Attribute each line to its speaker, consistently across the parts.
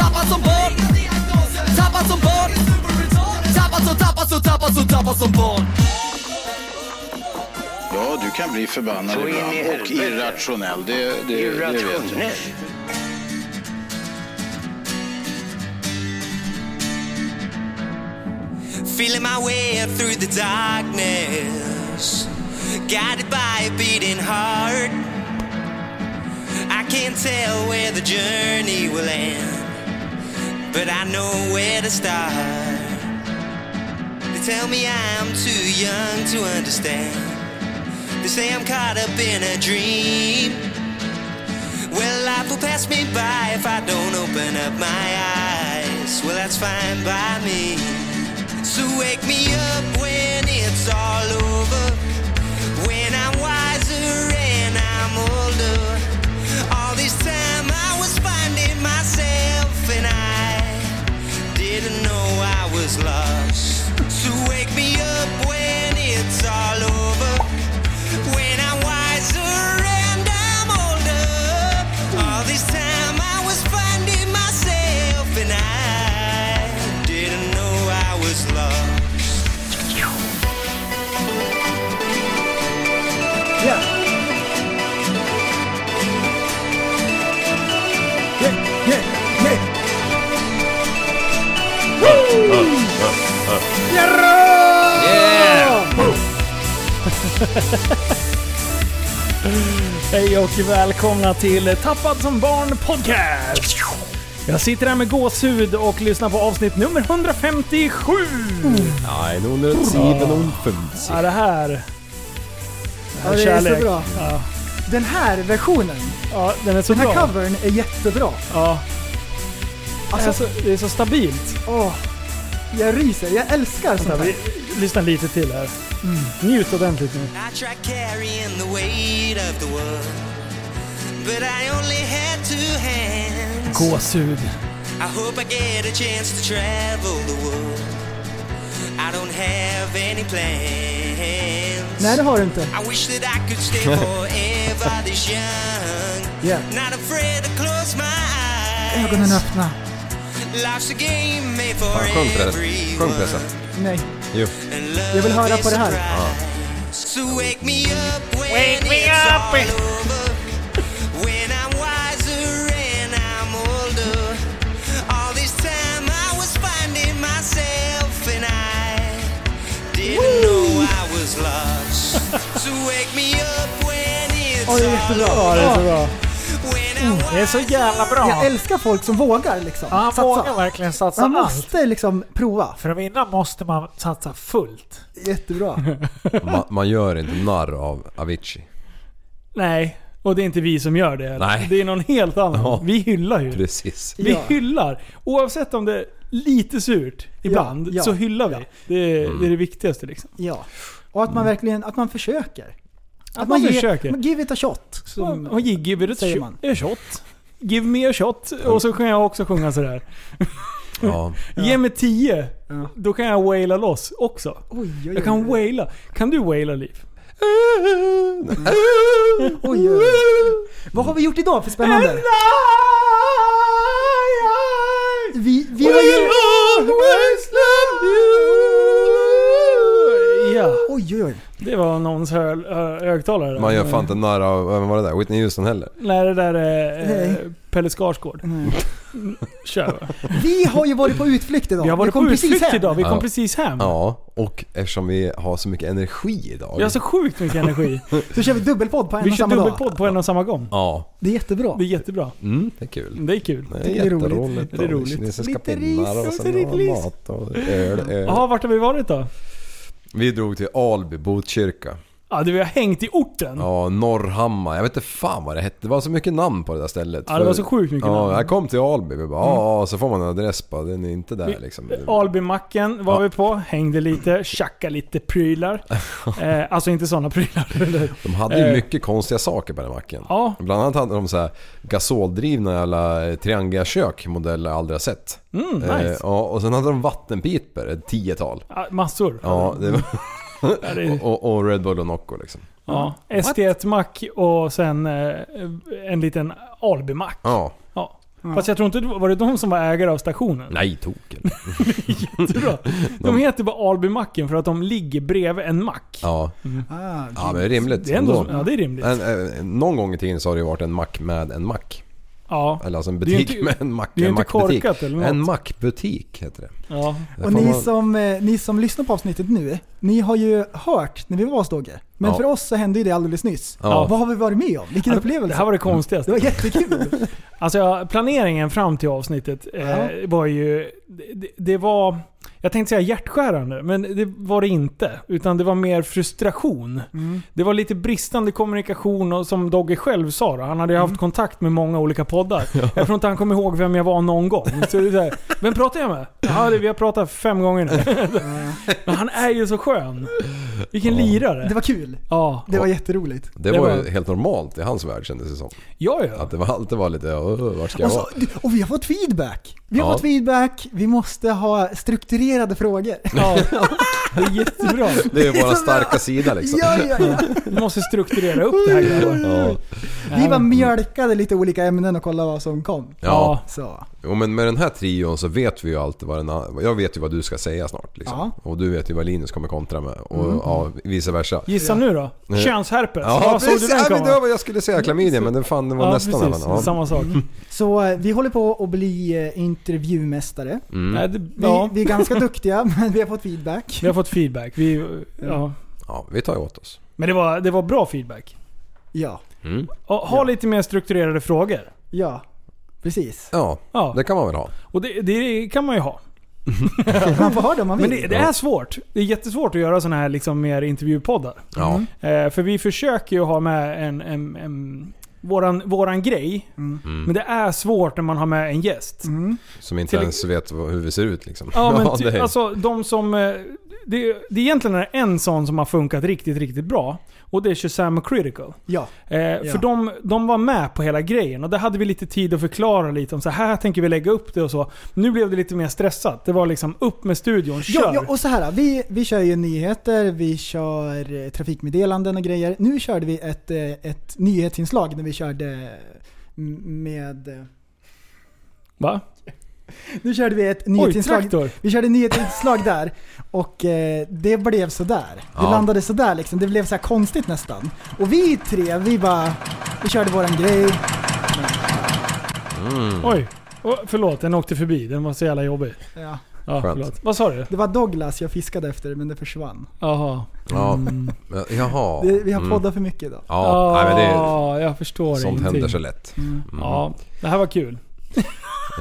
Speaker 1: Tappad som barn Tappad som barn Tappad som, tappad som, tappad som, tappad som barn
Speaker 2: Ja, du kan bli förbannad
Speaker 3: Så in i
Speaker 2: ibland och
Speaker 3: helvete.
Speaker 2: irrationell. Det, det, det vet jag.
Speaker 3: Irrationell.
Speaker 4: Feeling my way up through the darkness. Guided by a beating heart. I can't tell where the journey will end, but I know where to start. They tell me I'm too young to understand. They say I'm caught up in a dream. Well, life will pass me by if I don't open up my eyes. Well, that's fine by me. So wake me up when it's all over. When I'm wiser and I'm older. All this time I was finding myself and I didn't know I was lost. So wake me up when it's all over. When I'm wiser and I'm older. All this time I was finding myself and I didn't know I was lost.
Speaker 5: Hej och välkomna till Tappad som barn podcast! Jag sitter här med gåshud och lyssnar på avsnitt nummer 157!
Speaker 6: Nein, 157.
Speaker 5: Ja, det här...
Speaker 7: Ja, det är så bra. Den här versionen,
Speaker 5: Ja, den är så
Speaker 7: den här
Speaker 5: bra.
Speaker 7: covern, är jättebra.
Speaker 5: Ja.
Speaker 7: Alltså-
Speaker 5: Alltså, det är så stabilt.
Speaker 7: Åh, jag ryser. Jag älskar sånt
Speaker 5: Vänta, vi
Speaker 7: här.
Speaker 5: lyssnar lite till här.
Speaker 7: Mm.
Speaker 5: Njut ordentligt nu.
Speaker 4: I tried carrying the weight of the world, but I only had two hands.
Speaker 5: Gåshud.
Speaker 4: I hope I get a chance to travel the world. I don't have any plans.
Speaker 7: Nej, det har du inte.
Speaker 4: I wish that I could stay forever this young.
Speaker 7: Yeah.
Speaker 4: Not afraid to close my
Speaker 7: Ögonen
Speaker 4: eyes.
Speaker 7: öppna.
Speaker 4: Life's a game made for
Speaker 6: Fan, sjung förresten. Sjung
Speaker 4: everyone.
Speaker 6: förresten.
Speaker 7: Nej.
Speaker 6: Jo.
Speaker 4: And love
Speaker 7: Jag vill höra
Speaker 4: is
Speaker 7: på det här.
Speaker 4: a prize. So wake me up when it's all over. When I'm wiser and I'm older. All this time I was finding myself and I didn't know I was lost. so wake me up when it's
Speaker 7: Åh, det är
Speaker 4: all
Speaker 7: jättebra.
Speaker 5: Ja,
Speaker 4: over.
Speaker 5: det är så bra.
Speaker 4: When I'm
Speaker 5: Mm, Det är så jävla
Speaker 7: Jag
Speaker 5: bra.
Speaker 7: älskar folk som vågar liksom.
Speaker 5: Ja, Han
Speaker 7: satsa.
Speaker 5: vågar verkligen satsa
Speaker 7: Man
Speaker 5: allt.
Speaker 7: måste liksom prova.
Speaker 5: För att vinna måste man satsa fullt.
Speaker 7: Jättebra.
Speaker 6: Man, man gör inte narr av Avicii.
Speaker 5: Nej, och det är inte vi som gör det. heller.
Speaker 6: Nej.
Speaker 5: Det är någon helt annan.
Speaker 6: Ja.
Speaker 5: Vi hyllar ju.
Speaker 6: Precis.
Speaker 5: Vi
Speaker 7: Ja.
Speaker 5: hyllar. Oavsett om det är lite surt ibland,
Speaker 7: ja,
Speaker 5: så hyllar vi. Det, är,
Speaker 6: Mm.
Speaker 5: det är det viktigaste liksom.
Speaker 7: Ja. Och att man verkligen, att man försöker. Att,
Speaker 5: Mm. man
Speaker 7: ger-
Speaker 5: försöker.
Speaker 7: man Give it a shot. Som,
Speaker 5: och ge, give it a
Speaker 7: säger
Speaker 5: shot-
Speaker 7: man.
Speaker 5: a shot. Give me a shot. Och så kan jag också sjunga sådär.
Speaker 6: Ja.
Speaker 5: Ge mig 10.
Speaker 7: Ja.
Speaker 5: Då kan jag waila loss också.
Speaker 7: oj, oj, oj.
Speaker 5: Jag kan waila. Kan du waila Liv?
Speaker 7: Oj, oj, oj. Vad har vi gjort idag för spännande? Vi, vi har ju...
Speaker 5: Ja,
Speaker 7: Oj, oj, oj.
Speaker 5: det var någons hö- ö- högtalare. där.
Speaker 6: Man gör fan inte narr av, vem var det där? Whitney Houston heller.
Speaker 5: Nej, det där är eh,
Speaker 7: Nej.
Speaker 5: Pelle Skarsgård. Mm, Kör va.
Speaker 7: Vi har ju varit på utflykt idag.
Speaker 5: Vi har varit på
Speaker 7: kom precis
Speaker 5: utflykt
Speaker 7: hem.
Speaker 5: idag. Vi kom
Speaker 6: Ja.
Speaker 5: precis hem.
Speaker 6: Ja, och eftersom vi har så mycket energi idag.
Speaker 5: Vi har så sjukt mycket energi.
Speaker 7: Så kör vi dubbelpodd på en
Speaker 5: Vi
Speaker 7: och
Speaker 5: kör
Speaker 7: samma dag.
Speaker 5: dubbelpodd på en och samma gång.
Speaker 6: Ja.
Speaker 7: Det är jättebra.
Speaker 5: Det är jättebra.
Speaker 6: Mm, det är kul.
Speaker 5: Det är kul.
Speaker 6: Det är
Speaker 7: tycker det är roligt.
Speaker 6: jätteroligt.
Speaker 5: Det är roligt.
Speaker 6: Kinesiska
Speaker 7: Lite ris
Speaker 6: pinnar och
Speaker 7: och så
Speaker 6: sen
Speaker 7: lite ris.
Speaker 6: mat och öl. öl.
Speaker 5: Jaha, vart har vi varit då?
Speaker 6: Vi drog till Alby, Botkyrka.
Speaker 5: Ja, du, vi har hängt i orten.
Speaker 6: Ja, Norrhammar. Jag vet inte fan vad det hette. Det var så mycket namn på det där stället.
Speaker 5: Ja, det var så sjukt mycket
Speaker 6: ja,
Speaker 5: namn.
Speaker 6: Jag kom till Alby vi bara, ja, så får man en adress på. Den är inte där liksom.
Speaker 5: Albymacken var
Speaker 6: Ja.
Speaker 5: vi på, hängde lite, tjackade lite prylar. eh, alltså inte sådana prylar.
Speaker 6: De hade ju
Speaker 5: Eh.
Speaker 6: mycket konstiga saker på den macken.
Speaker 5: Ja.
Speaker 6: Bland annat hade de så här gasoldrivna jävla triangakök modell jag aldrig har sett. Eh,
Speaker 5: Mm, nice.
Speaker 6: ja, och sen hade de vattenpipor, ett tiotal.
Speaker 5: Ja, Massor.
Speaker 6: Ja, det var,
Speaker 5: Ja, det är-
Speaker 6: och, och Red Bull och Nocco liksom.
Speaker 5: ja. ST1-mack och sen eh, en liten Albymack.
Speaker 6: Ja,
Speaker 5: Ja. Fast jag tror inte, det var var det de som var ägare av stationen?
Speaker 6: nej token.
Speaker 5: Jättebra. De heter bara Albymacken för att de ligger bredvid en mack.
Speaker 6: Ja,
Speaker 7: Ah,
Speaker 6: ja men det är rimligt
Speaker 5: Det är ändå, ja, det är rimligt.
Speaker 6: En, eh, någon gång i tiden så har det ju varit en mack med en mack.
Speaker 5: Ja.
Speaker 6: Eller alltså en
Speaker 5: Det är ju
Speaker 6: butik
Speaker 5: inte-
Speaker 6: med en mack.
Speaker 5: det är ju
Speaker 6: en
Speaker 5: inte
Speaker 6: mackbutik.
Speaker 5: korkat eller något.
Speaker 6: En mackbutik heter det.
Speaker 5: ja.
Speaker 6: Där
Speaker 7: Och
Speaker 6: får
Speaker 7: ni
Speaker 6: man-
Speaker 7: som, eh, ni som lyssnar på avsnittet nu, ni har ju hört när vi var hos Dogge. Men
Speaker 6: Ja.
Speaker 7: för oss så hände ju det alldeles nyss.
Speaker 6: Ja.
Speaker 7: Vad har vi varit med om? Vilken upplevelse.
Speaker 5: Det här var det
Speaker 7: Det var
Speaker 5: konstigaste.
Speaker 7: jättekul.
Speaker 5: Alltså jag- planeringen fram till avsnittet eh,
Speaker 7: Ja.
Speaker 5: var ju... det- Det, det var... Jag tänkte säga hjärtskärande, men det var det inte. Utan det var mer frustration. Det var lite bristande kommunikation och som Dogge själv sa då, Han hade ju haft kontakt med många olika poddar. Jag tror inte han kom ihåg vem jag var någon gång. Så det är så här, vem pratar jag med? Ja, det- vi har pratat fem gånger nu. Men han är ju så skön. Vilken lirare.
Speaker 7: Det var kul.
Speaker 5: ja.
Speaker 7: Det var jätteroligt.
Speaker 6: Det,
Speaker 5: Det
Speaker 6: var
Speaker 5: var-
Speaker 6: ju helt normalt i hans värld kändes det som.
Speaker 5: Ja,
Speaker 6: Att
Speaker 5: ja.
Speaker 6: det var, alltid var lite, "Åh, var ska jag
Speaker 7: Och, så,
Speaker 6: vara?
Speaker 7: och vi har fått feedback. Vi har
Speaker 6: Ja.
Speaker 7: fått feedback. Vi måste ha strukturerade frågor.
Speaker 5: ja. Det är jättebra.
Speaker 6: Det är ju våra
Speaker 7: så bra.
Speaker 6: starka sida liksom.
Speaker 7: Ja, ja, ja.
Speaker 5: Vi måste strukturera upp det här grabbar.
Speaker 6: Ja.
Speaker 7: Vi bara mjölkade lite olika ämnen och kollade vad som kom.
Speaker 6: Ja.
Speaker 7: Så.
Speaker 6: Jo, men med den här trion så vet vi ju alltid vad den an- Jag vet ju vad du ska säga snart liksom.
Speaker 7: Ja.
Speaker 6: Och du vet ju vad Linus kommer kontra med. Och ja, vice versa.
Speaker 5: Mm. Gissa nu då.
Speaker 6: Nej.
Speaker 5: Könsherpes.
Speaker 6: Ja,
Speaker 5: Vad såg du
Speaker 6: precis!
Speaker 5: den
Speaker 6: Ja, men det var
Speaker 5: komma?
Speaker 6: vad jag skulle säga, klamydia, men det, fan, det var
Speaker 5: Ja,
Speaker 6: nästan
Speaker 5: precis.
Speaker 6: annan. Ja. Mm.
Speaker 5: Samma sak.
Speaker 7: Så eh, vi håller på att bli eh, intervjumästare.
Speaker 6: Mm.
Speaker 5: Nej, det,
Speaker 7: Vi,
Speaker 5: ja,
Speaker 7: vi är ganska duktiga, men vi har fått feedback.
Speaker 5: vi har fått feedback. Vi, ja.
Speaker 6: ja, vi tar ju åt oss.
Speaker 5: Men det var, det var bra feedback.
Speaker 7: Ja,
Speaker 6: Mm.
Speaker 5: Och, ha lite mer strukturerade frågor.
Speaker 7: ja. Precis.
Speaker 6: Ja,
Speaker 5: Ja.
Speaker 6: det kan man väl ha.
Speaker 5: Och det, det kan man ju ha.
Speaker 7: Man får ha det om man
Speaker 5: Men
Speaker 7: vill.
Speaker 5: det, det är svårt. Det är jättesvårt att göra sådana här liksom mer intervjupoddar.
Speaker 6: Ja.
Speaker 5: Eh, för vi försöker ju ha med en, en, en våran, våran grej.
Speaker 6: Mm.
Speaker 5: Men det är svårt när man har med en gäst.
Speaker 6: Som inte
Speaker 5: Till-
Speaker 6: ens vet vad- hur vi ser ut liksom.
Speaker 5: Ja, men ty,
Speaker 6: det är-
Speaker 5: alltså de som... eh, Det, det är egentligen en sån som har funkat riktigt, riktigt bra. Och det är Shazam Critical.
Speaker 7: Ja.
Speaker 5: Eh, För de, de var med på hela grejen och där hade vi lite tid att förklara lite om så här tänker vi lägga upp det och så. Nu blev det lite mer stressat. Det var liksom upp med studion, kör!
Speaker 7: Ja, ja, och så här. Vi, vi kör ju nyheter, vi kör eh, trafikmeddelanden och grejer. Nu körde vi ett, eh, ett nyhetsinslag när vi körde m- med... eh,
Speaker 5: Va?
Speaker 7: Nu körde vi ett
Speaker 5: Oj,
Speaker 7: nyhetsinslag.
Speaker 5: traktor!
Speaker 7: vi körde nyhetsinslag där och eh, det blev sådär. Det
Speaker 6: Ja.
Speaker 7: landade sådär liksom. Det blev så här konstigt nästan. Och vi tre, vi bara... Vi körde våran grej.
Speaker 6: Mm.
Speaker 5: Oj! Oh, förlåt, den åkte förbi. Den var så jävla jobbig.
Speaker 7: Ja.
Speaker 5: Ja,
Speaker 6: Skönt.
Speaker 5: förlåt. Vad sa du?
Speaker 7: Det var Douglas jag fiskade efter men det försvann.
Speaker 5: Jaha.
Speaker 6: Ja. Men- Jaha.
Speaker 7: Det, vi har
Speaker 6: Mm.
Speaker 7: poddat för mycket idag.
Speaker 6: Ja, nej, men det är...
Speaker 5: Ah, jag förstår
Speaker 6: Sånt
Speaker 5: ingenting.
Speaker 6: händer så mm. lätt.
Speaker 5: Ja, det här var kul.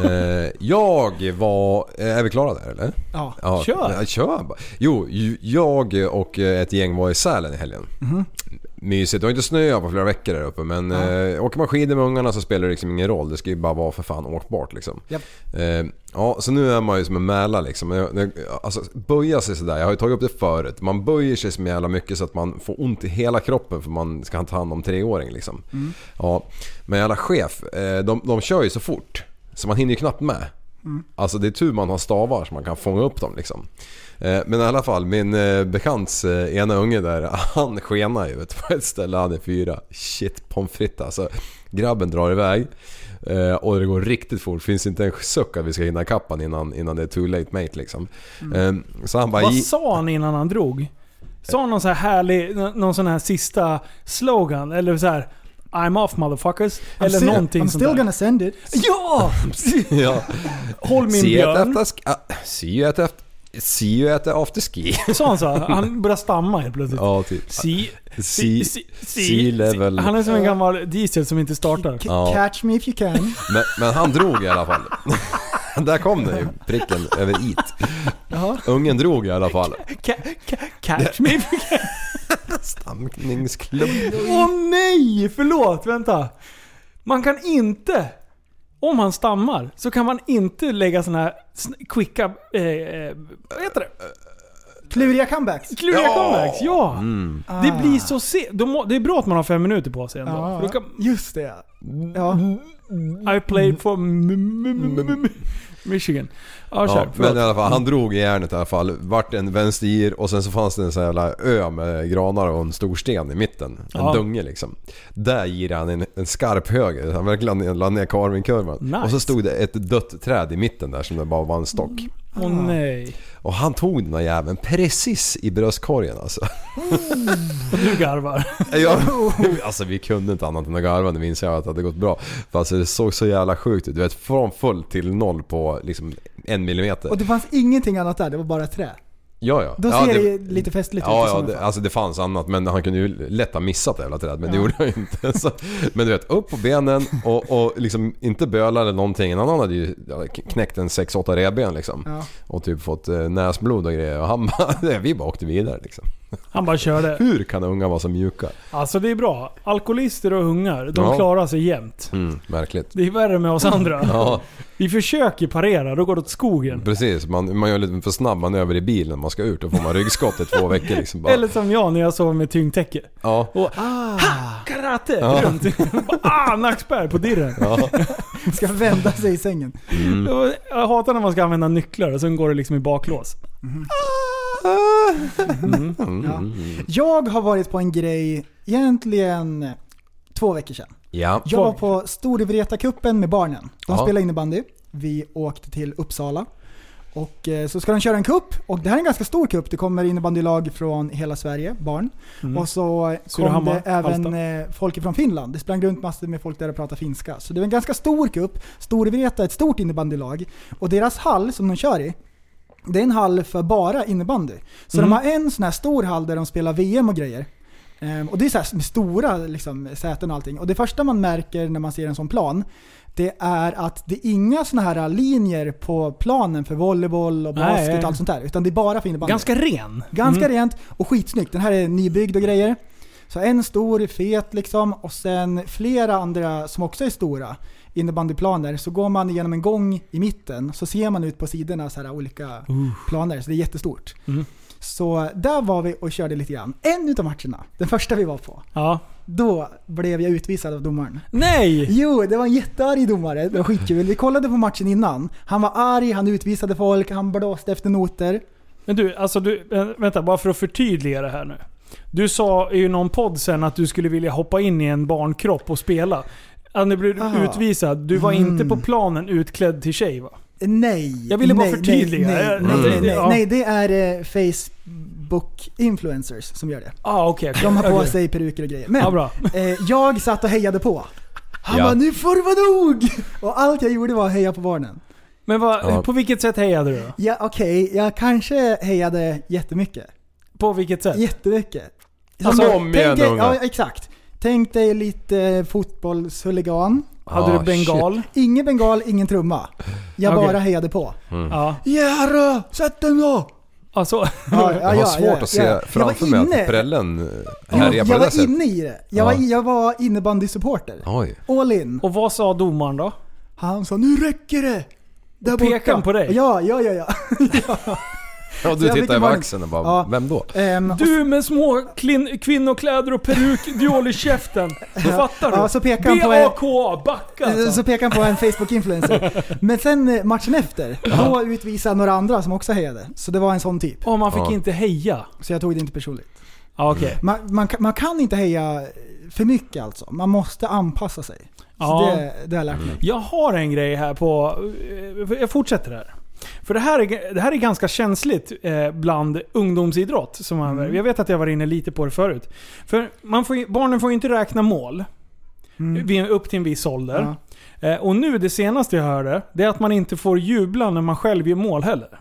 Speaker 6: Eh, jag var... eh, Är vi klara där eller?
Speaker 7: Ja.
Speaker 6: Ja,
Speaker 5: Kör.
Speaker 6: Ja, kör bara. Jo, ju- jag och eh, ett gäng var i Sälen i helgen. Mysigt. Det har inte snöat på flera veckor där uppe men eh, åker man skidor med ungarna så spelar det liksom ingen roll. Det ska ju bara vara för fan åkbart liksom.
Speaker 7: Japp.
Speaker 6: Eh, ja, så nu är man ju som en mäla liksom. Jag- jag- Alltså böja sig sådär. Jag har ju tagit upp det förut. Man böjer sig så jävla mycket så att man får ont i hela kroppen för man ska ta hand om treåring liksom. Ja, men jävla chef, eh, de, de kör ju så fort. Så man hinner ju knappt med. Alltså det är tur man har stavar så man kan fånga upp dem liksom. Eh, Men i alla fall, min eh, bekants eh, ena unge där, han skenar ju vet, du, på ett ställe, han är fyra. Shit pommes frites alltså. Grabben drar iväg eh, och det går riktigt fort. Finns inte en suck att vi ska hinna ikapp han innan, innan det är too late mate liksom. Eh, Så han bara...
Speaker 5: Mm. Vad
Speaker 6: "Gi-
Speaker 5: sa han innan han drog? Sa han någon så här härlig, någon sån här sista slogan? Eller så här I'm off motherfuckers? Eller
Speaker 7: I'm still-
Speaker 5: någonting
Speaker 7: I'm
Speaker 5: sånt
Speaker 7: still
Speaker 5: där.
Speaker 7: gonna send it.
Speaker 5: Ja!
Speaker 6: ja.
Speaker 5: Håll min
Speaker 6: See you at
Speaker 5: björn.
Speaker 6: after ski. ah, See you at after- see you at the after ski.
Speaker 5: Sa han så? här? Han började stamma helt plötsligt.
Speaker 6: Ja, typ.
Speaker 5: Si,
Speaker 6: Sea- sea level.
Speaker 5: Han är som en gammal diesel som inte startar.
Speaker 7: C-
Speaker 6: Ja.
Speaker 7: Catch me if you can.
Speaker 6: Men, men han drog i alla fall. Där kom den ju, pricken över it.
Speaker 7: Jaha.
Speaker 6: Ungen drog i alla fall.
Speaker 5: Ca- ca- Catch me if you can.
Speaker 6: Stamningsklubb.
Speaker 5: Åh nej! Förlåt, vänta. Man kan inte, om han stammar, så kan man inte lägga såna här sn- quicka... Eh, eh, vad heter det?
Speaker 7: Kluriga comebacks.
Speaker 5: Kluriga
Speaker 6: Ja. Mm.
Speaker 5: comebacks, ja! Det
Speaker 7: Ah.
Speaker 5: blir så sent. Då må- Det är bra att man har fem minuter på sig ändå.
Speaker 7: Ja,
Speaker 5: För då kan,
Speaker 7: just det. ja.
Speaker 6: Mm.
Speaker 7: Ja.
Speaker 5: I played for m- m- m- m- m- Michigan. Ja,
Speaker 6: Mm. Ja,
Speaker 5: kör.
Speaker 6: men i
Speaker 5: Förlåt.
Speaker 6: alla fall, han drog i järnet i alla fall. Vart en vänstergir och sen så fanns det en sån jävla ö med granar och en stor sten i mitten. En
Speaker 5: Ja.
Speaker 6: dunge liksom. Där girade han en, en skarp höger. Han verkligen la ner karvinkurvan.
Speaker 5: Nice.
Speaker 6: Och så stod det ett dött träd i mitten där som det bara var en stock.
Speaker 5: Åh nej.
Speaker 6: Och han tog den här jäveln precis i bröstkorgen alltså.
Speaker 5: Du garvar.
Speaker 6: Jag, alltså vi kunde inte annat än att garva när vi insåg att det hade gått bra. För alltså det såg så jävla sjukt ut. Du vet från full till noll på liksom en millimeter.
Speaker 7: Och det fanns ingenting annat där, det var bara trä.
Speaker 6: Ja, ja.
Speaker 7: Då
Speaker 6: ja,
Speaker 7: ser det lite festligt ut i
Speaker 6: ja, ja,
Speaker 7: sådana
Speaker 6: det,
Speaker 7: fall.
Speaker 6: alltså det fanns annat men han kunde ju lätt ha missat det jävla trädet men det gjorde han ju inte. Så, men du vet, upp på benen och, och liksom inte böla eller någonting. En annan hade ju ja, k- knäckt en 6-8 revben liksom.
Speaker 7: Ja.
Speaker 6: Och typ fått eh, näsblod och grejer och han bara, vi bara åkte vidare liksom.
Speaker 5: Han bara körde.
Speaker 6: Hur kan unga vara så mjuka?
Speaker 5: Alltså det är bra. Alkoholister och hungar, de
Speaker 6: Ja.
Speaker 5: klarar sig jämt.
Speaker 6: Mm, märkligt.
Speaker 5: Det är värre med oss andra.
Speaker 6: Ja,
Speaker 5: Vi försöker parera, då går det åt skogen.
Speaker 6: precis. Man, man gör lite för snabb manöver i bilen när man ska ut och får man ryggskott i två veckor liksom. Bara,
Speaker 5: Eller som jag när jag sov med tyngdtäcke.
Speaker 6: ja.
Speaker 5: Och ha! Karate! Runt. Bara, ah! Nackspärr på dirren.
Speaker 7: Ska vända sig i sängen.
Speaker 6: Mm.
Speaker 5: Jag- Jag hatar när man ska använda nycklar och sen går det liksom i baklås.
Speaker 6: Mm.
Speaker 7: Ja. Jag har varit på en grej, egentligen två veckor sedan.
Speaker 6: Ja.
Speaker 7: Jag var på Storvreta-cupen med barnen. De
Speaker 6: Ja.
Speaker 7: spelade innebandy. Vi åkte till Uppsala. Och eh, så ska de köra en cup. Och det här är en ganska stor cup. Det kommer innebandylag från hela Sverige, barn. Och så kom
Speaker 5: Surahammar,
Speaker 7: det även
Speaker 5: Halmstad.
Speaker 7: eh, folk från Finland. Det sprang runt massor med folk där och pratade finska. Så det var en ganska stor cup. Storvreta är ett stort innebandylag. Och deras hall som de kör i, det är en hall för bara innebandy. Så
Speaker 5: Mm.
Speaker 7: de har en sån här stor hall där de spelar VM och grejer. Ehm, och det är så här med stora liksom, säten och allting. Och det första man märker när man ser en sån plan, det är att det är inga såna här linjer på planen för volleyboll och
Speaker 5: Nej.
Speaker 7: basket och allt sånt där. Utan det är bara för innebandy.
Speaker 5: Ganska ren.
Speaker 7: Ganska rent och skitsnyggt. Den här är nybyggd och grejer. Så en stor, fet liksom och sen flera andra som också är stora innebandyplaner. Så går man igenom en gång i mitten så ser man ut på sidorna så här olika planer. Så det är jättestort. Så där var vi och körde lite grann. En utav matcherna, den första vi var på,
Speaker 5: Ja.
Speaker 7: då blev jag utvisad av domaren.
Speaker 5: Nej!
Speaker 7: Jo, det var en jättearg domare. Det var skitkul. Vi kollade på matchen innan. Han var arg, han utvisade folk, han blåste efter noter.
Speaker 5: Men du, alltså du, vä- vänta, bara för att förtydliga det här nu. Du sa i någon podd sen att du skulle vilja hoppa in i en barnkropp och spela. Ja, nu blev du
Speaker 7: Ah.
Speaker 5: utvisad. Du var inte på planen utklädd till tjej va?
Speaker 7: Nej.
Speaker 5: Jag ville bara
Speaker 7: nej,
Speaker 5: förtydliga.
Speaker 7: Nej, nej,
Speaker 5: Jag-
Speaker 7: nej,
Speaker 5: Mm.
Speaker 7: nej, nej,
Speaker 5: Ja.
Speaker 7: nej det är eh, Facebook-influencers som gör det.
Speaker 5: Ah, okej. okej,
Speaker 7: De har på
Speaker 5: okej.
Speaker 7: sig peruker och grejer. Men
Speaker 5: Ja, bra.
Speaker 7: eh, jag satt och hejade på. Han
Speaker 6: Ja.
Speaker 7: bara nu får det vara nog! Och allt jag gjorde var att heja på barnen.
Speaker 5: Men vad,
Speaker 6: Ja.
Speaker 5: på vilket sätt hejade du då?
Speaker 7: Ja, Okej, jag kanske hejade jättemycket.
Speaker 5: På vilket sätt?
Speaker 7: Jättemycket.
Speaker 5: Alltså,
Speaker 7: Som-
Speaker 6: kom igen,
Speaker 7: tänk dig,
Speaker 6: ungar.
Speaker 7: Ja, exakt. Tänk dig lite eh, fotbollshuligan.
Speaker 5: Hade
Speaker 6: Ah,
Speaker 5: du bengal?
Speaker 7: Ingen bengal, ingen trumma. Jag
Speaker 5: Okej.
Speaker 7: bara hejade på.
Speaker 5: Ja.
Speaker 7: Jära, sätt den då!
Speaker 5: Alltså,
Speaker 7: Ja,
Speaker 6: Jag har svårt att se framför mig att prällen eh,
Speaker 7: Jag,
Speaker 6: härjar
Speaker 7: jag
Speaker 6: på det där
Speaker 7: var
Speaker 6: sättet.
Speaker 7: inne i det. Jag,
Speaker 6: Ja.
Speaker 7: var, jag var innebandysupporter.
Speaker 6: Oj.
Speaker 7: All in.
Speaker 5: och vad sa domaren då?
Speaker 7: Han sa nu räcker det! Där
Speaker 5: Och pekade
Speaker 7: borta."
Speaker 5: han på dig?
Speaker 7: Ja, ja, ja. ja.
Speaker 6: Ja,
Speaker 7: Så
Speaker 6: du
Speaker 7: jag fick
Speaker 6: tittar
Speaker 7: en
Speaker 6: över
Speaker 7: varning.
Speaker 6: axeln och bara,
Speaker 7: Ja.
Speaker 6: vem då?
Speaker 7: Ehm, och
Speaker 5: Du med små klin- kvinnokläder och peruk, du håller käften. Fattar du?
Speaker 7: Ja, så pekar han på-
Speaker 5: BAKA, backa
Speaker 7: så-
Speaker 5: alltså.
Speaker 7: Så pekade han på en Facebook-influencer. Men sen eh, matchen efter, då utvisade några andra som också hejade. Så det var en sån typ.
Speaker 5: Åh, man fick
Speaker 6: Ja.
Speaker 5: inte heja.
Speaker 7: Så jag tog det inte personligt.
Speaker 5: Ja, okej.
Speaker 7: Man, man, kan- man kan inte heja för mycket alltså. Man måste anpassa sig. Så
Speaker 5: Ja.
Speaker 7: det, det har jag lärt
Speaker 6: Mm.
Speaker 7: mig.
Speaker 5: Jag har en grej här på... eh, Jag fortsätter här. För det här är, det här är ganska känsligt eh, bland ungdomsidrott. Som man, Jag vet att jag var inne lite på det förut. För man får, ju- barnen får ju inte räkna mål. Vid, upp till en viss ålder. Eh, och nu det senaste jag hörde, det är att man inte får jubla när man själv gör mål heller.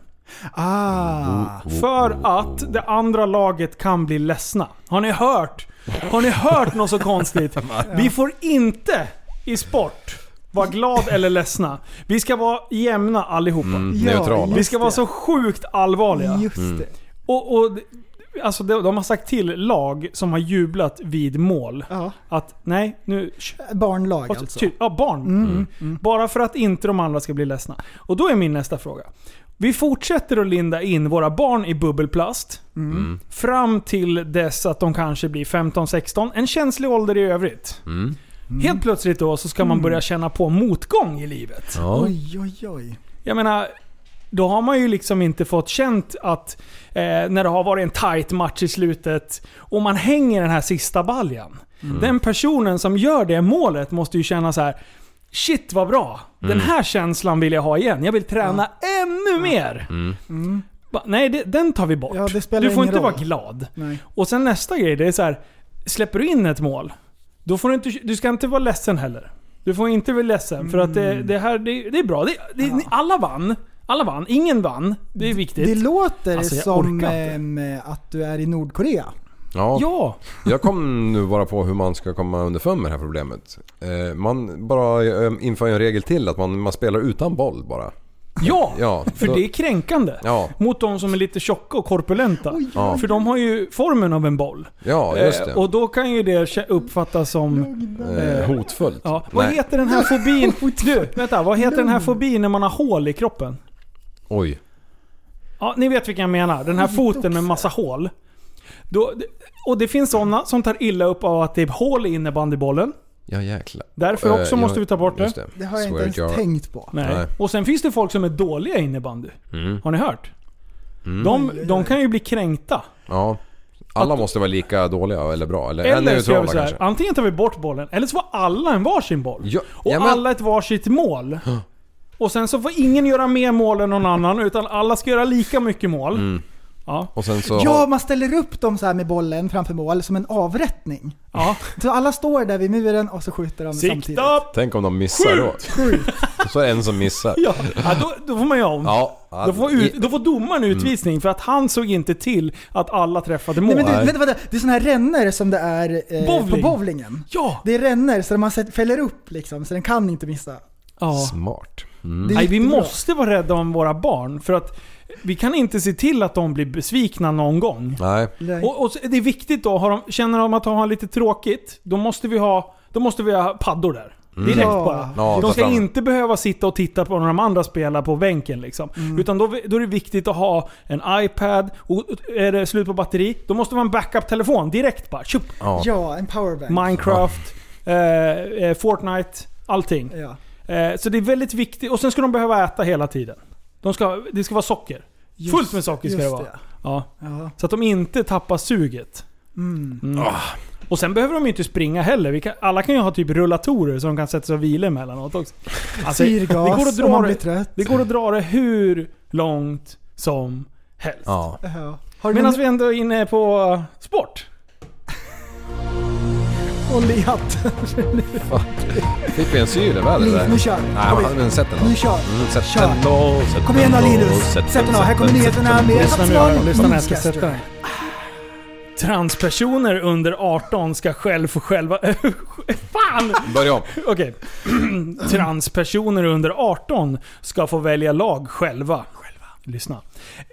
Speaker 7: Ah.
Speaker 5: För att det andra laget kan bli ledsna. Har ni hört? Har ni hört något så konstigt? Vi får inte i sport vara glad eller ledsna. Vi ska vara jämna allihopa.
Speaker 6: Neutral. Mm.
Speaker 5: Vi ska vara så sjukt allvarliga.
Speaker 7: Just det.
Speaker 5: Och, och alltså de, de har sagt till lag som har jublat vid mål
Speaker 7: Ja.
Speaker 5: att nej, nu...
Speaker 7: Barnlag
Speaker 5: Alltså,
Speaker 7: alltså.
Speaker 5: Typ, ja, barn.
Speaker 7: Mm.
Speaker 5: Bara för att inte de andra ska bli ledsna. Och då är min nästa fråga. Vi fortsätter att linda in våra barn i bubbelplast. Fram till dess att de kanske blir 15-16. En känslig ålder i övrigt.
Speaker 6: Mm.
Speaker 5: Helt plötsligt då så ska man börja känna på motgång i livet.
Speaker 6: Ja.
Speaker 7: Oj, oj, oj.
Speaker 5: Jag menar, då har man ju liksom inte fått känt att eh, när det har varit en tight match i slutet och man hänger den här sista baljan.
Speaker 7: Mm.
Speaker 5: Den personen som gör det målet måste ju känna så här. Shit vad bra!
Speaker 7: Mm.
Speaker 5: Den här känslan vill jag ha igen. Jag vill träna ännu mer! Ba- Nej, det, den tar vi bort.
Speaker 7: Mm. Ja, det spelar
Speaker 5: du får
Speaker 7: ingen
Speaker 5: inte vara
Speaker 7: roll.
Speaker 5: glad.
Speaker 7: Nej.
Speaker 5: Och sen nästa grej, det är så här. Släpper du in ett mål, då får du inte, du ska inte vara ledsen heller. Du får inte bli ledsen för att det,
Speaker 6: Mm.
Speaker 5: det här, det, det är bra. Det, det, ni- Alla vann. Alla vann. Ingen vann. Det är viktigt.
Speaker 7: Det låter
Speaker 5: Alltså, jag
Speaker 7: som
Speaker 5: orkar inte.
Speaker 7: ehm, att du är i Nordkorea.
Speaker 6: Ja.
Speaker 5: ja.
Speaker 6: Jag kom nu bara på hur man ska komma underfund med det här problemet. Eh, Man bara eh, inför en regel till att man, man spelar utan boll bara.
Speaker 5: Ja!
Speaker 6: Ja,
Speaker 5: För
Speaker 6: då-
Speaker 5: det är kränkande.
Speaker 6: Ja.
Speaker 5: Mot de som är lite tjocka och korpulenta.
Speaker 6: Ja.
Speaker 5: För de har ju formen av en boll.
Speaker 6: Ja, just
Speaker 5: Eh,
Speaker 6: det.
Speaker 5: Och då kan ju det kä- uppfattas som...
Speaker 6: Eh, Hotfullt.
Speaker 5: Ja. Vad
Speaker 6: Nej.
Speaker 5: heter den här fobin? Du, vänta. Vad heter den här fobin när man har hål i kroppen?
Speaker 6: Oj.
Speaker 5: Ja, ni vet vilken jag menar. Den här foten med massa hål. Då, och det finns sådana som tar illa upp av att det är hål i innebandybollen.
Speaker 6: Ja jäklar.
Speaker 5: Därför också
Speaker 6: Eh,
Speaker 5: måste
Speaker 6: jag-
Speaker 5: vi ta bort det.
Speaker 6: just
Speaker 7: Det har jag
Speaker 6: Swear
Speaker 7: inte
Speaker 6: jar.
Speaker 7: ens tänkt på.
Speaker 5: Nej.
Speaker 6: Nej.
Speaker 5: Och sen finns det folk som är dåliga i innebandy.
Speaker 6: Mm.
Speaker 5: Har ni hört? De, de kan ju bli kränkta.
Speaker 6: Ja. Alla måste vara lika dåliga eller bra. Eller, eller
Speaker 5: Eller så gör
Speaker 6: neutrala
Speaker 5: vi så här.
Speaker 6: kanske.
Speaker 5: Antingen tar vi bort bollen, eller så får alla en varsin boll.
Speaker 6: Ja,
Speaker 5: och
Speaker 6: ja, men-
Speaker 5: alla ett varsitt mål. Och sen så får ingen göra mer mål än någon annan, utan alla ska göra lika mycket mål.
Speaker 6: Mm.
Speaker 5: Ja.
Speaker 6: Och sen så...
Speaker 7: ah, Ja, man ställer upp dem så här med bollen framför mål som en avrättning.
Speaker 5: ja.
Speaker 7: Så alla står där vid muren och så skjuter de samtidigt.
Speaker 5: Sikta!
Speaker 6: Tänk om de missar då. Så är det en som missar.
Speaker 5: Ja, ja då, då får man göra om.
Speaker 6: Ja.
Speaker 5: Då får, ut, då får domaren utvisning för att han såg inte till att alla träffade mål.
Speaker 7: Mm. Nej, men du, vänta, vänta, det är såna här ränner som det är eh,
Speaker 5: Bowling.
Speaker 7: på bowlingen.
Speaker 5: ja!
Speaker 7: Det är ränner så man sätter- fäller upp liksom, så den kan inte missa.
Speaker 5: ja.
Speaker 6: Smart.
Speaker 7: Det är
Speaker 5: Nej, vi
Speaker 7: jättebra.
Speaker 5: måste vara rädda om våra barn för att vi kan inte se till att de blir besvikna någon gång.
Speaker 6: Nej.
Speaker 7: Nej.
Speaker 5: Och, och så- det är viktigt då, har de, känner de att de har lite tråkigt, då måste vi ha, då måste vi ha paddor där. Direkt
Speaker 7: Mm. Ja.
Speaker 5: bara.
Speaker 6: Ja,
Speaker 5: De
Speaker 6: ta
Speaker 5: ska
Speaker 6: fram.
Speaker 5: inte behöva sitta och titta på när de andra spelar på bänken. Liksom.
Speaker 7: Mm.
Speaker 5: Utan då, då är det viktigt att ha en iPad, och är det slut på batteri, då måste man ha en backup-telefon direkt bara. Tjup.
Speaker 6: Ja.
Speaker 7: Ja, en powerbank.
Speaker 5: Minecraft, eh, eh, Fortnite, allting.
Speaker 7: ja.
Speaker 5: Eh, så det är väldigt viktigt. Och sen ska de behöva äta hela tiden. De ska, det ska vara socker.
Speaker 7: Just-
Speaker 5: Fullt med socker ska
Speaker 7: just
Speaker 5: det vara. Ja.
Speaker 7: Ja.
Speaker 5: Så att de inte tappar suget.
Speaker 7: Mm.
Speaker 5: Och sen behöver de ju inte springa heller. Vi kan, alla kan ju ha typ rullatorer som de kan sätta sig och vila emellanåt också. Alltså,
Speaker 7: Syrgas
Speaker 5: det går att dra
Speaker 7: om man
Speaker 5: det-
Speaker 7: blir trött.
Speaker 5: det går att dra det hur långt som helst.
Speaker 6: Ja.
Speaker 7: Ja. Har du
Speaker 5: Medan
Speaker 7: någon
Speaker 5: vi ändå är inne på sport.
Speaker 7: håll i hatten?
Speaker 6: Fick vi en syl i vädret där?
Speaker 7: Nu kör vi.
Speaker 6: Nej,
Speaker 7: Kom
Speaker 6: men
Speaker 7: igen.
Speaker 6: han- men sätt den då.
Speaker 7: Nu kör
Speaker 6: Mm, sätt
Speaker 7: Kör.
Speaker 6: den då. Sätt
Speaker 7: Kom igen då
Speaker 6: den då,
Speaker 7: Linus.
Speaker 6: sätt
Speaker 7: Sätt den av. Här kommer
Speaker 6: sätt
Speaker 7: nyheterna med
Speaker 5: Lyssna nu Aron,
Speaker 7: Havsbarn
Speaker 5: lyssna när jag ska
Speaker 7: Newscaster.
Speaker 5: sätta den. Transpersoner under 18 ska själv få själva... Fan!
Speaker 6: den. Börja om.
Speaker 5: Okej. Transpersoner under 18 ska få välja lag själva. Lyssna.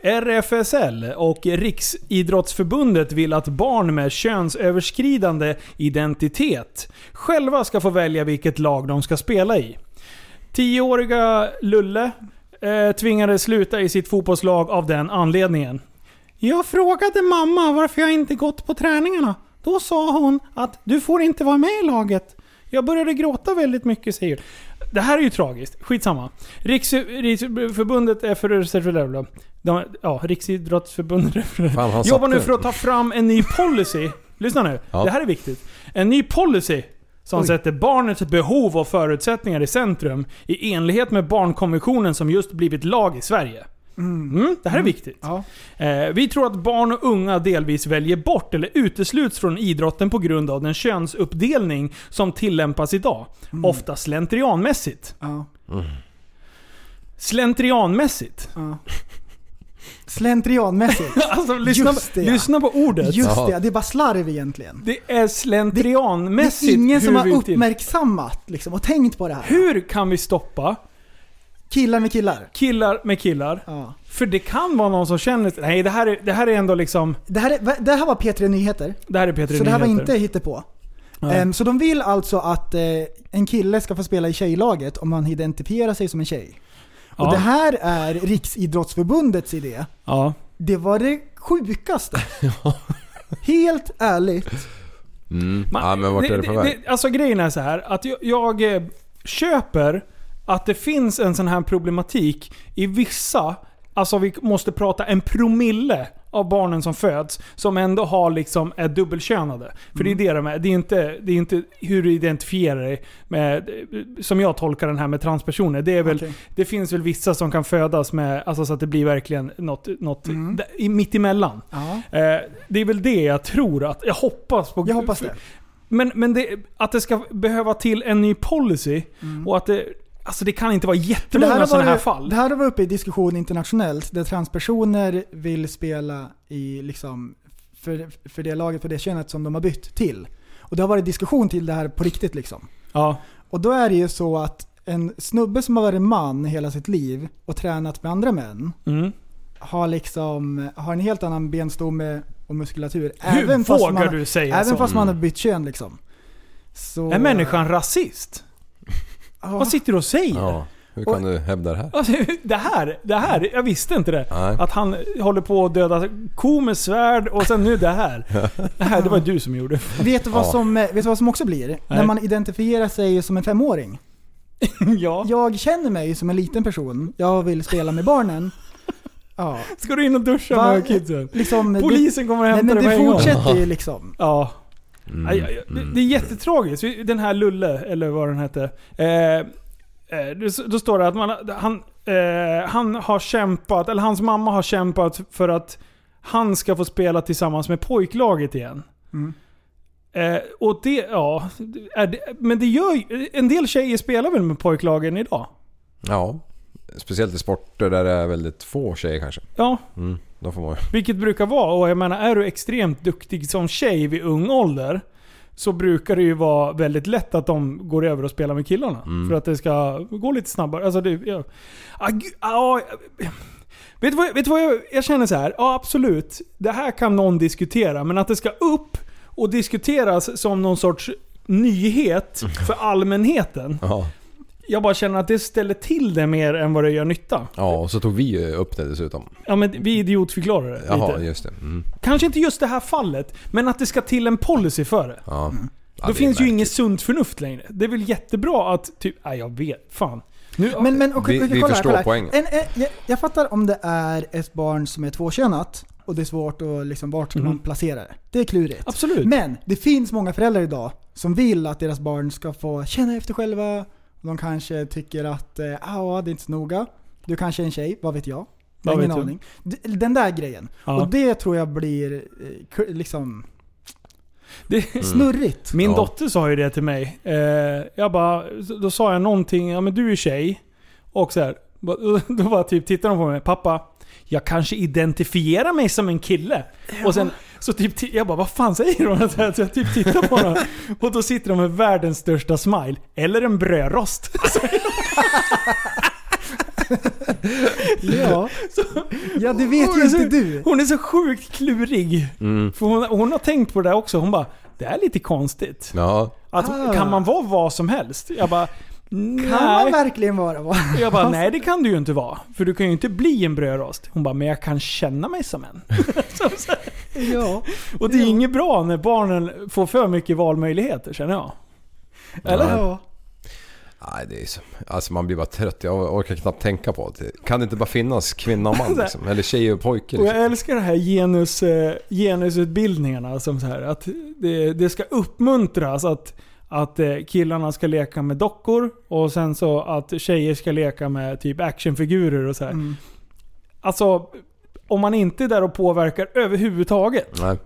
Speaker 5: RFSL och Riksidrottsförbundet vill att barn med könsöverskridande identitet själva ska få välja vilket lag de ska spela i. Tioåriga Lulle eh, tvingades sluta i sitt fotbollslag av den anledningen. Jag frågade mamma varför jag inte gått på träningarna. Då sa hon att du får inte vara med i laget. Jag började gråta väldigt mycket, säger hon. Det här är ju tragiskt. Skitsamma. Riks, Riksförbundet är för... De, ja, Riksidrottsförbundet är för-
Speaker 6: Fan, han
Speaker 5: jobbar
Speaker 6: satte
Speaker 5: nu
Speaker 6: den.
Speaker 5: för att ta fram en ny policy. Lyssna nu.
Speaker 6: Ja.
Speaker 5: Det här är viktigt. En ny policy som
Speaker 7: Oj.
Speaker 5: sätter barnets behov och förutsättningar i centrum i enlighet med barnkonventionen som just blivit lag i Sverige. Mm, det här är viktigt.
Speaker 7: Ja.
Speaker 5: Eh, vi tror att barn och unga delvis väljer bort eller utesluts från idrotten på grund av den könsuppdelning som tillämpas idag.
Speaker 7: Mm.
Speaker 5: Ofta slentrianmässigt.
Speaker 7: Ja.
Speaker 5: Slentrianmässigt.
Speaker 7: Ja. Slentrianmässigt.
Speaker 5: Alltså lyssna,
Speaker 7: Just det, ja.
Speaker 5: lyssna på ordet.
Speaker 7: Just
Speaker 6: Ja.
Speaker 7: det, det är bara slarv egentligen.
Speaker 5: Det är
Speaker 7: Det
Speaker 5: slentrianmässigt
Speaker 7: är ingen som
Speaker 5: hur
Speaker 7: har
Speaker 5: vi till-
Speaker 7: uppmärksammat liksom, och tänkt på det här.
Speaker 5: Hur kan vi stoppa
Speaker 7: Killar med killar.
Speaker 5: Killar med killar.
Speaker 7: Ja.
Speaker 5: För det kan vara någon som känner nej det här är, det här är ändå liksom,
Speaker 7: Det, här är, det här var P3 Nyheter,
Speaker 5: det här är Peter
Speaker 7: så det här var
Speaker 5: Nyheter.
Speaker 7: inte hittepå.
Speaker 5: Nej.
Speaker 7: Ehm, så de vill alltså att eh, en kille ska få spela i tjejlaget om han identifierar sig som en tjej.
Speaker 5: Ja.
Speaker 7: Och det här är Riksidrottsförbundets idé.
Speaker 5: Ja.
Speaker 7: Det var det sjukaste. Helt ärligt.
Speaker 5: Man-
Speaker 6: ja, men vart är det på väg?
Speaker 5: det- Alltså grejen är så här att jag, jag eh, köper att det finns en sån här problematik i vissa, alltså vi måste prata en promille av barnen som föds som ändå har liksom är dubbelkönade. För det
Speaker 6: Mm.
Speaker 5: är det de är. Det är inte, det är inte hur du identifierar dig med, eh, som jag tolkar den här med transpersoner. Det, är väl,
Speaker 7: Okej.
Speaker 5: det finns väl vissa som kan födas med, alltså så att det blir verkligen något, något mm. mitt emellan.
Speaker 7: Ja.
Speaker 5: Eh, det är väl det jag tror att, jag hoppas på.
Speaker 7: Jag hoppas det.
Speaker 5: Men, men det, att det ska behöva till en ny policy och att det... Alltså det kan inte vara
Speaker 7: Mm. För det här,
Speaker 5: jättemånga
Speaker 7: har
Speaker 5: sådana här
Speaker 7: varit,
Speaker 5: fall.
Speaker 7: det här har varit uppe i diskussion internationellt där transpersoner vill spela i liksom för, för det laget, för det könet som de har bytt till. Och det har varit diskussion till det här på riktigt liksom.
Speaker 5: ja.
Speaker 7: Och då är det ju så att en snubbe som har varit man hela sitt liv och tränat med andra män
Speaker 5: Mm.
Speaker 7: har liksom har en helt annan benstomme och muskulatur.
Speaker 5: Hur vågar
Speaker 7: man,
Speaker 5: du säga
Speaker 7: Även
Speaker 5: så?
Speaker 7: fast man har bytt kön liksom. Så,
Speaker 5: Mm. Är människan rasist?
Speaker 7: Ja,
Speaker 5: Vad sitter du och säger?
Speaker 6: Ja. Hur kan
Speaker 7: Och-
Speaker 6: du hävda det här?
Speaker 5: Alltså, det, här, det här, jag visste inte det.
Speaker 6: Nej.
Speaker 5: Att han håller på att döda ko med svärd och sen nu det här. Det här, det var du som gjorde.
Speaker 7: vet, du vad
Speaker 6: Ja.
Speaker 7: som, eh, vet du vad som också blir? När man identifierar sig som en femåring.
Speaker 5: ja.
Speaker 7: Jag känner mig som en liten person. Jag vill spela med barnen. Ja,
Speaker 5: Ska du in och duscha
Speaker 7: Va?
Speaker 5: med kidsen?
Speaker 7: liksom, det-
Speaker 5: Polisen kommer och
Speaker 7: Nej
Speaker 5: hämtar
Speaker 7: men
Speaker 5: dig på
Speaker 7: det
Speaker 5: en gång.
Speaker 7: fortsätter ju liksom.
Speaker 5: Ja.
Speaker 6: Mm.
Speaker 5: Aj, aj, aj. Det, det är jättetragiskt. Vi- Den här Lulle, eller vad den hette. Eh, eh, det- då står det att man, han, eh, han har kämpat, eller hans mamma har kämpat för att han ska få spela tillsammans med pojklaget igen. Eh, och det, ja. Är det, men det gör ju- En del tjejer spelar väl med pojklagen idag?
Speaker 6: Ja. Speciellt i sporter där det är väldigt få tjejer kanske.
Speaker 5: Ja,
Speaker 6: Mm, då får man ju...
Speaker 5: vilket brukar vara. Och jag menar, är du extremt duktig som tjej vid ung ålder så brukar det ju vara väldigt lätt att de går över och spelar med killarna. För att det ska gå lite snabbare. Alltså det, ja. Ah, gud, ah, jag- vet du vad, vet du vad jag, jag känner så här? Ja absolut, det här kan någon diskutera. Men att det ska upp och diskuteras som någon sorts nyhet för allmänheten.
Speaker 6: Ja.
Speaker 5: Jag bara känner att det ställer till det mer än vad det gör nytta.
Speaker 6: ja, och så tog vi ju upp det dessutom.
Speaker 5: Ja men vi idiotförklarar det
Speaker 6: Jaha,
Speaker 5: lite.
Speaker 6: just det. Mm.
Speaker 5: Kanske inte just det här fallet, men att det ska till en policy för det.
Speaker 6: Ja. Ja,
Speaker 5: Mm. Då
Speaker 6: det
Speaker 5: finns
Speaker 6: är
Speaker 5: ju inget sunt förnuft längre. Det är väl jättebra att typ... Nej, jag vet. Fan. Nu,
Speaker 7: Men, men, och,
Speaker 6: Vi-
Speaker 7: och-
Speaker 6: vi
Speaker 7: kolla här,
Speaker 6: förstår
Speaker 7: kolla här.
Speaker 6: poängen.
Speaker 7: En, en, jag, jag fattar om det är ett barn som är tvåkönat och det är svårt att liksom, vart
Speaker 5: Mm.
Speaker 7: ska man placera det? Det är klurigt.
Speaker 5: Absolut.
Speaker 7: Men det finns många föräldrar idag som vill att deras barn ska få känna efter själva. De kanske tycker att eh, ah, det är inte så noga. Du kanske är en tjej, vad vet jag? Jag har
Speaker 5: Vad
Speaker 7: ingen
Speaker 5: vet du?
Speaker 7: aning. D- Den där grejen.
Speaker 5: Ja.
Speaker 7: Och det tror jag blir eh, ku- liksom
Speaker 5: det,
Speaker 6: Mm.
Speaker 7: snurrigt.
Speaker 5: Min
Speaker 6: Ja.
Speaker 5: dotter sa ju det till mig. Eh, jag bara, då sa jag någonting, ja men du är tjej. Och så här, då bara typ tittade hon på mig, pappa. Jag kanske identifierar mig som en kille. Och sen så typ, ti- jag bara vad fan säger hon? Så, här, så jag typ tittar på honom. Och då sitter de med världens största smile. Eller en brödrost.
Speaker 7: Ja. ja, det vet
Speaker 5: Hon
Speaker 7: ju
Speaker 5: är så-
Speaker 7: inte du.
Speaker 5: Hon är så sjukt klurig.
Speaker 7: Mm.
Speaker 5: För hon, hon har tänkt på det där också. Hon bara, det är lite konstigt.
Speaker 6: Ja.
Speaker 5: Att,
Speaker 7: Ah.
Speaker 5: Kan man vara vad som helst? Jag bara,
Speaker 7: Kan man
Speaker 5: nej.
Speaker 7: verkligen vara vad?
Speaker 5: Jag bara, nej det kan du ju inte vara. För du kan ju inte bli en brödrost. Hon bara, men jag kan känna mig som en.
Speaker 7: Ja.
Speaker 5: Och det är inget bra när barnen får för mycket valmöjligheter känner jag. Eller?
Speaker 6: Nej.
Speaker 7: ja.
Speaker 6: Nej, det är så, alltså man blir bara trött. Jag orkar knappt tänka på det. Kan det inte bara finnas kvinna och man liksom? Eller tjej och pojke
Speaker 5: Och
Speaker 6: liksom?
Speaker 5: jag älskar det här genus, eh, genusutbildningarna. Som så här, att det, det ska uppmuntras att, att eh, killarna ska leka med dockor och sen så att tjejer ska leka med typ actionfigurer och så här.
Speaker 7: Mm.
Speaker 5: Alltså, om man inte är där och påverkar överhuvudtaget.
Speaker 6: liksom? Nej.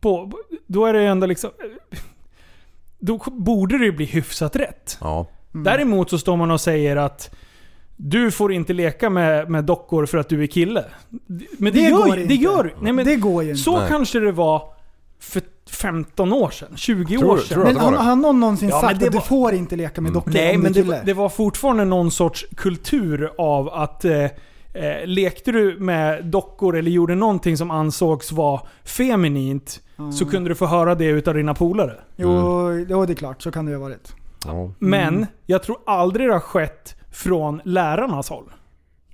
Speaker 5: på, då är det ändå liksom... Då borde det ju bli hyfsat rätt.
Speaker 6: Ja.
Speaker 7: Mm.
Speaker 5: Däremot så står man och säger att du får inte leka med, med dockor för att du är kille. Men det,
Speaker 7: Det
Speaker 5: gör,
Speaker 7: går
Speaker 5: ju- det
Speaker 7: inte.
Speaker 5: gör Nej, men
Speaker 7: det går ju inte.
Speaker 5: Så
Speaker 6: Nej.
Speaker 5: kanske det var för 15 år sedan, 20
Speaker 6: Tror
Speaker 5: år
Speaker 6: du-
Speaker 5: sedan.
Speaker 6: tror du
Speaker 7: Men
Speaker 6: att det var
Speaker 7: har,
Speaker 6: det? Mm.
Speaker 7: har någon någonsin
Speaker 5: Ja, men
Speaker 7: sagt
Speaker 5: det
Speaker 7: att du
Speaker 5: var-
Speaker 7: får inte leka med dockor
Speaker 5: Nej,
Speaker 7: om
Speaker 5: men
Speaker 7: du är
Speaker 5: det,
Speaker 7: kille?
Speaker 5: det var fortfarande någon sorts kultur av att eh, eh, lekte du med dockor eller gjorde någonting som ansågs vara feminint så kunde du få höra det utav dina polare.
Speaker 6: Mm.
Speaker 7: Jo, jo, det är klart. Så kan det ju ha varit.
Speaker 6: Ja.
Speaker 5: Men jag tror aldrig det har skett från lärarnas håll.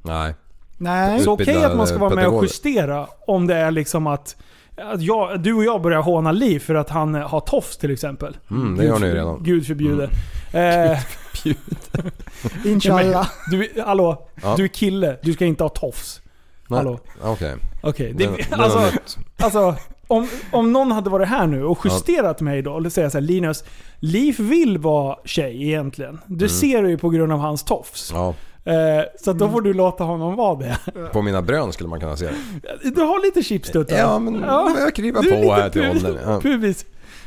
Speaker 6: Nej.
Speaker 7: Nej.
Speaker 5: Mm. Så okej
Speaker 6: Utbildade
Speaker 5: att man ska vara med och
Speaker 6: pedagoger.
Speaker 5: justera om det är liksom att, att jag, du och jag börjar håna Liv för att han har tofs till exempel.
Speaker 6: Mm, det gör ni ju redan. Mm.
Speaker 5: Gud förbjude. Eh,
Speaker 7: Inshallah.
Speaker 5: du, hallå,
Speaker 6: Ja.
Speaker 5: du är kille. Du ska inte ha tofs.
Speaker 6: Nej.
Speaker 5: Hallå.
Speaker 6: Okej.
Speaker 5: Okej,
Speaker 6: Det,
Speaker 5: det-
Speaker 6: det var
Speaker 5: alltså,
Speaker 6: nytt.
Speaker 5: alltså om, om någon hade varit här nu och justerat mig då och säga så här, Linus, Liv vill vara tjej egentligen. Du ser det ju på grund av hans tofs.
Speaker 6: Mm. Ja. Mm.
Speaker 5: Eh, så att då får du låta honom vara det.
Speaker 6: På mina brön skulle man kunna se det.
Speaker 5: Du har lite chipstuttar.
Speaker 6: Ja, men jag krivar
Speaker 5: Du är
Speaker 6: på
Speaker 5: lite
Speaker 6: här till
Speaker 5: pubis-
Speaker 6: åldern. Ja.
Speaker 5: Pubis.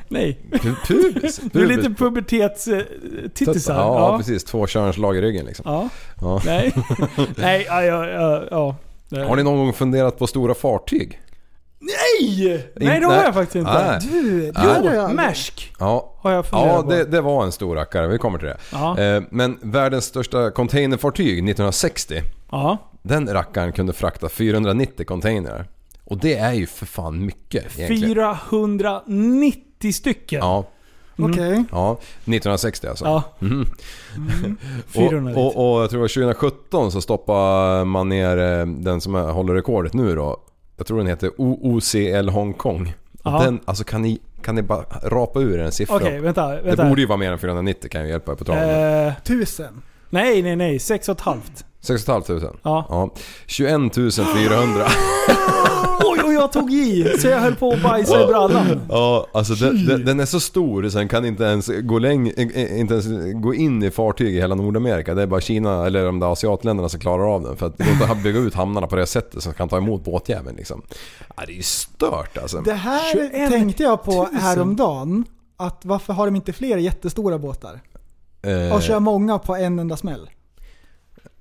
Speaker 5: Nej.
Speaker 6: Pu- Pubis?
Speaker 5: Du är
Speaker 6: Pubis.
Speaker 5: lite
Speaker 6: Tut-
Speaker 5: pubertets-tittisar.
Speaker 6: Ja, precis. Två könslag i ryggen liksom.
Speaker 5: Ja.
Speaker 6: Ja.
Speaker 5: Nej. Nej, ja, ja, ja, ja. Nej.
Speaker 6: Har ni någon gång funderat på stora fartyg?
Speaker 5: Nej! Nej, det har
Speaker 6: Nej.
Speaker 5: jag faktiskt inte.
Speaker 6: Nej.
Speaker 7: Du, det
Speaker 6: Nej.
Speaker 7: hade jag
Speaker 5: Jo,
Speaker 7: aldrig.
Speaker 5: Maersk
Speaker 6: Ja,
Speaker 5: har jag funderat
Speaker 6: ja
Speaker 5: på.
Speaker 6: det, det var en stor rackare. Vi kommer till det.
Speaker 5: Ja.
Speaker 6: Eh, Men världens största containerfartyg 1960.
Speaker 5: Ja.
Speaker 6: Den rackaren kunde frakta 490 containrar. Och det är ju för fan mycket egentligen.
Speaker 5: 490 stycken.
Speaker 6: Ja,
Speaker 7: Okej.
Speaker 6: ja. 1960 alltså.
Speaker 5: Ja. 490.
Speaker 6: Och, och, och jag tror det var 2017 så stoppade man ner eh, den som är- håller rekordet nu då. Jag tror den heter OOCL Hongkong.
Speaker 5: Ja.
Speaker 6: Den, alltså kan ni, kan ni bara rapa ur en siffra?
Speaker 5: Okej, vänta.
Speaker 6: det
Speaker 5: vänta.
Speaker 6: borde ju vara mer än 490 kan jag hjälpa er på traven.
Speaker 5: eh,
Speaker 7: Tusen.
Speaker 5: Nej, nej, nej. 6,5.
Speaker 6: 6 500.
Speaker 5: Ja.
Speaker 6: ja. 21 400.
Speaker 5: Oj, och jag tog i så jag höll på att bajsa i brallan.
Speaker 6: Ja, alltså den, den, den är så stor så den kan inte ens, gå läng, eh, eh, inte ens gå in i fartyg i hela Nordamerika. Det är bara Kina eller de där asiatländerna som klarar av den. För att de inte bygga ut hamnarna på det sättet som kan ta emot båtjäveln liksom. Ja, det är ju stört alltså.
Speaker 7: Det här
Speaker 5: 21
Speaker 7: tänkte jag på
Speaker 5: 000.
Speaker 7: häromdagen. Att varför har de inte fler jättestora båtar?
Speaker 6: Eh,
Speaker 7: Och kör många på en enda smäll.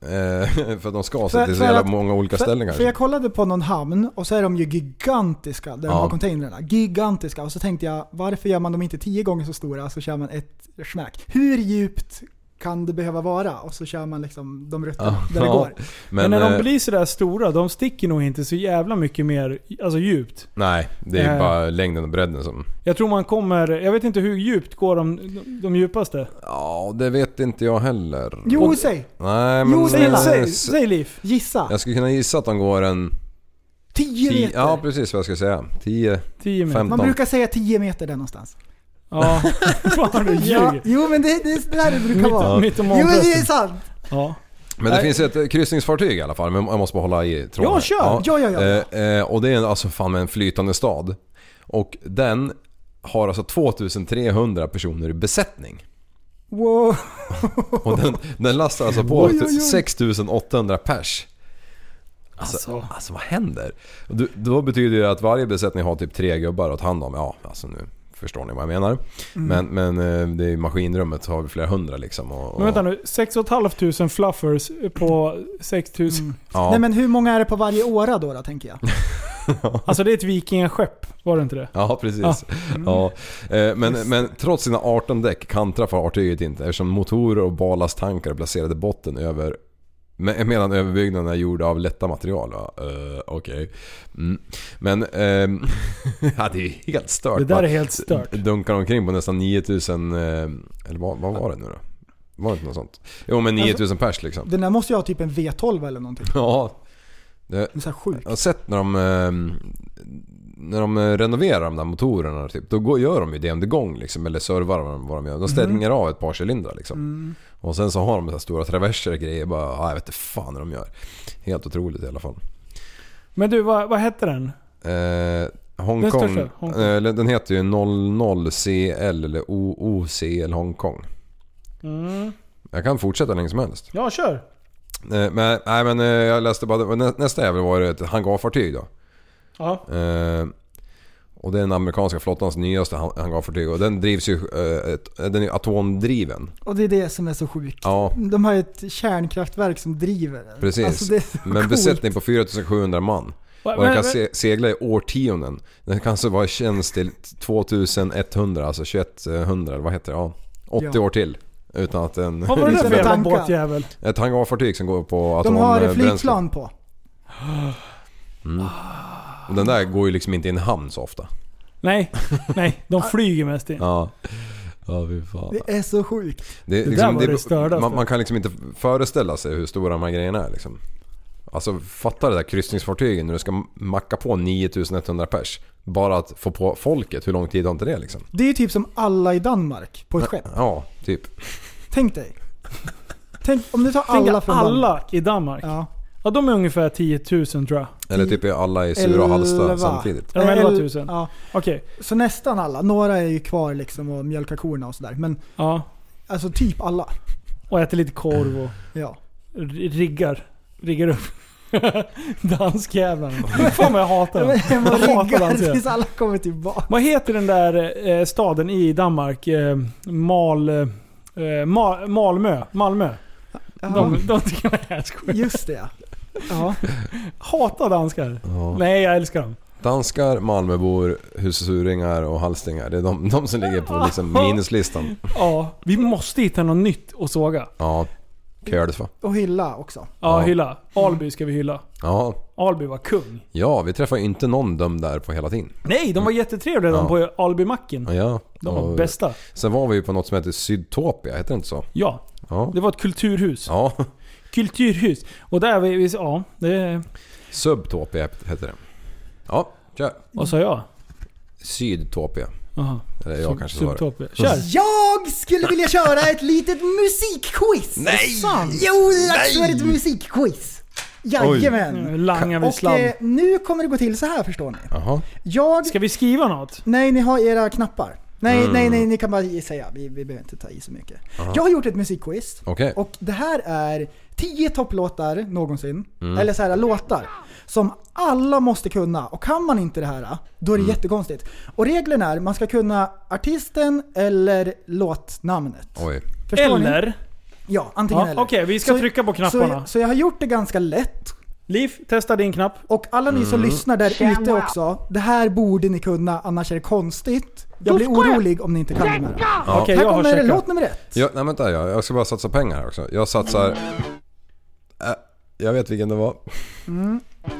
Speaker 6: eh, för att de ska
Speaker 7: För-
Speaker 6: sig till så
Speaker 7: för
Speaker 6: jävla
Speaker 7: att-
Speaker 6: många olika ställen
Speaker 7: För, för jag
Speaker 6: kanske.
Speaker 7: kollade på någon hamn och så är de ju gigantiska där de
Speaker 6: Ja.
Speaker 7: har containrarna. Gigantiska. Och så tänkte jag, varför gör man dem inte tio gånger så stora så kör man ett smäck? Hur djupt kan det behöva vara? Och så kör man liksom de rutterna
Speaker 6: Ja.
Speaker 7: där det går.
Speaker 5: Men,
Speaker 6: Men,
Speaker 5: när de
Speaker 6: eh,
Speaker 5: blir sådär stora, de sticker nog inte så jävla mycket mer alltså djupt.
Speaker 6: Nej, det är ju
Speaker 5: Eh.
Speaker 6: bara längden och bredden som...
Speaker 5: Jag tror man kommer... Jag vet inte hur djupt går de, de, de djupaste?
Speaker 6: Ja, det vet inte jag heller.
Speaker 7: Jo,
Speaker 6: Och-
Speaker 7: säg!
Speaker 6: Nej, men...
Speaker 7: Jo,
Speaker 5: Säg,
Speaker 7: Nej.
Speaker 5: säg,
Speaker 6: eh,
Speaker 5: säg Liv.
Speaker 7: Gissa!
Speaker 6: Jag skulle kunna gissa att de går en...
Speaker 7: 10
Speaker 6: 10,
Speaker 7: meter!
Speaker 6: ja, precis vad jag ska säga. 10...
Speaker 5: 10 meter.
Speaker 6: Fem.
Speaker 7: man
Speaker 6: 15.
Speaker 7: brukar säga 10 meter där någonstans.
Speaker 5: Ja. Fan
Speaker 7: Ja,
Speaker 5: du ljuger.
Speaker 7: jo men det, det är där det brukar vara.
Speaker 5: Mitt, mitt om
Speaker 7: Jo men det är
Speaker 5: morgonbröstet.
Speaker 7: sant!
Speaker 5: Ja.
Speaker 6: Men det
Speaker 5: Nej.
Speaker 6: finns ett eh, kryssningsfartyg i alla fall, men jag måste bara hålla i tråden.
Speaker 5: Ja,
Speaker 6: här.
Speaker 5: kör!
Speaker 7: Ja, ja, ja.
Speaker 6: Eh, eh, och det är en- alltså fan med en flytande stad. Och den har alltså 2300 personer i besättning.
Speaker 7: Wow.
Speaker 6: Och den, den lastar alltså på
Speaker 7: Oj, oj, oj.
Speaker 6: 6800 pers. Alltså, alltså. vad händer? Och du- Då betyder det att varje besättning har typ tre gubbar att ta hand om. Ja, alltså nu förstår ni vad jag menar.
Speaker 7: Mm.
Speaker 6: Men, men eh, det är i maskinrummet så har vi flera hundra liksom. Och, och,
Speaker 5: Men vänta nu. 6 500 fluffers på 6 000.
Speaker 6: Ja.
Speaker 7: Nej men hur många är det på varje åra då, då tänker jag?
Speaker 5: Alltså det är ett vikingaskepp. Var det inte det?
Speaker 6: Ja, precis.
Speaker 5: Mm.
Speaker 6: Ja. Eh, Men, men trots sina 18 däck kantrar fartyget inte eftersom motorer och balasttankar är placerade i botten över me- Medan överbyggnaden är gjord av lätta material. va? Eh, Okej. Mm. Men... ehm, ja, det är ju helt stört.
Speaker 5: Det där
Speaker 6: Man
Speaker 5: är helt stört.
Speaker 6: Dunkar omkring på nästan 9000... eh, Eller vad, vad var det nu då? Var det inte något sånt? Jo
Speaker 5: Alltså-
Speaker 6: men 9000 pers liksom.
Speaker 7: Den där måste ju ha typ en V12 eller någonting.
Speaker 6: Ja. Det,
Speaker 7: Den är så här sjuk.
Speaker 6: jag har sett när de, eh, när de eh, renoverar de där motorerna typ, då går, gör de ju DMD-gång liksom, eller servar vad de- vad de gör. De stänger av ett par cylindrar liksom. Och sen så har de så här stora traverser och grejer bara, ah, jag vet inte fan hur de gör. Helt otroligt i alla fall.
Speaker 5: Men du, vad, vad hette den?
Speaker 6: Eh,
Speaker 5: Den
Speaker 6: Hongkong,
Speaker 5: största,
Speaker 6: den,
Speaker 5: Hongkong.
Speaker 6: den heter ju 00CL eller OOCL Hongkong.
Speaker 5: Mm.
Speaker 6: Jag kan fortsätta länge som helst.
Speaker 5: Ja, kör.
Speaker 6: Eh, men, nej men eh, jag läste bara, nä- nästa jävel var ju ett hangarfartyg då.
Speaker 5: Ja.
Speaker 6: Eh, och det är den amerikanska flottans nyaste han- hangarfartyg och den drivs ju... Eh, ett- den är ju atomdriven.
Speaker 7: Och det är det som är så sjukt.
Speaker 6: Ja,
Speaker 7: De har ju ett kärnkraftverk som driver den.
Speaker 6: precis.
Speaker 7: Alltså, det är så
Speaker 6: Men
Speaker 7: coolt.
Speaker 6: besättning på 4700 man.
Speaker 5: Va-
Speaker 6: Och den
Speaker 5: men-
Speaker 6: kan se, segla i årtionden. Den kan alltså vara i tjänst till 2100, alltså 2100, vad heter det? Ja, 80
Speaker 7: Ja.
Speaker 6: år till. Utan att en...
Speaker 5: Vad var det där för
Speaker 7: Utan
Speaker 5: jävla
Speaker 7: tankar.
Speaker 5: båtjävel?
Speaker 6: Ett hangarfartyg som går på
Speaker 7: De har ett
Speaker 6: atombränsle.
Speaker 7: flygplan på.
Speaker 6: Och den där går ju liksom inte i en hamn så ofta.
Speaker 5: Nej, nej. De flyger mest in.
Speaker 6: Ja. Ja, fy fan.
Speaker 7: Det är så sjukt.
Speaker 6: Det, är
Speaker 5: där
Speaker 6: liksom,
Speaker 5: var det stördaste.
Speaker 6: man, man kan liksom inte föreställa sig hur stora de här grejerna är liksom. Alltså fatta det där kryssningsfartyget när du ska macka på 9100 pers. Bara att få på folket, hur lång tid har inte det liksom?
Speaker 7: Det är ju typ som alla i Danmark på ett skepp.
Speaker 6: Ja, typ.
Speaker 7: Tänk dig. Tänk om du tar
Speaker 5: Tänk
Speaker 7: alla från Danmark.
Speaker 5: alla i Danmark. Ja.
Speaker 7: Ja.
Speaker 5: de är ungefär 10 000 tror jag.
Speaker 6: Eller typ är alla i Sura och Halsta
Speaker 7: Elva.
Speaker 6: samtidigt.
Speaker 5: Ja, de 11 000.
Speaker 7: Ja.
Speaker 5: Okej.
Speaker 7: Så nästan alla. Några är ju kvar liksom och mjölkar korna och sådär. Men
Speaker 5: Ja.
Speaker 7: alltså typ alla.
Speaker 5: Och äter lite korv och
Speaker 7: Ja.
Speaker 5: r- riggar. Riggar upp. Danskjävlarna. Fan vad jag hatar dem.
Speaker 7: Men man
Speaker 5: Jag hatar
Speaker 7: riggar
Speaker 5: danskjävlar.
Speaker 7: tills alla kommer tillbaka.
Speaker 5: Vad heter den där eh, staden i Danmark? Eh, Mal... Eh, Ma- Malmö. Malmö.
Speaker 7: Ja,
Speaker 5: De, de tycker jag är skit.
Speaker 7: just det ja. ja.
Speaker 5: Hatar danskar.
Speaker 6: Ja.
Speaker 5: Nej, jag älskar dem.
Speaker 6: Danskar, Malmöbor, Husuringar och Halstingar. Det är de, de som ligger på liksom minuslistan.
Speaker 5: Ja, vi måste hitta något nytt att såga.
Speaker 6: Ja, Kölsva.
Speaker 7: Och hylla också.
Speaker 5: Ja,
Speaker 6: Ja.
Speaker 5: hylla. Alby ska vi hylla.
Speaker 6: Ja,
Speaker 5: Alby var kung.
Speaker 6: ja, vi träffar ju inte någon dömd där på hela tiden.
Speaker 5: Nej, de var jättetrevliga de
Speaker 6: Mm. Ja.
Speaker 5: på Albymacken.
Speaker 6: Ja,
Speaker 5: De var
Speaker 6: och-
Speaker 5: bästa.
Speaker 6: Sen var vi ju på något som heter Sydtopia, heter det inte så?
Speaker 5: Ja,
Speaker 6: Ja.
Speaker 5: det var ett kulturhus.
Speaker 6: Ja,
Speaker 5: Kulturhus. Och där vi... vi ja, det...
Speaker 6: Subtopia heter det. Ja, kör.
Speaker 5: Vad sa jag?
Speaker 6: Sydtopia.
Speaker 5: Jaha.
Speaker 6: Eller jag kanske sa det.
Speaker 5: Subtopia. Kör!
Speaker 7: Jag skulle vilja köra ett litet musikquiz! Nej! Jo, det är dags för ett musikquiz!
Speaker 5: Nu
Speaker 7: Jajamän!
Speaker 5: Langar vi
Speaker 7: Och
Speaker 5: slam.
Speaker 7: eh, nu kommer det gå till så här förstår ni.
Speaker 6: Jaha.
Speaker 7: Jag...
Speaker 5: Ska vi skriva något?
Speaker 7: Nej, ni har era knappar. Nej, nej, nej, ni kan bara i- säga. Vi, vi behöver inte ta i så mycket. Jag har gjort ett musikquiz.
Speaker 6: Okej.
Speaker 7: Och det här är 10 topplåtar någonsin. Eller så här låtar. Som alla måste kunna. Och kan man inte det här, då är det jättekonstigt. Och reglerna är, man ska kunna artisten eller låtnamnet.
Speaker 6: Oj.
Speaker 7: Förstår ni?
Speaker 5: Eller?
Speaker 7: Ja, antingen
Speaker 5: Ja, Okej,
Speaker 7: eller.
Speaker 5: vi ska
Speaker 7: Så-
Speaker 5: trycka på knapparna.
Speaker 7: Så, så jag har gjort det ganska lätt.
Speaker 5: Liv, testa din knapp.
Speaker 7: Och alla ni som lyssnar där ute också, det här borde ni kunna, annars är det konstigt. Jag blir orolig om ni inte kan det här.
Speaker 5: Okej,
Speaker 7: Här
Speaker 5: jag har
Speaker 7: kommer
Speaker 5: checkat.
Speaker 7: låt nummer ett.
Speaker 6: Ja, nej vänta, jag, jag ska bara satsa pengar här också. Jag satsar... Äh, jag vet vilken det var.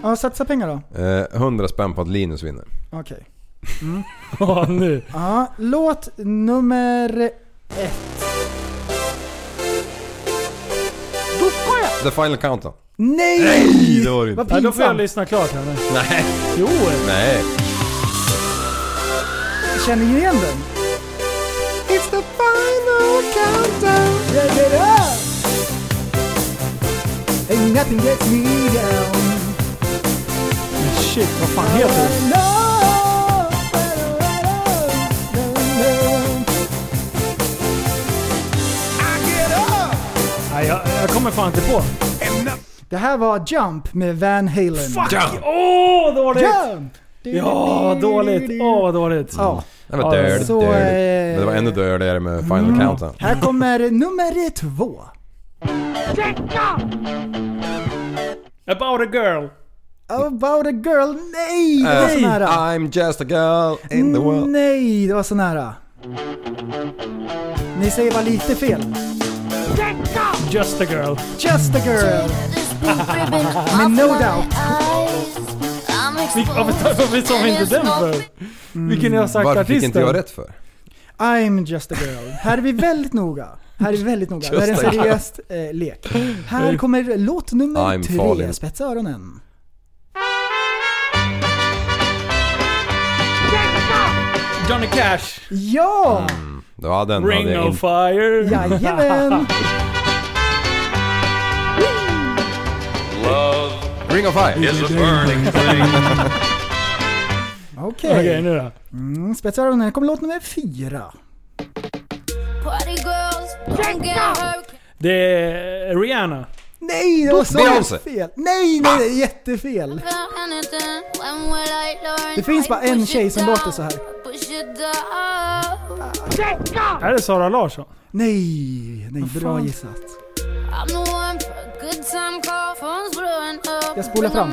Speaker 7: Ja, satsa pengar då.
Speaker 6: Eh, 100 spänn på att Linus vinner.
Speaker 7: Okej.
Speaker 5: Ja, nu.
Speaker 7: Ja, låt nummer...
Speaker 6: The final countdown.
Speaker 7: Nej!
Speaker 6: Det var det inte.
Speaker 7: Vad
Speaker 5: Nej, då får jag
Speaker 7: pinsamt.
Speaker 5: lyssna klart här nu.
Speaker 6: Nej.
Speaker 5: Jo!
Speaker 6: Nej.
Speaker 7: Känner ni igen den? It's the final countdown. Yeah, yeah, yeah. Ain't nothing gets me down.
Speaker 5: Men shit, vad fan heter det? Nej, jag, jag kommer fan inte på.
Speaker 7: Det här var Jump med Van Halen.
Speaker 5: Fuck! Åh, dåligt!
Speaker 7: Jump!
Speaker 5: Ja, dåligt. Åh, vad dåligt.
Speaker 7: Ja.
Speaker 6: Det var
Speaker 5: Ja,
Speaker 6: dirty,
Speaker 7: så,
Speaker 6: dirty.
Speaker 7: eh,
Speaker 6: Men det var ännu dirtigare med final countdown.
Speaker 7: Här kommer nummer två.
Speaker 5: About a girl.
Speaker 7: About a girl. Nej! Det var så
Speaker 6: Eh,
Speaker 7: nära.
Speaker 6: I'm just a girl in the world.
Speaker 7: Nej, det var så nära. Ni säger bara lite fel.
Speaker 5: Just a girl.
Speaker 7: Just a girl.
Speaker 8: Men no doubt.
Speaker 5: Vil- Varför tar- varför sa vi inte den för?
Speaker 7: mm.
Speaker 5: Vilken jag har sagt
Speaker 6: Varför fick
Speaker 5: artisten?
Speaker 6: inte jag rätt för?
Speaker 7: I'm just a girl. Här är vi väldigt noga. Här är vi väldigt noga. Det här är en
Speaker 6: Just a girl.
Speaker 7: seriös eh, lek. Här kommer låt nummer
Speaker 6: I'm
Speaker 7: tre.
Speaker 6: falling.
Speaker 7: Spetsa öronen.
Speaker 5: Johnny Cash.
Speaker 7: Ja!
Speaker 6: Det var den hade
Speaker 5: Ring
Speaker 6: jag
Speaker 5: of
Speaker 6: inte.
Speaker 5: fire.
Speaker 7: Jajamän!
Speaker 6: Ring of fire!
Speaker 7: Okej.
Speaker 5: Okej, nu då.
Speaker 7: Mm, Spetsa öronen. Här kommer låt nummer fyra.
Speaker 5: Det är Rihanna.
Speaker 7: Nej, det var så
Speaker 6: Beyoncé.
Speaker 7: fel. Nej, nej, det är jättefel.
Speaker 8: Det finns bara en tjej som låter så här.
Speaker 5: Är det Sara Larsson?
Speaker 7: Nej, nej, bra gissat.
Speaker 8: Jag spolar fram.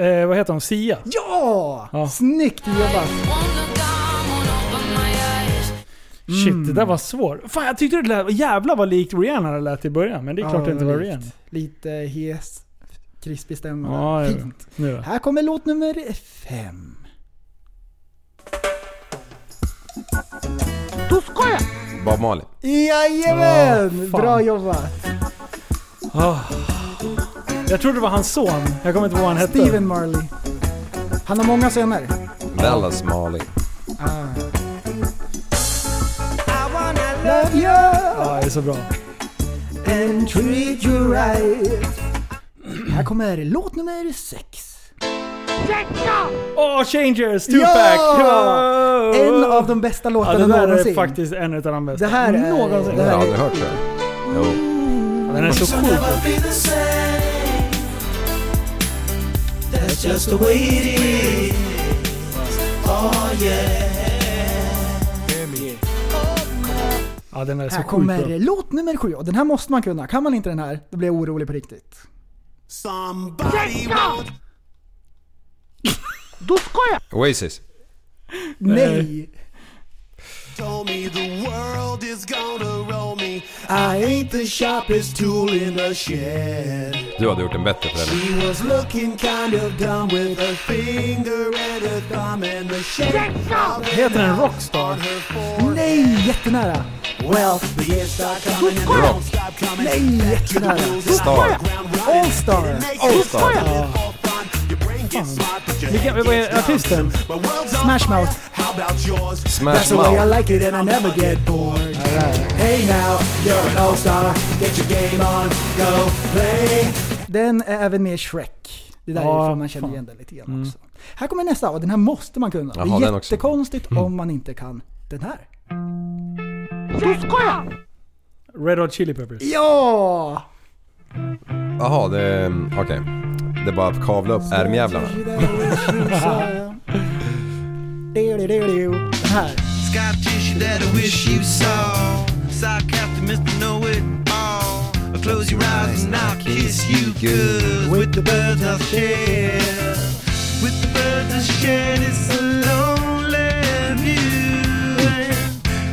Speaker 5: Eh, vad heter hon? Sia?
Speaker 7: Ja!
Speaker 5: Ja.
Speaker 7: Snyggt jobbat!
Speaker 5: Shit,
Speaker 7: Mm.
Speaker 5: det där var svårt. Fan, jag tyckte det lät... Jävlar vad likt Rihanna det lät i början. Men det är klart
Speaker 7: Ja,
Speaker 5: det inte var
Speaker 7: likt.
Speaker 5: Rihanna.
Speaker 7: Lite hes, krispig stämma.
Speaker 5: Ja, jag vet.
Speaker 7: Fint.
Speaker 5: Nu då.
Speaker 7: Här kommer låt nummer fem.
Speaker 6: Bob Marley.
Speaker 7: Jajamän!
Speaker 5: Ah, fan.
Speaker 7: Bra jobbat!
Speaker 5: Ah. Jag trodde det var hans son. Jag kommer inte ihåg vad han hette.
Speaker 7: Steven Marley. Han har många söner.
Speaker 6: Dallas Marley.
Speaker 7: Ah.
Speaker 4: I wanna
Speaker 7: Love you
Speaker 5: Ja, det är så bra.
Speaker 7: and treat you right. Här kommer låt nummer sex.
Speaker 5: Åh, Changers!
Speaker 7: Ja!
Speaker 5: Tupac!
Speaker 7: En av de bästa
Speaker 5: ja,
Speaker 7: låtarna
Speaker 5: Det där är
Speaker 7: någonsin.
Speaker 5: faktiskt en av de bästa.
Speaker 7: Det här är-
Speaker 5: Någonsin.
Speaker 6: Jag
Speaker 7: Det
Speaker 6: har
Speaker 7: här är-
Speaker 6: aldrig hört det. Jo.
Speaker 5: Den är så sjuk. Oh, Ja, den är så
Speaker 7: Här
Speaker 5: sjukt bra.
Speaker 7: kommer låt nummer sju. Och Den här måste man kunna. Kan man inte den här, då blir jag orolig på riktigt.
Speaker 6: Oasis.
Speaker 7: Nej! I ain't the sharpest tool in the shed.
Speaker 6: Du hade gjort en bättre för henne.
Speaker 7: was looking kind of dumb with a finger and a thumb and a shake.
Speaker 5: Heter den Rockstar?
Speaker 7: Nej, jättenära. Well,
Speaker 6: Rock.
Speaker 7: nej, jättenära.
Speaker 6: Star.
Speaker 7: Allstar.
Speaker 6: Allstar.
Speaker 5: Vilken, vad är artisten?
Speaker 7: Smash Mouth.
Speaker 6: Smash Mouth.
Speaker 7: like it and I never get bored. Hey now, you're an all-star. Get your game on, go play. Den är även med i Shrek. Det där
Speaker 5: Ja,
Speaker 7: är ifrån man känner
Speaker 5: fan. Mm.
Speaker 7: igen den lite grann också. Här kommer nästa och den här måste man kunna.
Speaker 6: Jaha,
Speaker 7: det är
Speaker 6: den också.
Speaker 7: jättekonstigt
Speaker 5: Mm.
Speaker 7: om man inte kan den här.
Speaker 5: Red Hot Chili Peppers.
Speaker 7: Ja!
Speaker 6: Jaha, det... är- Okej. Det är bara att kavla upp ärmjävlarna.
Speaker 7: Den här.
Speaker 4: Scott tissue that I wish you saw. Sarcastic Mr. Know It All. I close your eyes and I'll kiss you good. With the birds I share. With the birds I share this lonely view.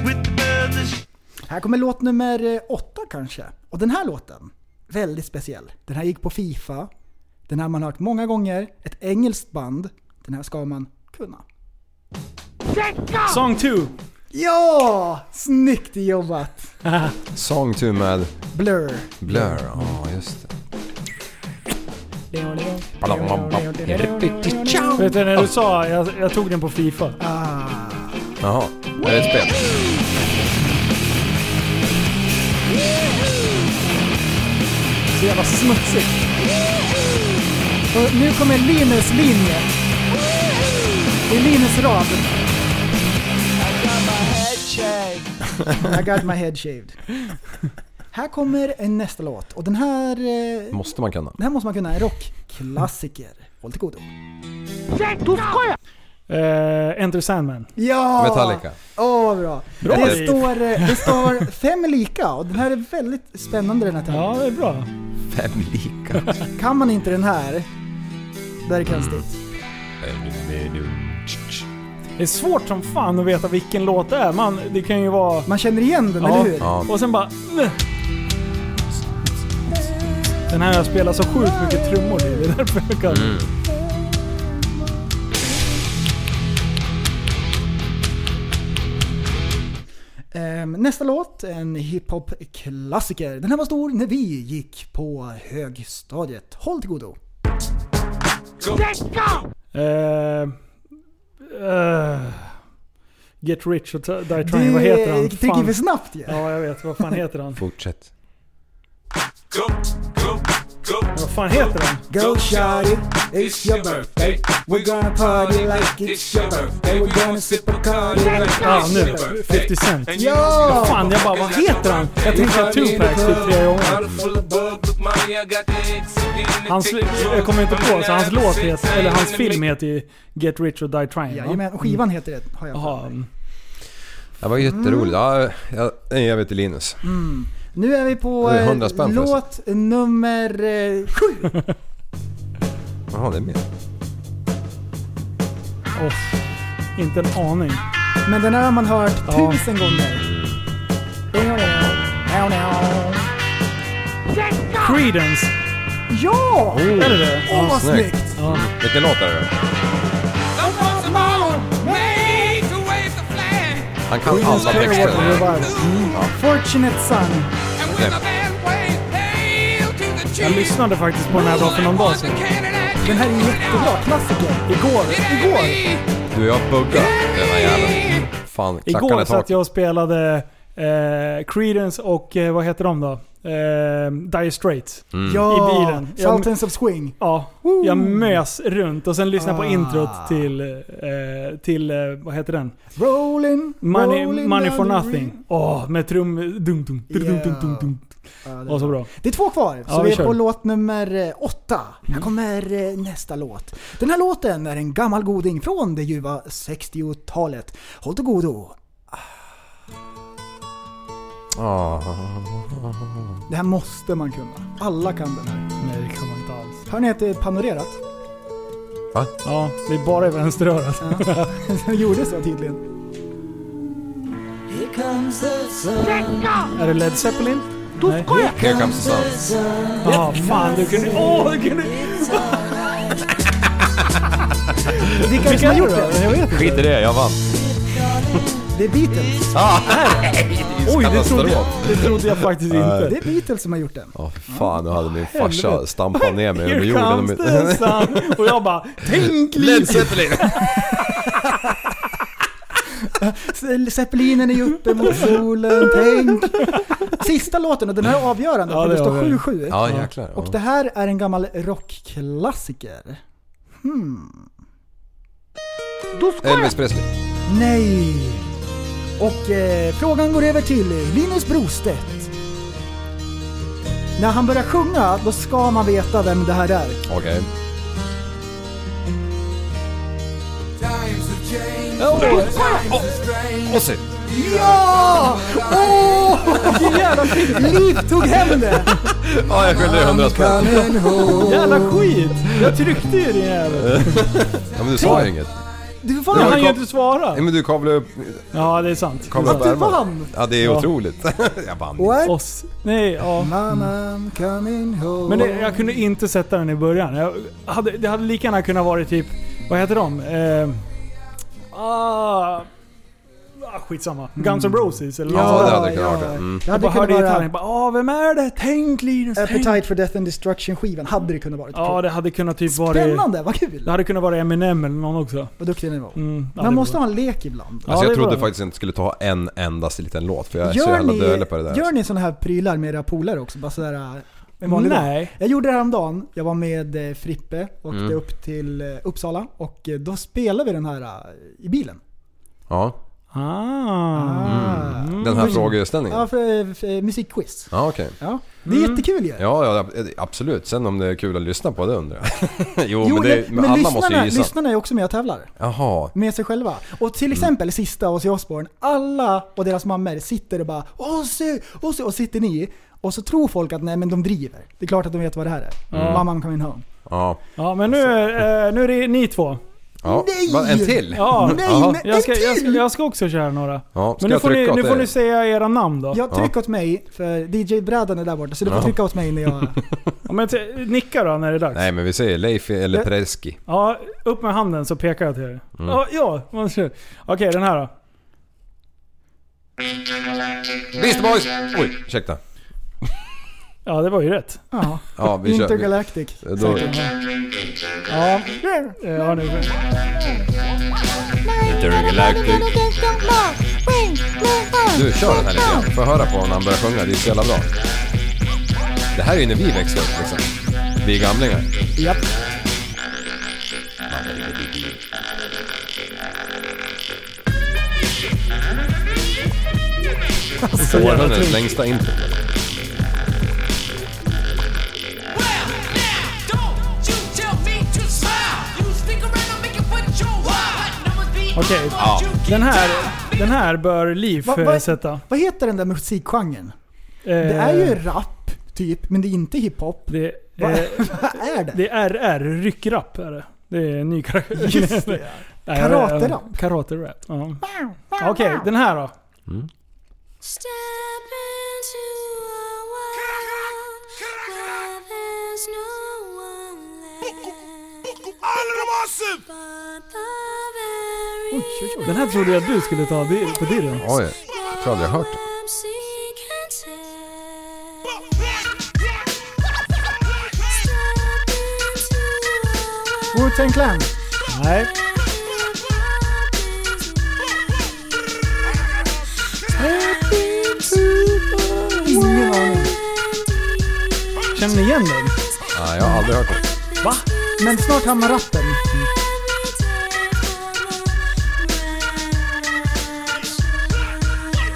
Speaker 4: With the birds I share.
Speaker 7: Här kommer låt nummer eh, åtta kanske. Och den här låten, väldigt speciell. Den här gick på Fifa. Den här man har hört många gånger. Ett engelskt band. Den här ska man kunna.
Speaker 5: Song 2!
Speaker 7: Ja! Snyggt jobbat!
Speaker 6: Song 2 med
Speaker 7: Blur.
Speaker 6: Blur. Ja, just det.
Speaker 5: Vet du, när du sa, jag, jag tog den på Fifa.
Speaker 6: Jaha. Är det ett spel?
Speaker 7: Så jävla smutsigt. Och nu kommer Linus linje. Det är Linus rad. I got my head shaved. Här kommer en nästa låt och den här, eh,
Speaker 6: Måste man kunna.
Speaker 7: den här måste man kunna, en rockklassiker. Håll till godo.
Speaker 5: Eh, Enter Sandman.
Speaker 7: Ja!
Speaker 6: Metallica.
Speaker 7: Åh vad bra.
Speaker 5: Bra.
Speaker 7: Det, står, eh, det står fem lika och den här är väldigt spännande den här tävlingen.
Speaker 5: Ja, det är bra.
Speaker 6: Fem lika.
Speaker 7: Kan man inte den här, då är det konstigt.
Speaker 5: Det är svårt som fan att veta vilken låt det är. Man, det kan ju vara...
Speaker 7: Man känner igen den,
Speaker 5: Ja.
Speaker 7: eller hur?
Speaker 6: Ja.
Speaker 5: Och sen bara... "Nä." Den här har jag spelat så sjukt mycket trummor i. Det är därför jag kan...
Speaker 7: Ehm, nästa låt, en hiphop-klassiker. Den här var stor när vi gick på högstadiet. Håll till godo.
Speaker 5: Eh, eh, get rich och t- die trying. Vad heter han?
Speaker 7: gick- trycker
Speaker 5: Fan.
Speaker 7: för snabbt ju.
Speaker 5: Ja, jag vet. Vad fan heter han?
Speaker 6: Fortsätt.
Speaker 5: Vad fan heter han?
Speaker 7: Go shawty, it's your birthday. We're gonna party like it's your birthday. We're gonna sip a cardi like
Speaker 5: Ja, ah, nu. 50 Cent.
Speaker 7: Ja!
Speaker 5: Fan, jag bara, Alltså, vad heter han? Jag tänkte att Tupac typ tre gånger. Hans, jag kommer inte på, så hans låt heter, eller hans film heter ju Get Rich or Die Trying. va?
Speaker 7: Jajamän, och skivan heter det har jag
Speaker 5: Jaha,
Speaker 7: för mig.
Speaker 5: mm.
Speaker 6: Det var jätteroligt. Ja, jag, jag vet till Linus.
Speaker 7: Nu är vi på
Speaker 6: Det är
Speaker 7: eh,
Speaker 6: 100 spänn
Speaker 7: låt nummer eh, sju.
Speaker 6: Jaha, det är mer.
Speaker 5: Åh, inte en aning.
Speaker 7: Men den här har man hört
Speaker 5: Ja.
Speaker 7: tusen gånger.
Speaker 5: Creedence.
Speaker 7: Ja!
Speaker 5: Är det det?
Speaker 7: Åh vad
Speaker 6: snyggt.
Speaker 7: snyggt!
Speaker 6: Vilken låt är det då? Han kan alla
Speaker 7: Clearwater
Speaker 6: texter.
Speaker 7: Revival. Fortunate Son.
Speaker 5: Jag lyssnade faktiskt på den här bara för någon dag sedan.
Speaker 7: Den här är jättebra, klassiker.
Speaker 5: Igår. Igår.
Speaker 6: Du, jag buggar den här jäveln. Fan, klackarna
Speaker 5: Igår
Speaker 6: i taket.
Speaker 5: satt jag och spelade eh, Creedence och eh, vad heter de då? Eh, Dire Straits.
Speaker 6: Mm.
Speaker 7: Ja,
Speaker 5: I bilen. Jag-
Speaker 7: Sultans of Swing.
Speaker 5: Ja, jag mös runt och sen lyssnade jag på
Speaker 7: Ah.
Speaker 5: introt till, eh, till eh, vad heter den?
Speaker 7: Rolling,
Speaker 5: Money,
Speaker 7: rolling
Speaker 5: Money for
Speaker 7: down the
Speaker 5: nothing. Åh, med trum... Dum, dum, dum, dum, dum, dum, dum.
Speaker 7: Ja, det
Speaker 5: Åh, så bra.
Speaker 7: Det är två kvar, så
Speaker 5: Ja,
Speaker 7: vi
Speaker 5: vi
Speaker 7: är på
Speaker 5: kör. Mm.
Speaker 7: låt nummer eh, åtta. Här kommer eh, nästa låt. Den här låten är en gammal goding från det ljuva 60-talet. Håll till godo.
Speaker 6: Ah,
Speaker 7: Det här måste man kunna. Alla kan den här.
Speaker 5: Nej, det kan man inte alls.
Speaker 7: Hör ni att det är panorerat?
Speaker 5: Ja, det är bara i vänsterörat.
Speaker 7: Det gjorde så tydligen.
Speaker 5: Är det Led Zeppelin? Nej.
Speaker 6: Here comes the sun.
Speaker 5: Ja, fan du kunde... Åh, du kunde...
Speaker 7: Vilka är det som har gjort det? Jag vet
Speaker 6: Skit i
Speaker 7: inte.
Speaker 6: det, jag vann.
Speaker 7: Det är Beatles.
Speaker 5: Oj, det trodde, jag,
Speaker 6: Katastrof.
Speaker 5: det trodde jag faktiskt
Speaker 7: Det
Speaker 5: inte.
Speaker 7: är Beatles som har gjort den.
Speaker 6: Ja, fy fan, nu hade min farsa stampat ner mig under
Speaker 5: Here
Speaker 6: jorden.
Speaker 5: comes the sun. Och jag bara... Tänk
Speaker 6: Led
Speaker 5: lite!
Speaker 6: Zeppelin!
Speaker 7: Se- Zeppelinen är uppe mot solen, tänk. Sista låten, och den här är avgörande
Speaker 5: Ja,
Speaker 7: för det
Speaker 5: det är
Speaker 7: står
Speaker 5: avgörande.
Speaker 7: 7-7.
Speaker 6: Ja, jäklar.
Speaker 7: Och det
Speaker 6: Ja.
Speaker 7: här är en gammal rockklassiker. Hmm.
Speaker 6: Elvis Presley.
Speaker 7: Nej! Och eh, frågan går över till Linus Brostedt. När han börjar sjunga, då ska man veta vem det här är.
Speaker 6: Okej. Ozzy!
Speaker 7: Ja! Åh! Vilken jävla film! Liv tog hem det!
Speaker 6: Ja, jag skyller dig hundra spänn.
Speaker 5: Jävla skit! Jag tryckte ju din jävel.
Speaker 6: Ja, men du sa ju inget.
Speaker 7: Du
Speaker 5: Jag
Speaker 7: vann!
Speaker 5: hann ju inte svara.
Speaker 6: Nej, men du kavlade upp...
Speaker 5: Ja, det är sant.
Speaker 6: Kavlade upp
Speaker 7: Du
Speaker 6: ärmarna.
Speaker 7: vann!
Speaker 6: Ja, det är
Speaker 5: Ja.
Speaker 6: otroligt. Jag vann.
Speaker 7: What?
Speaker 5: Oss. Nej, ja.
Speaker 7: Mama, I'm coming home.
Speaker 5: Men det, jag kunde inte sätta den i början. Jag hade, det hade lika gärna kunnat vara typ, vad heter de? Eh, ah, ah, skitsamma. Guns N' Roses eller
Speaker 6: Ja,
Speaker 5: något
Speaker 6: det
Speaker 5: sånt.
Speaker 6: hade kunnat vara det. Mm.
Speaker 7: Mm. Det
Speaker 5: Jag
Speaker 7: hade
Speaker 5: bara hörde
Speaker 7: kunnat
Speaker 5: gitarren
Speaker 7: vara
Speaker 5: och bara ah, vem är det? Tänk Linus, tänk.
Speaker 7: Appetite for Death and Destruction-skivan. Hade det kunnat vara.
Speaker 5: Ja, det hade kunnat typ varit...
Speaker 7: Spännande, vad
Speaker 5: Det
Speaker 7: kul!
Speaker 5: hade kunnat vara Eminem eller någon också.
Speaker 7: Vad duktig ni var.
Speaker 5: Mm, ja,
Speaker 7: Man
Speaker 5: det
Speaker 7: måste
Speaker 5: var-
Speaker 7: ha en lek ibland.
Speaker 5: Ja,
Speaker 6: Alltså
Speaker 5: det
Speaker 6: jag
Speaker 5: är
Speaker 6: trodde
Speaker 5: bra.
Speaker 6: faktiskt inte skulle ta en endast liten låt för jag är så jävla dölig på det där. alltså.
Speaker 7: gör ni sådana här prylar med era polare också? Bara sådär, en vanlig dag?
Speaker 5: Nej.
Speaker 7: Jag gjorde det häromdagen. Jag var med eh, Frippe och åkte
Speaker 6: Mm.
Speaker 7: upp till eh, Uppsala och eh, då spelade vi den här eh, i bilen.
Speaker 6: Ja,
Speaker 5: Ah.
Speaker 7: Ah.
Speaker 6: den här frågeställningen.
Speaker 7: Ja, för, för musikquiz.
Speaker 6: Ja, okej.
Speaker 7: Ja. Det är
Speaker 5: Mm.
Speaker 7: jättekul ju.
Speaker 6: Ja, ja, absolut. Sen om det är kul att lyssna på det undrar jag. jo,
Speaker 7: Jo,
Speaker 6: men, det, men, alla måste ju
Speaker 7: lyssnarna,
Speaker 6: gissa.
Speaker 7: lyssnarna är också med och tävlar.
Speaker 6: Jaha.
Speaker 7: Med sig själva. Och
Speaker 6: Mm.
Speaker 7: till exempel sista Ozzy Osbourne. Alla och deras mammor sitter och bara Ozzy, Ozzy och sitter ni och så tror folk att nej men de driver. Det är klart att de vet vad det här är.
Speaker 5: Mm.
Speaker 7: Mamma come in home.
Speaker 6: Ja.
Speaker 5: Ja, men nu, eh, nu är det ni två.
Speaker 6: ja.
Speaker 7: Nej!
Speaker 6: Va, en till?
Speaker 5: Ja.
Speaker 7: Nej
Speaker 6: Jaha.
Speaker 7: men
Speaker 5: Jag ska,
Speaker 7: en
Speaker 5: jag, ska,
Speaker 7: till!
Speaker 5: jag ska också köra några.
Speaker 6: Ja, ska
Speaker 5: Men nu
Speaker 6: jag
Speaker 5: får,
Speaker 6: trycka
Speaker 5: ni,
Speaker 6: åt
Speaker 5: nu får
Speaker 6: er?
Speaker 5: ni säga era namn då.
Speaker 7: Jag
Speaker 6: Ja.
Speaker 7: trycker åt mig för DJ-brädan är där borta så du får
Speaker 6: Ja.
Speaker 7: trycka åt mig när jag...
Speaker 5: Ja, men t- nicka då när det är dags.
Speaker 6: Nej, men vi säger Leif eller Preski.
Speaker 5: Ja, upp med handen så pekar jag till er.
Speaker 6: Mm.
Speaker 5: Ja, ja, man kör. Okej, den här då.
Speaker 6: Beast Boys! Oj, ursäkta.
Speaker 5: Ja, det var ju rätt.
Speaker 7: Ja,
Speaker 6: Ja, vi kör. Vi,
Speaker 7: Intergalactic.
Speaker 6: då,
Speaker 5: Ja, Eh, ja nu.
Speaker 6: du, kör den här lite grann. Får jag höra på när han börjar sjunga? Det är så jävla bra. Det här är ju när vi växte upp liksom. Vi gamlingar.
Speaker 7: Japp.
Speaker 6: Århundradets längsta intro.
Speaker 5: Okej. Den här, den här bör Liv
Speaker 7: Va- va-
Speaker 5: eh, sätta. Eh,
Speaker 7: Vad heter den där musikgenren? Det är ju rap, typ, men det är inte hiphop.
Speaker 5: Det,
Speaker 7: Va?
Speaker 5: eh,
Speaker 7: Vad är det?
Speaker 5: det är RR, ryckrapp är det. Det är en ny karaktär.
Speaker 7: Just det.
Speaker 5: Nej,
Speaker 7: Karaterapp.
Speaker 5: eh, Karaterapp, ja. Okej, den här då.
Speaker 8: Step into a world where there's no one left but the very
Speaker 5: Den här trodde jag att du skulle ta di- på dirren.
Speaker 6: Oj, jag tror aldrig jag hört det.
Speaker 8: I'm seeking tell. Step into a world
Speaker 7: Wu-Tang Clan.
Speaker 5: Nej.
Speaker 7: Ingen aning.
Speaker 5: Känner ni igen den?
Speaker 6: Nej, jag har aldrig hört det.
Speaker 5: Va?
Speaker 7: Men snart hamnar rappen.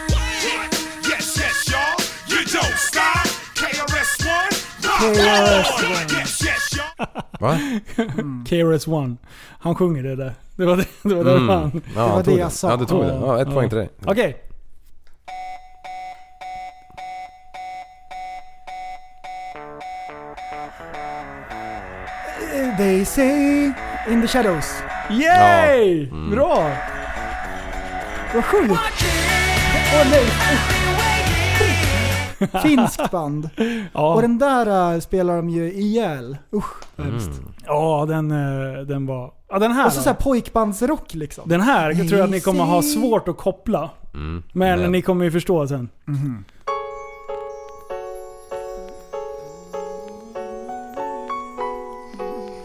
Speaker 9: Yes, yes, y'all. You don't stop. KRS-One.
Speaker 7: KRS-One.
Speaker 9: Yes, yes, y'all.
Speaker 6: Va?
Speaker 5: KRS-One. Han sjunger det där. Det var det, det, var det han...
Speaker 6: Mm. Ja,
Speaker 7: var
Speaker 6: han
Speaker 7: det
Speaker 6: tog
Speaker 7: jag
Speaker 6: det.
Speaker 7: sa.
Speaker 6: Ja, du tog det. Ja, ett
Speaker 5: Ja.
Speaker 6: poäng till dig.
Speaker 5: Okej.
Speaker 7: They say in the shadows.
Speaker 5: Yay!
Speaker 6: Mm.
Speaker 5: Bra!
Speaker 7: Vad sjukt! Åh nej! Finskt band. Och
Speaker 5: Ja,
Speaker 7: den där äh, spelar de ju ihjäl. Usch.
Speaker 5: ja den, eh, den var... Ja, den här
Speaker 7: Och så
Speaker 5: då.
Speaker 7: såhär pojkbandsrock liksom.
Speaker 5: Den här tror jag att ni kommer ha svårt att koppla.
Speaker 6: Mm.
Speaker 5: Men
Speaker 6: Men-
Speaker 5: ni kommer ju förstå sen.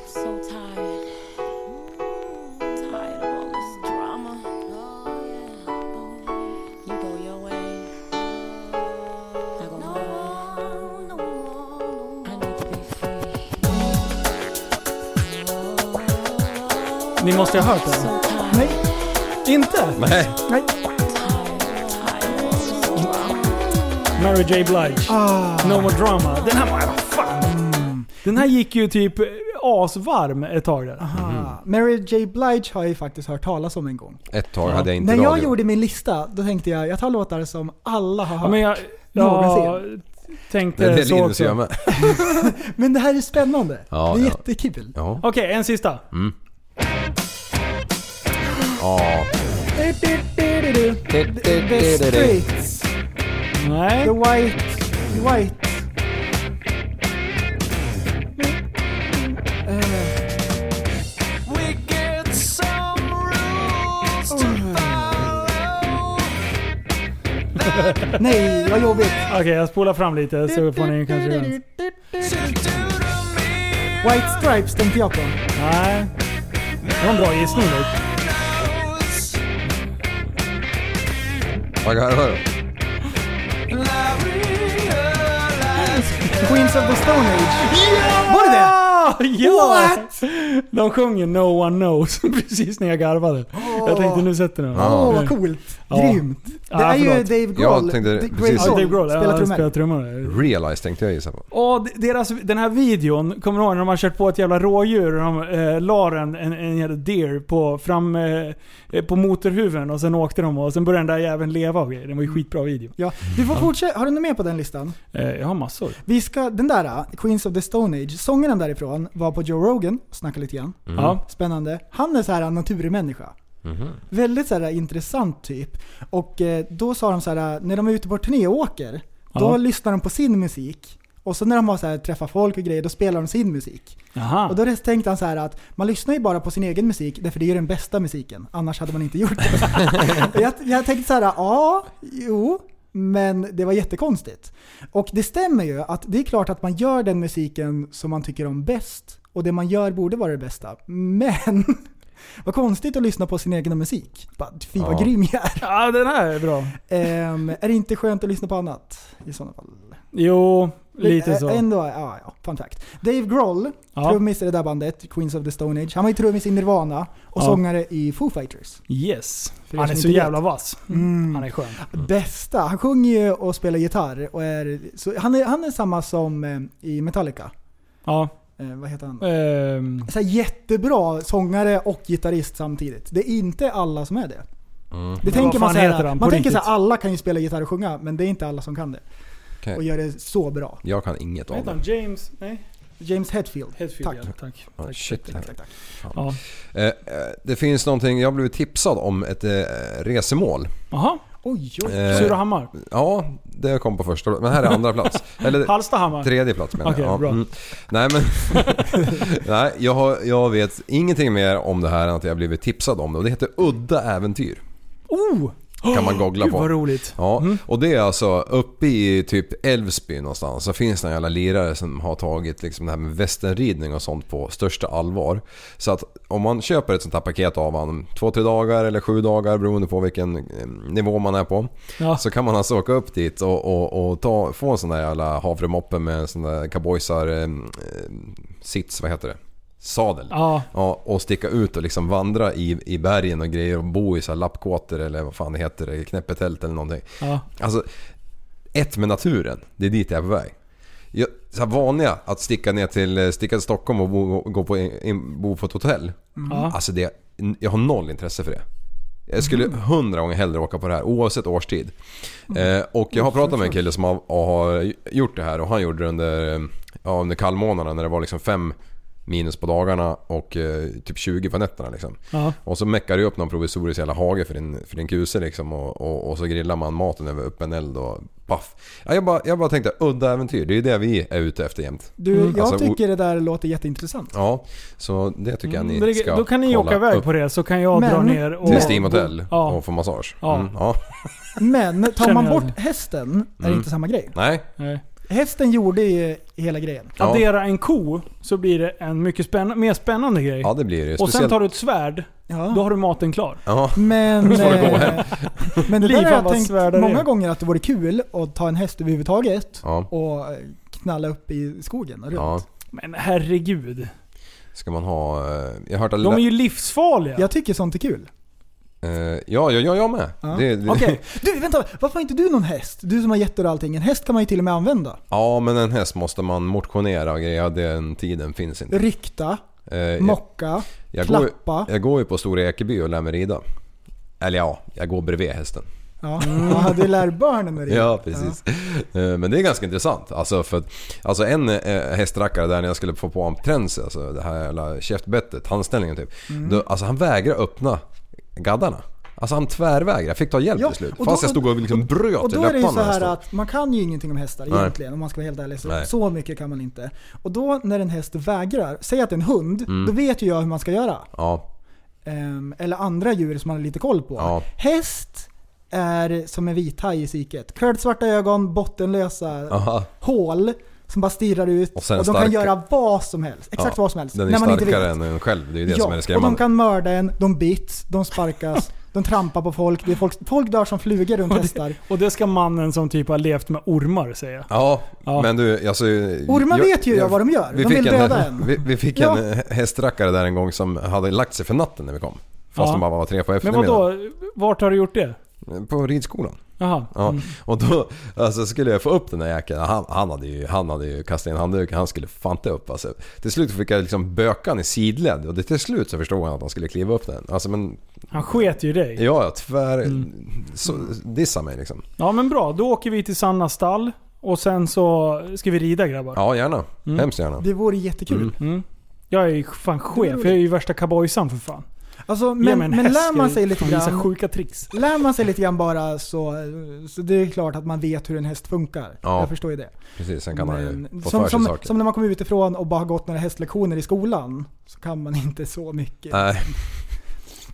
Speaker 10: so tired. Tired of all this drama. You go your way. I go mine. I need to be free.
Speaker 5: Ni måste ha hört den.
Speaker 10: So tired.
Speaker 7: Nej,
Speaker 5: Inte?
Speaker 6: Nej.
Speaker 7: nej.
Speaker 5: Mary J Blige.
Speaker 7: Ah.
Speaker 5: No more drama. Den här var... Vad fan.
Speaker 7: Mm.
Speaker 5: Den här gick ju typ asvarm ett tag där.
Speaker 7: Ah, Mary J Blige har jag ju faktiskt hört talas om en gång.
Speaker 6: Ett tag hade jag inte
Speaker 7: När jag
Speaker 6: radio.
Speaker 7: gjorde min lista, då tänkte jag jag tar låtar som alla har
Speaker 5: Ja,
Speaker 7: hört. Men,
Speaker 5: men jag... Jag
Speaker 7: Någonsin.
Speaker 5: tänkte
Speaker 6: Nej, det
Speaker 5: så
Speaker 6: Linus gör
Speaker 5: också.
Speaker 6: med.
Speaker 7: det här är spännande.
Speaker 6: Ja,
Speaker 7: det är
Speaker 6: ja.
Speaker 7: jättekul.
Speaker 6: Ja.
Speaker 5: Okej, en sista.
Speaker 6: Mm. ja.
Speaker 7: The Straits,
Speaker 5: Nej.
Speaker 7: The White, The White. Nej, vad jobbigt.
Speaker 5: Okej, jag spolar fram lite så får ni kanske... igen.
Speaker 7: White Stripes tänkte jag på.
Speaker 5: Nej. Det var en bra gissning dock.
Speaker 6: Vad garvar du?
Speaker 7: Queens of the Stone Age. Var det det?
Speaker 5: Ah, ja! What? De sjunger No One Knows precis när jag garvade. Jag tänkte nu sätter ni den.
Speaker 7: Åh,
Speaker 6: Ja.
Speaker 7: vad coolt.
Speaker 5: Ja.
Speaker 7: Grymt. Det
Speaker 5: Ja,
Speaker 7: är ju
Speaker 5: förlåt.
Speaker 7: Dave Grohl.
Speaker 6: Jag tänkte
Speaker 7: D-
Speaker 6: precis-
Speaker 5: Ja, Dave Grohl.
Speaker 7: spelar
Speaker 5: Ja, han spelar
Speaker 7: trummor.
Speaker 5: trummor.
Speaker 6: Realize tänkte jag gissa på.
Speaker 5: Och deras, den här videon, kommer du ihåg när de har kört på ett jävla rådjur och de eh, la en, en, en jävla deer på, fram, eh, eh, på motorhuven och sen åkte de och sen började den där jäveln leva och grejer. Den var ju skitbra video.
Speaker 7: Ja, du får fortsätta. Har du något mer på den listan?
Speaker 5: Eh, jag har massor.
Speaker 7: Vi ska, den där, äh, Queens of the Stone Age, sångaren därifrån var på Joe Rogan och snackade lite grann.
Speaker 5: Ja.
Speaker 7: Spännande. Han är så här en naturmänniska. Väldigt så här äh, intressant typ. Och eh, då sa de så här, när de är ute på turné och åker,
Speaker 5: Ja.
Speaker 7: då lyssnar de på sin musik. Och så när de har så här, träffar folk och grejer, då spelar de sin musik.
Speaker 5: Aha.
Speaker 7: Och då tänkte han så här att man lyssnar ju bara på sin egen musik, därför det är ju den bästa musiken. Annars hade man inte gjort det. jag, jag tänkte så här, ja, jo, men det var jättekonstigt. Och det stämmer ju att det är klart att man gör den musiken som man tycker om bäst. Och det man gör borde vara det bästa. Men vad konstigt att lyssna på sin egen musik. Bara, Fy vad
Speaker 6: Ja.
Speaker 7: grym jag är.
Speaker 5: Ja, den här är bra.
Speaker 7: Ehm, är det inte skönt att lyssna på annat i sådana fall?
Speaker 5: Jo, lite så.
Speaker 7: Ä- Ändå, ja, ja, fun fact. Dave Grohl,
Speaker 5: Ja.
Speaker 7: trummis i det där bandet, Queens of the Stone Age. Han var ju trummis i Nirvana och
Speaker 5: Ja.
Speaker 7: sångare i Foo Fighters.
Speaker 5: Yes.
Speaker 7: er som
Speaker 5: Han
Speaker 7: Mm.
Speaker 5: är så
Speaker 7: inte vet.
Speaker 5: jävla vass. Mm. Han är skön.
Speaker 7: Bästa! Han sjunger ju och spelar gitarr och är... Så han, är han är samma som eh, i Metallica.
Speaker 5: Ja.
Speaker 7: Eh, vad heter han?
Speaker 5: ehm,
Speaker 7: Så här jättebra sångare och gitarrist samtidigt. Det är inte alla som är det. Det
Speaker 5: Mm. vad
Speaker 7: tänker man
Speaker 5: fan
Speaker 7: så här,
Speaker 5: heter han på
Speaker 7: man tänker så här,
Speaker 5: riktigt?
Speaker 7: alla kan ju spela gitarr och sjunga, men det är inte alla som kan det.
Speaker 6: Okej.
Speaker 7: och gör det så bra.
Speaker 6: Jag kan inget
Speaker 5: Vad
Speaker 6: av
Speaker 5: heter
Speaker 6: det.
Speaker 5: han? James? Nej?
Speaker 7: James Hetfield.
Speaker 5: Hetfield,
Speaker 7: Tack.
Speaker 5: ja. Tack.
Speaker 6: Ja,
Speaker 5: tack,
Speaker 6: shit.
Speaker 5: tack, tack.
Speaker 7: Tack, tack.
Speaker 5: Ja.
Speaker 6: Eh, eh, Det finns någonting, jag har blivit tipsad om ett eh, resemål.
Speaker 5: Jaha.
Speaker 7: Oj, oj.
Speaker 6: Eh,
Speaker 5: Surahammar.
Speaker 6: Ja, det kom på första Men här är andra plats. Eller
Speaker 5: Hallstahammar.
Speaker 6: tredje plats menar
Speaker 5: Okej,
Speaker 6: jag.
Speaker 5: bra.
Speaker 6: mm. Nej men... Nej, jag, har, jag vet ingenting mer om det här än att jag blivit tipsad om det. Och det heter Udda Äventyr.
Speaker 5: Oh!
Speaker 6: Kan man googla
Speaker 5: Gud
Speaker 6: på.
Speaker 5: vad roligt. Mm.
Speaker 6: Ja, och det är alltså uppe i typ Älvsby någonstans så finns det en jävla lirare som har tagit liksom det här med västernridning och sånt på största allvar. Så att om man köper ett sånt här paket av honom, två, tre dagar eller sju dagar beroende på vilken eh, nivå man är på.
Speaker 5: Ja.
Speaker 6: Så kan man alltså åka upp dit och, och, och ta, få en sån där jävla havremoppe med en sån där cowboysar eh, eh, sits, vad heter det? Sadel.
Speaker 5: Ja.
Speaker 6: Ja, och sticka ut och liksom vandra i, i bergen och grejer och bo i så här lappkåtor eller vad fan det heter, eller knäppetält eller någonting.
Speaker 5: Ja.
Speaker 6: Alltså, ett med naturen. Det är dit jag är på väg. Jag, så här vanliga, att sticka ner till, eh, sticka till Stockholm och bo, gå på, in, bo på ett hotell.
Speaker 5: Ja.
Speaker 6: Alltså det, jag har noll intresse för det. Jag skulle hundra gånger hellre åka på det här oavsett årstid. Eh, och jag har pratat med en kille som har, har gjort det här och han gjorde det under, eh, ja, under kallmånaderna när det var liksom fem minus på dagarna och eh, typ 20 på nätterna. Liksom.
Speaker 5: Ja.
Speaker 6: Och så meckar du upp någon provisorisk jävla hage för din, för din kuse liksom och, och, och så grillar man maten över öppen eld och paff. Ja, jag, bara, jag bara tänkte udda äventyr, det är ju det vi är ute efter jämt.
Speaker 7: Du,
Speaker 5: mm.
Speaker 7: jag
Speaker 6: Alltså, o-
Speaker 7: tycker det där låter jätteintressant.
Speaker 6: Ja, så det tycker jag ni
Speaker 5: Mm, Det-
Speaker 6: ska
Speaker 5: Då kan ni
Speaker 6: kolla
Speaker 5: åka iväg
Speaker 6: upp
Speaker 5: på det så kan jag dra
Speaker 7: Men-
Speaker 5: ner och...
Speaker 6: till Steam Hotel
Speaker 5: Ja.
Speaker 6: och få massage.
Speaker 5: Ja.
Speaker 6: Mm, ja.
Speaker 7: Men tar
Speaker 5: Känner
Speaker 7: man
Speaker 5: jag
Speaker 7: bort hästen är det
Speaker 6: Mm.
Speaker 7: inte samma grej.
Speaker 6: Nej,
Speaker 5: Nej.
Speaker 7: Hästen gjorde ju hela grejen.
Speaker 6: Ja.
Speaker 5: Addera en ko så blir det en mycket spänn mer spännande grej.
Speaker 6: ja det blir det.
Speaker 5: och sen
Speaker 6: Speciellt-
Speaker 5: tar du ett svärd, då
Speaker 7: Ja.
Speaker 5: har du maten klar.
Speaker 6: Ja,
Speaker 7: Men, eh, men det där
Speaker 5: Liv,
Speaker 7: har
Speaker 5: han
Speaker 7: jag
Speaker 5: bara
Speaker 7: tänkt
Speaker 5: svärdar
Speaker 7: många
Speaker 5: in.
Speaker 7: gånger att det vore kul att ta en häst överhuvudtaget
Speaker 6: ja.
Speaker 7: och eh, knalla upp i skogen och runt.
Speaker 6: ja.
Speaker 5: Men herregud.
Speaker 6: Ska man ha... eh, Jag har hört att...
Speaker 5: De är ju livsfarliga.
Speaker 7: Jag tycker sånt är kul.
Speaker 6: eh, Ja, ja, ja, jag med.
Speaker 7: Ja.
Speaker 6: Det, det,
Speaker 7: Okej, du vänta. Varför har inte du någon häst? Du som har getter och allting. En häst kan man ju till och med använda.
Speaker 6: Ja, men en häst måste man motionera och grejer. Den tiden finns inte.
Speaker 7: Rykta,
Speaker 6: Eh, jag,
Speaker 7: mocka,
Speaker 6: jag, går, ju-
Speaker 7: klappa.
Speaker 6: jag går ju på Stora Ekeby och lär mig rida. Eller ja, jag går bredvid hästen.
Speaker 7: Ja. ja, du lär barnen med det.
Speaker 6: Ja, precis. Eh, Men det är ganska intressant. Alltså, för att, alltså en eh, hästrackare där när jag skulle få på honom tränse, alltså det här jävla käftbettet, handställningen typ.
Speaker 7: Mm.
Speaker 6: Då, alltså han vägrar öppna gaddarna. Alltså han tvärvägrar. Jag fick ta hjälp
Speaker 7: Ja,
Speaker 6: till slut.
Speaker 7: och då-
Speaker 6: Fast jag stod och liksom bröt
Speaker 7: Och
Speaker 6: i
Speaker 7: då är det ju
Speaker 6: läpparna
Speaker 7: så
Speaker 6: när jag
Speaker 7: här
Speaker 6: stod.
Speaker 7: att man kan ju ingenting om hästar
Speaker 6: Nej.
Speaker 7: egentligen om man ska vara helt ärlig. Så,
Speaker 6: Nej.
Speaker 7: så mycket kan man inte. Och då när en häst vägrar, säg att det är en hund,
Speaker 6: Mm.
Speaker 7: då vet ju jag hur man ska göra.
Speaker 6: Ja,
Speaker 7: Ehm, eller andra djur som man har lite koll på.
Speaker 6: Ja.
Speaker 7: Häst är som en vithaj i psyket. Curled svarta ögon, bottenlösa
Speaker 6: aha.
Speaker 7: hål som bara stirrar ut.
Speaker 6: Och
Speaker 7: Och,
Speaker 6: sen
Speaker 7: de kan
Speaker 6: starka-
Speaker 7: göra vad som helst. Exakt
Speaker 6: Ja,
Speaker 7: vad som helst.
Speaker 6: Den är starkare än en själv. Det är ju det som är det
Speaker 7: och de
Speaker 6: skrämmande.
Speaker 7: kan mörda en, de bits, de sparkas, de trampar på folk. Det är folk, folk dör som flugor runt hästar.
Speaker 5: Och det ska mannen som typ har levt med ormar säga.
Speaker 6: Ja,
Speaker 5: Ja.
Speaker 6: men du alltså...
Speaker 7: Ormar vet ju vad de gör.
Speaker 6: Vi
Speaker 7: De
Speaker 6: fick
Speaker 7: vill
Speaker 6: en,
Speaker 7: döda en.
Speaker 6: Vi, vi fick
Speaker 7: Ja.
Speaker 6: en eh, hästrackare där en gång som hade lagt sig för natten när vi kom. Fast
Speaker 5: Ja.
Speaker 6: de bara var tre på
Speaker 5: Men
Speaker 6: eftermiddagen.
Speaker 5: vadå? Vart har du gjort det?
Speaker 6: På ridskolan.
Speaker 5: Jaha.
Speaker 6: Ja.
Speaker 7: Mm.
Speaker 6: Och då alltså, skulle jag få upp den där jäkeln. Han, han, hade ju, han hade ju kastat in handduken. Han skulle fan inte upp alltså. Till slut fick jag liksom bökan i sidled. Och det till slut så förstod han att han skulle kliva upp den. Alltså men...
Speaker 5: Han sket ju i dig.
Speaker 6: Ja, jag tvär...
Speaker 7: Mm.
Speaker 6: Så, dissa mig liksom.
Speaker 5: Ja men bra, då åker vi till Sannas stall och sen så ska vi rida grabbar. Mm.
Speaker 6: Ja, gärna.
Speaker 7: Mm.
Speaker 6: Hemskt gärna.
Speaker 7: Det vore jättekul.
Speaker 5: Jag är ju fan chef, jag är ju värsta cowboysan för fan.
Speaker 7: Alltså,
Speaker 5: Ge
Speaker 7: men,
Speaker 5: mig en
Speaker 7: men
Speaker 5: häst,
Speaker 7: lär man
Speaker 5: jag
Speaker 7: sig lite
Speaker 5: fan visa
Speaker 7: grann.
Speaker 5: sjuka tricks.
Speaker 7: Lär man sig lite grann bara så, så det är klart att man vet hur en häst funkar.
Speaker 6: Ja.
Speaker 7: Jag förstår ju det.
Speaker 6: Precis, sen kan han ju
Speaker 7: Men
Speaker 6: få
Speaker 7: som,
Speaker 6: för sig
Speaker 7: som,
Speaker 6: saker.
Speaker 7: som när man kommer utifrån och bara har gått några hästlektioner i skolan så kan man inte så mycket.
Speaker 6: Nej,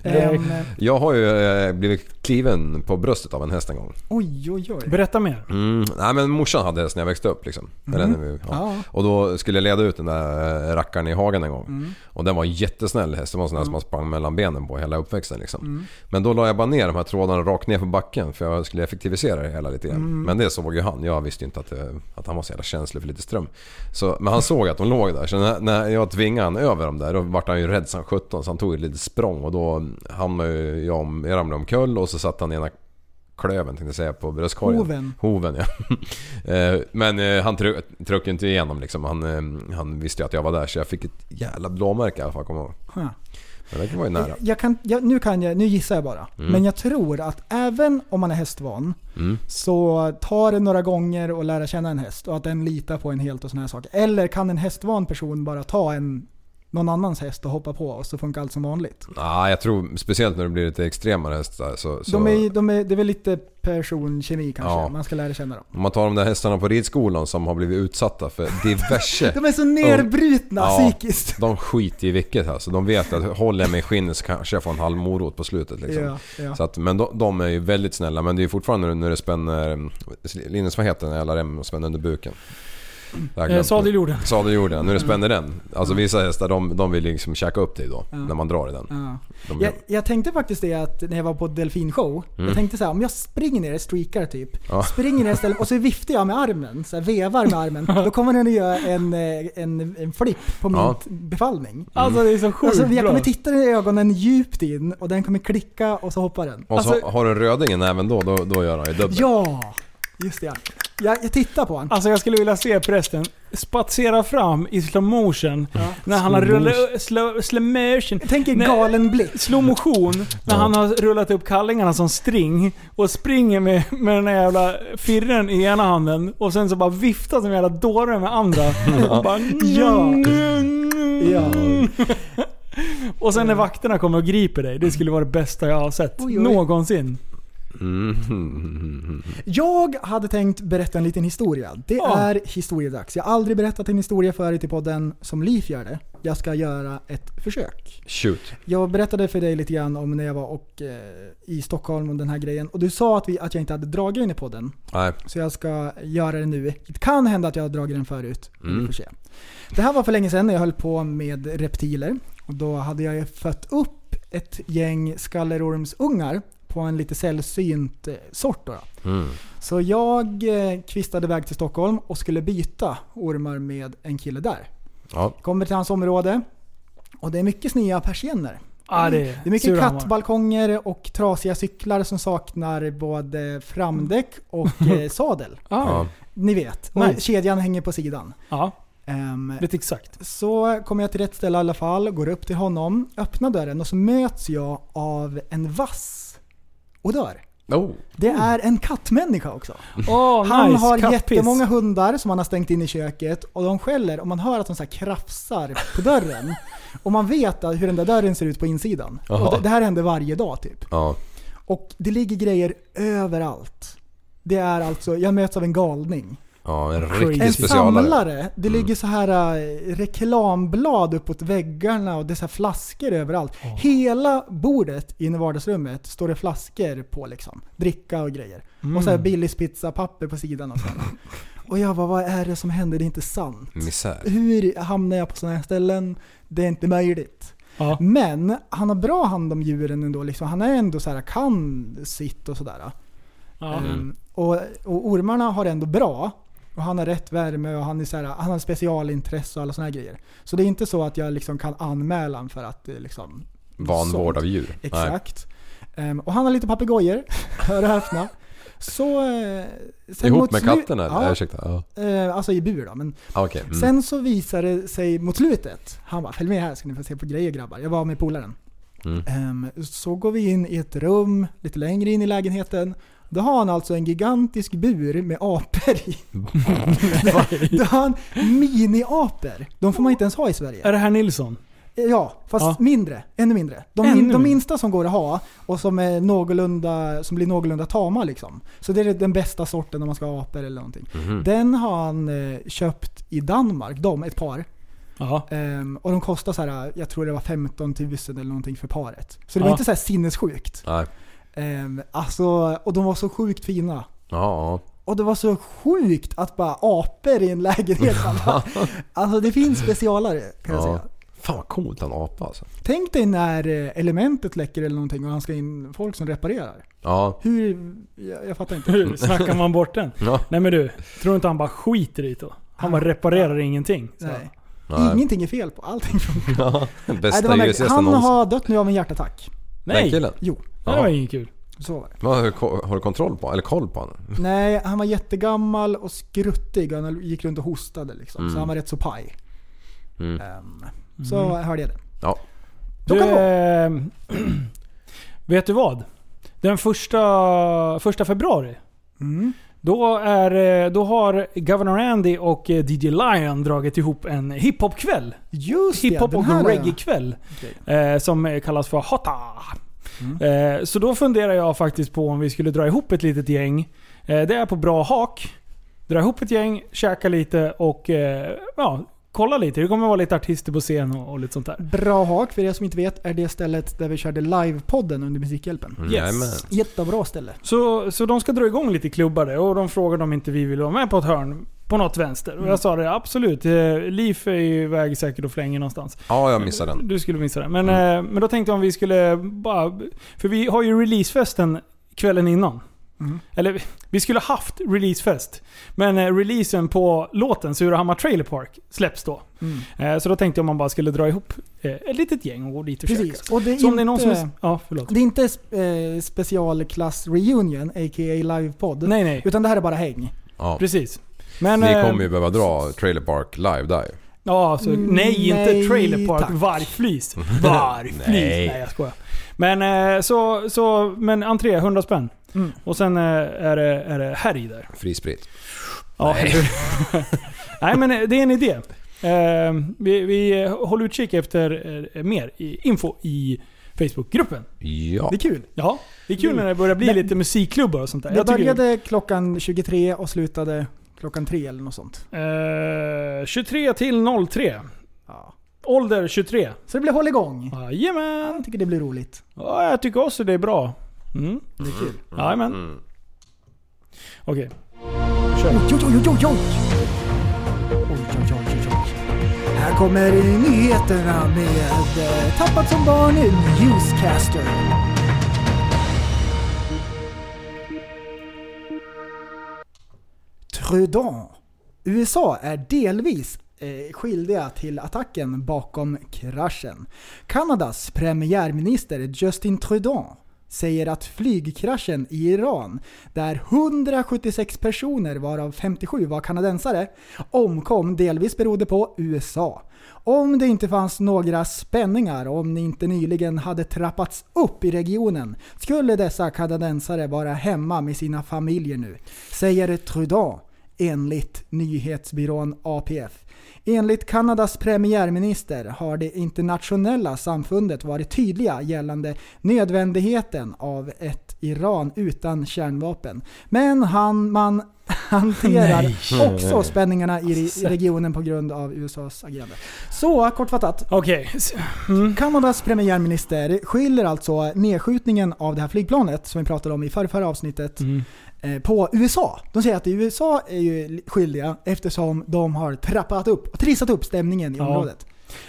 Speaker 7: Ehm,
Speaker 6: jag har ju eh, blivit kliven på bröstet av en häst en gång.
Speaker 7: oj, oj, oj.
Speaker 5: Berätta mer.
Speaker 6: Mm, nej men morsan hade häst när jag växte upp liksom. Eller när vi, ja.
Speaker 7: Ja.
Speaker 6: Och då skulle jag leda ut den där eh, rackaren i hagen en gång. Och den var en jättesnäll häst. Det var en sån här som man sprang mellan benen på hela uppväxten liksom. Men då la jag bara ner de här trådarna rakt ner på backen för jag skulle effektivisera det hela lite grann. Men det såg ju han. Jag visste ju inte att, eh, att han var så jävla känslig för lite ström. Så, men han såg att de låg där. Så när, när jag tvingade han över dem där då vart han ju rädd som sjutton. Så han tog ett litet språng och då hamnade ju jag, om, jag ramlade omkull och så satt han i ena klöven tänkte jag säga på bröstkorgen.
Speaker 7: Hoven.
Speaker 6: Hoven ja. Eh, Men eh, han tryck- tryckte ju inte igenom liksom. Han, eh, han visste ju att jag var där så jag fick ett jävla blåmärke i alla fall kommer jag ihåg.
Speaker 7: Ja.
Speaker 6: Men det kan vara ju nära.
Speaker 7: Jag kan, jag, nu, kan jag, nu gissar jag bara. Men jag tror att även om man är hästvan
Speaker 6: Mm.
Speaker 7: så tar det några gånger att lära känna en häst och att den litar på en helt och sådana här saker. Eller kan en hästvan person bara ta en, någon annans häst och hoppa på och så funkar allt som vanligt.
Speaker 6: Ja, Ah, jag tror speciellt när det blir lite extremare hästar så... så
Speaker 7: De är, de är, det är väl lite personkemi kanske,
Speaker 6: Ja.
Speaker 7: man ska lära känna dem.
Speaker 6: Om man tar de där hästarna på ridskolan som har blivit utsatta för diverse...
Speaker 7: De är så nedbrutna
Speaker 6: Ja.
Speaker 7: psykiskt.
Speaker 6: De skiter i vilket alltså. De vet att håller jag mig i skinnet så kanske jag får en halv morot på slutet. Liksom.
Speaker 7: Ja, ja.
Speaker 6: Så att, men de, de är ju väldigt snälla. Men det är ju fortfarande när det spänner... mm, Linus, vad heter den? LRM och spänner under buken. Jag har
Speaker 5: Eh,
Speaker 6: glömt.
Speaker 5: sadeljorden.
Speaker 6: Sadeljorden, när det spänner den. Alltså vissa hästar de, de vill liksom käka upp dig då. När man drar i den.
Speaker 7: Ja.
Speaker 6: De,
Speaker 7: Jag, jag tänkte faktiskt det att när jag var på delfinshow. Jag tänkte så här, om jag springer ner, streakar typ.
Speaker 6: Ja.
Speaker 7: Springer ner istället och så viftar jag med armen. Så här, vevar med armen. Då kommer den att göra en, eh, en, en flipp på min
Speaker 6: Ja.
Speaker 7: t- befallning.
Speaker 5: Alltså det är så sjukt
Speaker 7: Alltså, jag
Speaker 5: bra.
Speaker 7: kommer titta i ögonen djupt in och den kommer klicka och så hoppar den.
Speaker 6: och så
Speaker 5: alltså-
Speaker 6: har du rödingen även då, då, då gör han ju dubbel.
Speaker 7: Ja! Just det. Jag, jag tittar på honom.
Speaker 5: Alltså jag skulle vilja se prästen spatsera fram i slow motion när han har rullat... Slow, slow motion.
Speaker 7: Tänk er
Speaker 5: Nej.
Speaker 7: galen blick.
Speaker 5: Slow motion när han har rullat upp kallingarna som string och springer med, med den här jävla firren i ena handen och sen så bara viftar som en jävla dåre med andra. Och, bara,
Speaker 7: Ja. Mm. Ja.
Speaker 5: och sen när vakterna kommer och griper dig. Det skulle vara det bästa jag har sett
Speaker 7: Oj, oj.
Speaker 5: någonsin.
Speaker 6: Mm.
Speaker 7: Jag hade tänkt berätta en liten historia. Det
Speaker 5: Ja.
Speaker 7: är historiedags. Jag har aldrig berättat en historia förut i podden som Liv gör det. Jag ska göra ett försök.
Speaker 6: Shoot.
Speaker 7: Jag berättade för dig lite grann om när jag var och, eh, i Stockholm och den här grejen. Och du sa att, vi, att jag inte hade dragit den i podden.
Speaker 6: Nej.
Speaker 7: Så jag ska göra det nu. Det kan hända att jag har dragit den förut. men Vi
Speaker 6: Mm.
Speaker 7: får se. Det här var för länge sedan när jag höll på med reptiler. Och då hade jag ju fött upp ett gäng skallerormsungar på en lite sällsynt eh, sort. Då.
Speaker 6: Mm.
Speaker 7: Så jag eh, kvistade iväg till Stockholm och skulle byta ormar med en kille där.
Speaker 6: Ja.
Speaker 7: Kommer till hans område och det är mycket sneda persienner.
Speaker 5: Ah, det,
Speaker 7: Det är mycket
Speaker 5: sur han var.
Speaker 7: kattbalkonger och trasiga cyklar som saknar både framdäck och eh, sadel.
Speaker 5: Ah,
Speaker 6: Ja.
Speaker 7: Ni vet. Och
Speaker 5: Nice.
Speaker 7: kedjan hänger på sidan.
Speaker 5: ja,
Speaker 7: Ehm,
Speaker 5: vet exakt.
Speaker 7: så kommer jag till rätt ställe i alla fall, går upp till honom, öppnar dörren och så möts jag av en vass odör.
Speaker 6: Oh.
Speaker 7: Det är en kattmänniska också.
Speaker 5: Åh,
Speaker 7: Han
Speaker 5: nice.
Speaker 7: har
Speaker 5: Kattpiss.
Speaker 7: jättemånga hundar som han har stängt in i köket och de skäller och man hör att de så här krafsar på dörren. och man vet att- hur den där dörren ser ut på insidan.
Speaker 6: Jaha.
Speaker 7: Och det, det här händer varje dag typ.
Speaker 6: Ja.
Speaker 7: Och det ligger grejer överallt. Det är alltså, jag möts av en galning.
Speaker 6: Ja, en
Speaker 7: En
Speaker 6: riktig specialare.
Speaker 7: samlare. Det ligger så här eh, reklamblad uppåt väggarna och det är så här flaskor överallt. Hela bordet inne i vardagsrummet står det flaskor på liksom. Dricka och grejer. Och så här Billys pizzapapper på sidan och så här. Och jag bara, vad är det som händer? Det är inte sant.
Speaker 6: Misär.
Speaker 7: Hur hamnar jag på sådana här ställen? Det är inte möjligt.
Speaker 5: Ja.
Speaker 7: Men han har bra hand om djuren ändå. Liksom. Han är ändå så här, kan sitt och sådär.
Speaker 5: Ja.
Speaker 6: Mm.
Speaker 7: Ehm, och, och ormarna har det ändå bra. Och han har rätt värme och han, är så här, han har specialintresse och alla sådana här grejer. Så det är inte så att jag liksom kan anmäla honom för att det är liksom...
Speaker 6: Vanvård av djur. Nej.
Speaker 7: Exakt. Ehm, och han har lite papegojor, hör och häpna. Så... eh, sen
Speaker 6: Ihop
Speaker 7: mot
Speaker 6: med
Speaker 7: slu-
Speaker 6: katten eller? Ja.
Speaker 7: Ja,
Speaker 6: Ursäkta. Ja.
Speaker 7: eh, alltså i bur då. Men
Speaker 6: Ah, okej. Mm.
Speaker 7: Sen så visar det sig mot slutet. Han bara, följ med här ska ni få se på grejer grabbar. Jag var med polaren.
Speaker 6: Mm.
Speaker 7: Ehm, så går vi in i ett rum lite längre in i lägenheten. Då har han alltså en gigantisk bur med apor i. Då har han mini-apor. De får man inte ens ha i
Speaker 5: Är
Speaker 7: Sverige.
Speaker 5: det herr Nilsson?
Speaker 7: Ja, fast
Speaker 5: Ja.
Speaker 7: mindre. Ännu mindre. De,
Speaker 5: Ännu
Speaker 7: min,
Speaker 5: mindre.
Speaker 7: de minsta som går att ha och som, är någorlunda, som blir någorlunda tama liksom. Så det är den bästa sorten om man ska ha apor eller någonting.
Speaker 6: Mhm. Mm.
Speaker 7: Den har han eh, köpt i Danmark, de, ett par.
Speaker 5: Ja.
Speaker 7: Ehm, och de kostar så här, jag tror det var 15 000 eller någonting för paret. Så det var
Speaker 5: Ja.
Speaker 7: inte så här sinnessjukt.
Speaker 6: Nej.
Speaker 7: Ehm, alltså, och de var så sjukt fina.
Speaker 6: Ja, ja.
Speaker 7: Och det var så sjukt att bara apor i en lägenhet. Man bara, alltså det finns specialare kan jag
Speaker 6: Ja.
Speaker 7: säga.
Speaker 6: Fan vad coolt han apa alltså.
Speaker 7: Tänk dig när eh, elementet läcker eller någonting och han ska in folk som reparerar.
Speaker 6: Ja.
Speaker 7: Hur, jag, jag fattar inte.
Speaker 5: Hur snackar man bort den?
Speaker 6: ja.
Speaker 5: Nej men du, tror inte han bara skiter i det då? Han bara reparerar ingenting. Så.
Speaker 7: Nej.
Speaker 6: Nej.
Speaker 7: Ingenting är fel på, allting funkar. Nej, det
Speaker 6: Bästa
Speaker 7: var märkligt.
Speaker 6: hyresgästen
Speaker 7: Han
Speaker 6: någonsin.
Speaker 7: har dött nu av en hjärtattack.
Speaker 6: Den
Speaker 5: Nej,
Speaker 6: killen?
Speaker 7: Jo,
Speaker 5: det var inget kul.
Speaker 7: så var det.
Speaker 6: Vad, Har du, ko- har du kontroll på Eller koll på honom?
Speaker 7: Nej, han var jättegammal och skruttig. och Han gick runt och
Speaker 5: Mm.
Speaker 7: hostade liksom. Så han var rätt så paj.
Speaker 6: Mm.
Speaker 7: Ehm, så hörde jag det.
Speaker 6: Ja.
Speaker 7: Så kan det vara.
Speaker 5: ehm, vet du vad? Den första, första februari,
Speaker 7: Mm.
Speaker 5: då, är, eh, då har Governor Andy och eh, DJ Lion dragit ihop en hiphopkväll.
Speaker 7: Just
Speaker 5: Hiphop
Speaker 7: det, den här
Speaker 5: och
Speaker 7: har jag.
Speaker 5: reggae-kväll. Eh, som eh, kallas för Hotta.
Speaker 7: Mm.
Speaker 5: Eh, så då funderar jag faktiskt på om vi skulle dra ihop ett litet gäng. Eh, det är på bra hak. Dra ihop ett gäng, käka lite och eh, ja, kolla lite. Det kommer vara lite artister på scen och, och lite sånt där.
Speaker 7: Bra hak, för er som inte vet, är det stället där vi körde livepodden under Musikhjälpen.
Speaker 6: Jajamän.
Speaker 7: Jättebra ställe.
Speaker 5: Så, så de ska dra igång lite klubbar där och de frågade om inte vi ville vara med på ett hörn på något vänster.
Speaker 7: Mm.
Speaker 5: Och jag sa det, absolut. Eh, Liv är ju iväg säkert och flänger någonstans.
Speaker 6: Ja, jag missade den.
Speaker 5: Du skulle missa det. Men,
Speaker 7: Mm.
Speaker 5: eh, men då tänkte jag om vi skulle bara... För vi har ju releasefesten kvällen innan.
Speaker 7: Mm.
Speaker 5: Eller vi skulle haft releasefest. Men eh, releasen på låten Surahammar Trailer Park släpps då. Eh, så då tänkte jag om man bara skulle dra ihop eh, ett litet gäng och gå dit och käka.
Speaker 7: Precis. Och det är
Speaker 5: Så om det är någon som
Speaker 7: inte,
Speaker 5: är... Ja, förlåt.
Speaker 7: det är inte eh, specialklass reunion, a.k.a. livepodd.
Speaker 5: Nej, nej.
Speaker 7: Utan det här är bara häng.
Speaker 6: Ja.
Speaker 5: Precis. Men,
Speaker 6: Ni
Speaker 5: eh,
Speaker 6: kommer ju behöva dra Trailer Park live där ju.
Speaker 5: Ja, så,
Speaker 7: Mm,
Speaker 5: nej,
Speaker 7: nej,
Speaker 5: inte Trailer Park.
Speaker 7: tack.
Speaker 5: Vargflis. Vargflis. nej. jag skojar. Men, eh, så, så, men entré 100 spänn.
Speaker 7: Mm.
Speaker 5: Och sen eh, är det, är det härj där.
Speaker 6: Fri sprit.
Speaker 5: Ja, nej. nej, men eh, det är en idé. Eh, vi, vi eh, håller utkik efter eh, mer i- info i Facebookgruppen.
Speaker 6: Ja.
Speaker 7: Det är kul.
Speaker 5: Ja, det är kul när det börjar bli
Speaker 7: Mm. Men-
Speaker 5: lite musikklubbar och sånt där.
Speaker 7: Det
Speaker 5: Jag tycker-
Speaker 7: började klockan 23 och slutade klockan 3 eller något sånt.
Speaker 5: eh, 23 till 03.
Speaker 7: Ja.
Speaker 5: Ålder 23.
Speaker 7: Så det blir hålligång.
Speaker 5: Jajamän.
Speaker 7: Jag tycker det blir roligt.
Speaker 5: Ja, jag tycker också det är bra. Mm. Det är kul. Jajamän. Okej. Kör.
Speaker 7: Oj, oj, oj, oj, oj! Oj, oj, oj, oj, oj. Här kommer nyheterna med eh, Tappat som barn i Newscaster. Trudeau. USA är delvis eh, skyldiga till attacken bakom kraschen. Kanadas premiärminister Justin Trudeau säger att flygkraschen i Iran, där 176 personer varav 57 var kanadensare, omkom delvis berodde på USA. Om det inte fanns några spänningar och om det inte nyligen hade trappats upp i regionen skulle dessa kanadensare vara hemma med sina familjer nu, säger Trudeau enligt nyhetsbyrån APF. Enligt Kanadas premiärminister har det internationella samfundet varit tydliga gällande nödvändigheten av ett Iran utan kärnvapen. Men han, man hanterar också spänningarna i re- regionen på grund av USAs agerande. Så kortfattat,
Speaker 5: Okej.
Speaker 7: Kanadas premiärminister skyller alltså nedskjutningen av det här flygplanet som vi pratade om i förra, förra avsnittet eh, på USA. De säger att USA är ju skyldiga eftersom de har trappat upp och trissat upp stämningen i
Speaker 5: Ja.
Speaker 7: området.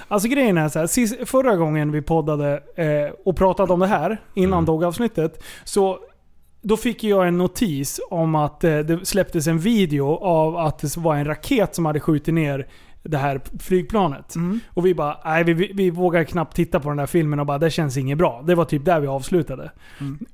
Speaker 5: Alltså grejen är så här. Sist, förra gången vi poddade eh, och pratade om det här innan
Speaker 6: Mm.
Speaker 5: dogavsnittet. Så då fick jag en notis om att eh, det släpptes en video av att det var en raket som hade skjutit ner det här flygplanet. Och vi bara, nej vi, vi, vi vågar knappt titta på den där filmen och bara, det känns inget bra. Det var typ där vi avslutade.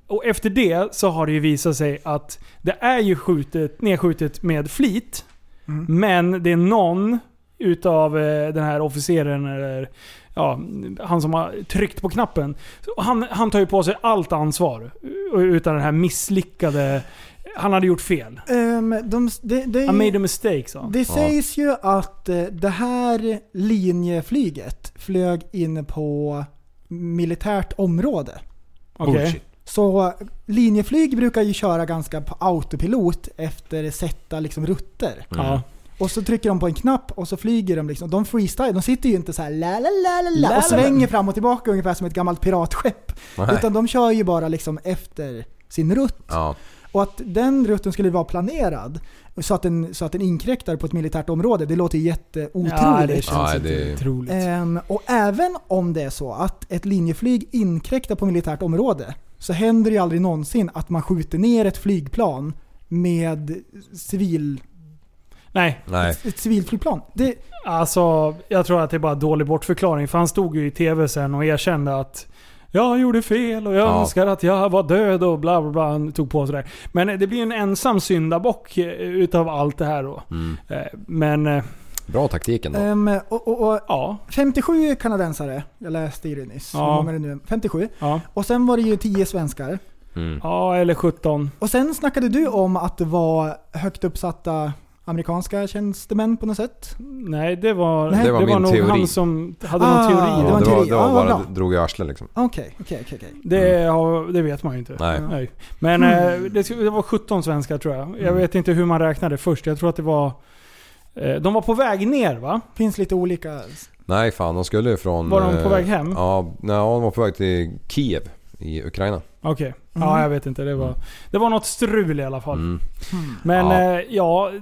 Speaker 5: Och efter det så har det ju visat sig att det är ju skjutet, nedskjutet med flit. Mm. Men det är någon utav eh, den här officeren eller ja, han som har tryckt på knappen. Så Han, han tar ju på sig allt ansvar eh, utan den här misslyckade... Han hade gjort fel.
Speaker 7: Ehm, de, det- det är
Speaker 5: I
Speaker 7: ju-
Speaker 5: made a mistake sa han.
Speaker 7: Det sägs ju att eh, det här linjeflyget flög in på militärt område.
Speaker 5: Okej.
Speaker 6: Bullshit.
Speaker 7: Så linjeflyg brukar ju köra ganska på autopilot efter sätta liksom rutter.
Speaker 5: Ja.
Speaker 7: Och så trycker de på en knapp och så flyger de liksom. De freestyle, de sitter ju inte så här la la la la
Speaker 5: La, la,
Speaker 7: la och
Speaker 5: la.
Speaker 7: svänger fram och tillbaka ungefär som ett gammalt piratskepp.
Speaker 6: Nej.
Speaker 7: Utan de kör ju bara liksom efter sin rutt.
Speaker 6: Ja.
Speaker 7: Och att den rutten skulle vara planerad så att den, så att den inkräktar på ett militärt område, det låter ju
Speaker 5: Ja, det
Speaker 7: jätteotroligt.
Speaker 5: känns
Speaker 6: Nej,
Speaker 5: inte
Speaker 6: det-
Speaker 5: otroligt. Eh.
Speaker 7: Ehm, och även om det är så att ett linjeflyg inkräktar på militärt område så händer det ju aldrig någonsin att man skjuter ner ett flygplan med civil,
Speaker 5: Nej,
Speaker 6: Nej.
Speaker 7: ett civilflygplan. Det,
Speaker 5: alltså jag tror att det är bara dålig bortförklaring. För han stod ju i tv sen och erkände att jag gjorde fel och jag
Speaker 6: Ja.
Speaker 5: önskar att jag var död och bla bla bla. Han tog på sig det. Men eh, det blir ju en ensam syndabock eh, utav allt det här då. Eh, Men eh,
Speaker 6: Mm. Bra taktiken då.
Speaker 7: Ehm, och, och, och
Speaker 5: Ja.
Speaker 7: 57 kanadensare, jag läste i det nyss.
Speaker 5: Ja.
Speaker 7: Hur många är det nu? 57.
Speaker 5: Ja.
Speaker 7: Och sen var det ju 10 svenskar.
Speaker 6: Mm.
Speaker 5: ja, eller 17.
Speaker 7: Och sen snackade du om att det var högt uppsatta amerikanska tjänstemän på något sätt.
Speaker 5: Nej, det var,
Speaker 7: Nej.
Speaker 5: det var, min nog teori. han som hade någon
Speaker 7: Ah,
Speaker 5: teori.
Speaker 7: det
Speaker 5: där.
Speaker 6: ja,
Speaker 7: var en
Speaker 6: det var,
Speaker 7: teori.
Speaker 6: det var
Speaker 7: Ja,
Speaker 6: bara
Speaker 7: bra.
Speaker 6: drog i arslen liksom.
Speaker 7: Okej, okej, okej, okej.
Speaker 5: Det, har, det vet man ju inte.
Speaker 6: Nej.
Speaker 5: Men eh, det, skulle- det var 17 svenskar tror jag. Jag vet inte hur man räknade först. Jag tror att det var... eh, De var på väg ner va?
Speaker 7: Finns lite olika.
Speaker 6: Nej fan, de skulle ju från...
Speaker 5: Var de
Speaker 6: eh,
Speaker 5: på väg hem?
Speaker 6: Ja, nej, de var på väg till Kiev i Ukraina.
Speaker 5: Okej.
Speaker 7: Mm.
Speaker 5: Ja, jag vet inte. Det var, det var något strul i alla fall.
Speaker 6: Mm.
Speaker 5: Men
Speaker 6: Ja.
Speaker 5: ja, ja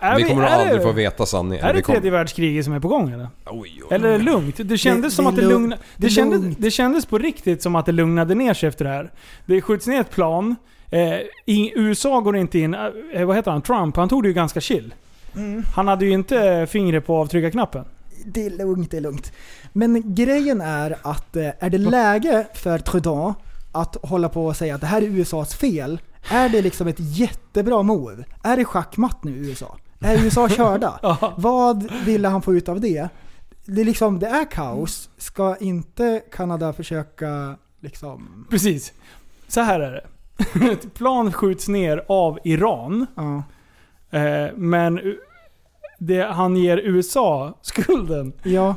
Speaker 5: det- är
Speaker 6: vi kommer
Speaker 5: är
Speaker 6: aldrig
Speaker 5: det,
Speaker 6: få veta sanningen.
Speaker 5: Är det
Speaker 6: Vi kom-
Speaker 5: tredje världskriget som är på gång eller?
Speaker 6: Oj, oj.
Speaker 5: Eller är det lugnt? Det kändes
Speaker 7: Det-
Speaker 5: som
Speaker 7: det
Speaker 5: att det
Speaker 7: är lugn-
Speaker 5: lugnade...
Speaker 7: det
Speaker 5: Det
Speaker 7: är
Speaker 5: kändes,
Speaker 7: lugnt.
Speaker 5: det kändes på riktigt som att det lugnade ner sig efter det här. Det skjuts ner ett plan. Eh, i, USA går inte in... Eh, vad heter han? Trump. Han tog det ju ganska chill.
Speaker 7: Mm.
Speaker 5: Han hade ju inte fingret på avtryckarknappen.
Speaker 7: Det är lugnt, det är lugnt. Men grejen är att eh, är det läge för Trudeau att hålla på och säga att det här är USAs fel? Är det liksom ett jättebra move? Är det schackmatt nu USA? Är USA körda?
Speaker 5: Ja.
Speaker 7: Vad ville han få ut av det? Det är, liksom, det är kaos. Ska inte Kanada försöka liksom...
Speaker 5: Precis. Så här är det. Ett plan skjuts ner av Iran.
Speaker 7: Ja.
Speaker 5: Eh, men u- det, han ger USA skulden.
Speaker 7: ja.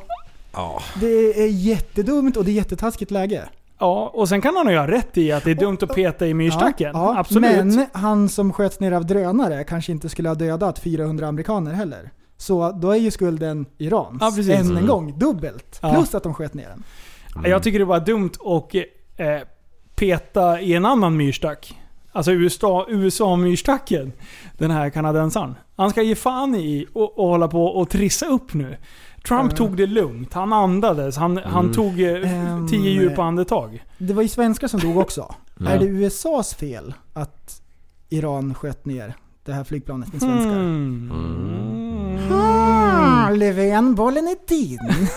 Speaker 6: Ja.
Speaker 7: Det är jättedumt och det är jättetaskigt läge.
Speaker 5: Ja, och sen kan han ju ha rätt i att det är dumt att peta i myrstacken.
Speaker 7: Ja, ja,
Speaker 5: Absolut.
Speaker 7: Men han som sköts ner av drönare kanske inte skulle ha dödat 400 amerikaner heller. Så då är ju skulden Irans.
Speaker 5: Ja, precis.
Speaker 7: Än
Speaker 6: Mm.
Speaker 7: en gång, dubbelt.
Speaker 5: Ja.
Speaker 7: Plus att de sköt ner den.
Speaker 5: Jag tycker det var dumt att eh, peta i en annan myrstack. Alltså USA- USA-myrstacken. den här kanadensaren. Han ska ge fan i och, och hålla på och trissa upp nu. Trump
Speaker 7: Eh.
Speaker 5: tog det lugnt. Han andades. Han, han tog eh,
Speaker 7: Ehm,
Speaker 5: tio djupa andetag.
Speaker 7: Det var ju svenskar som dog också.
Speaker 6: Ja.
Speaker 7: Är det USAs fel att Iran sköt ner det här flygplanet med svenskar?
Speaker 5: Mm.
Speaker 7: Ah, Löfven, bollen är din.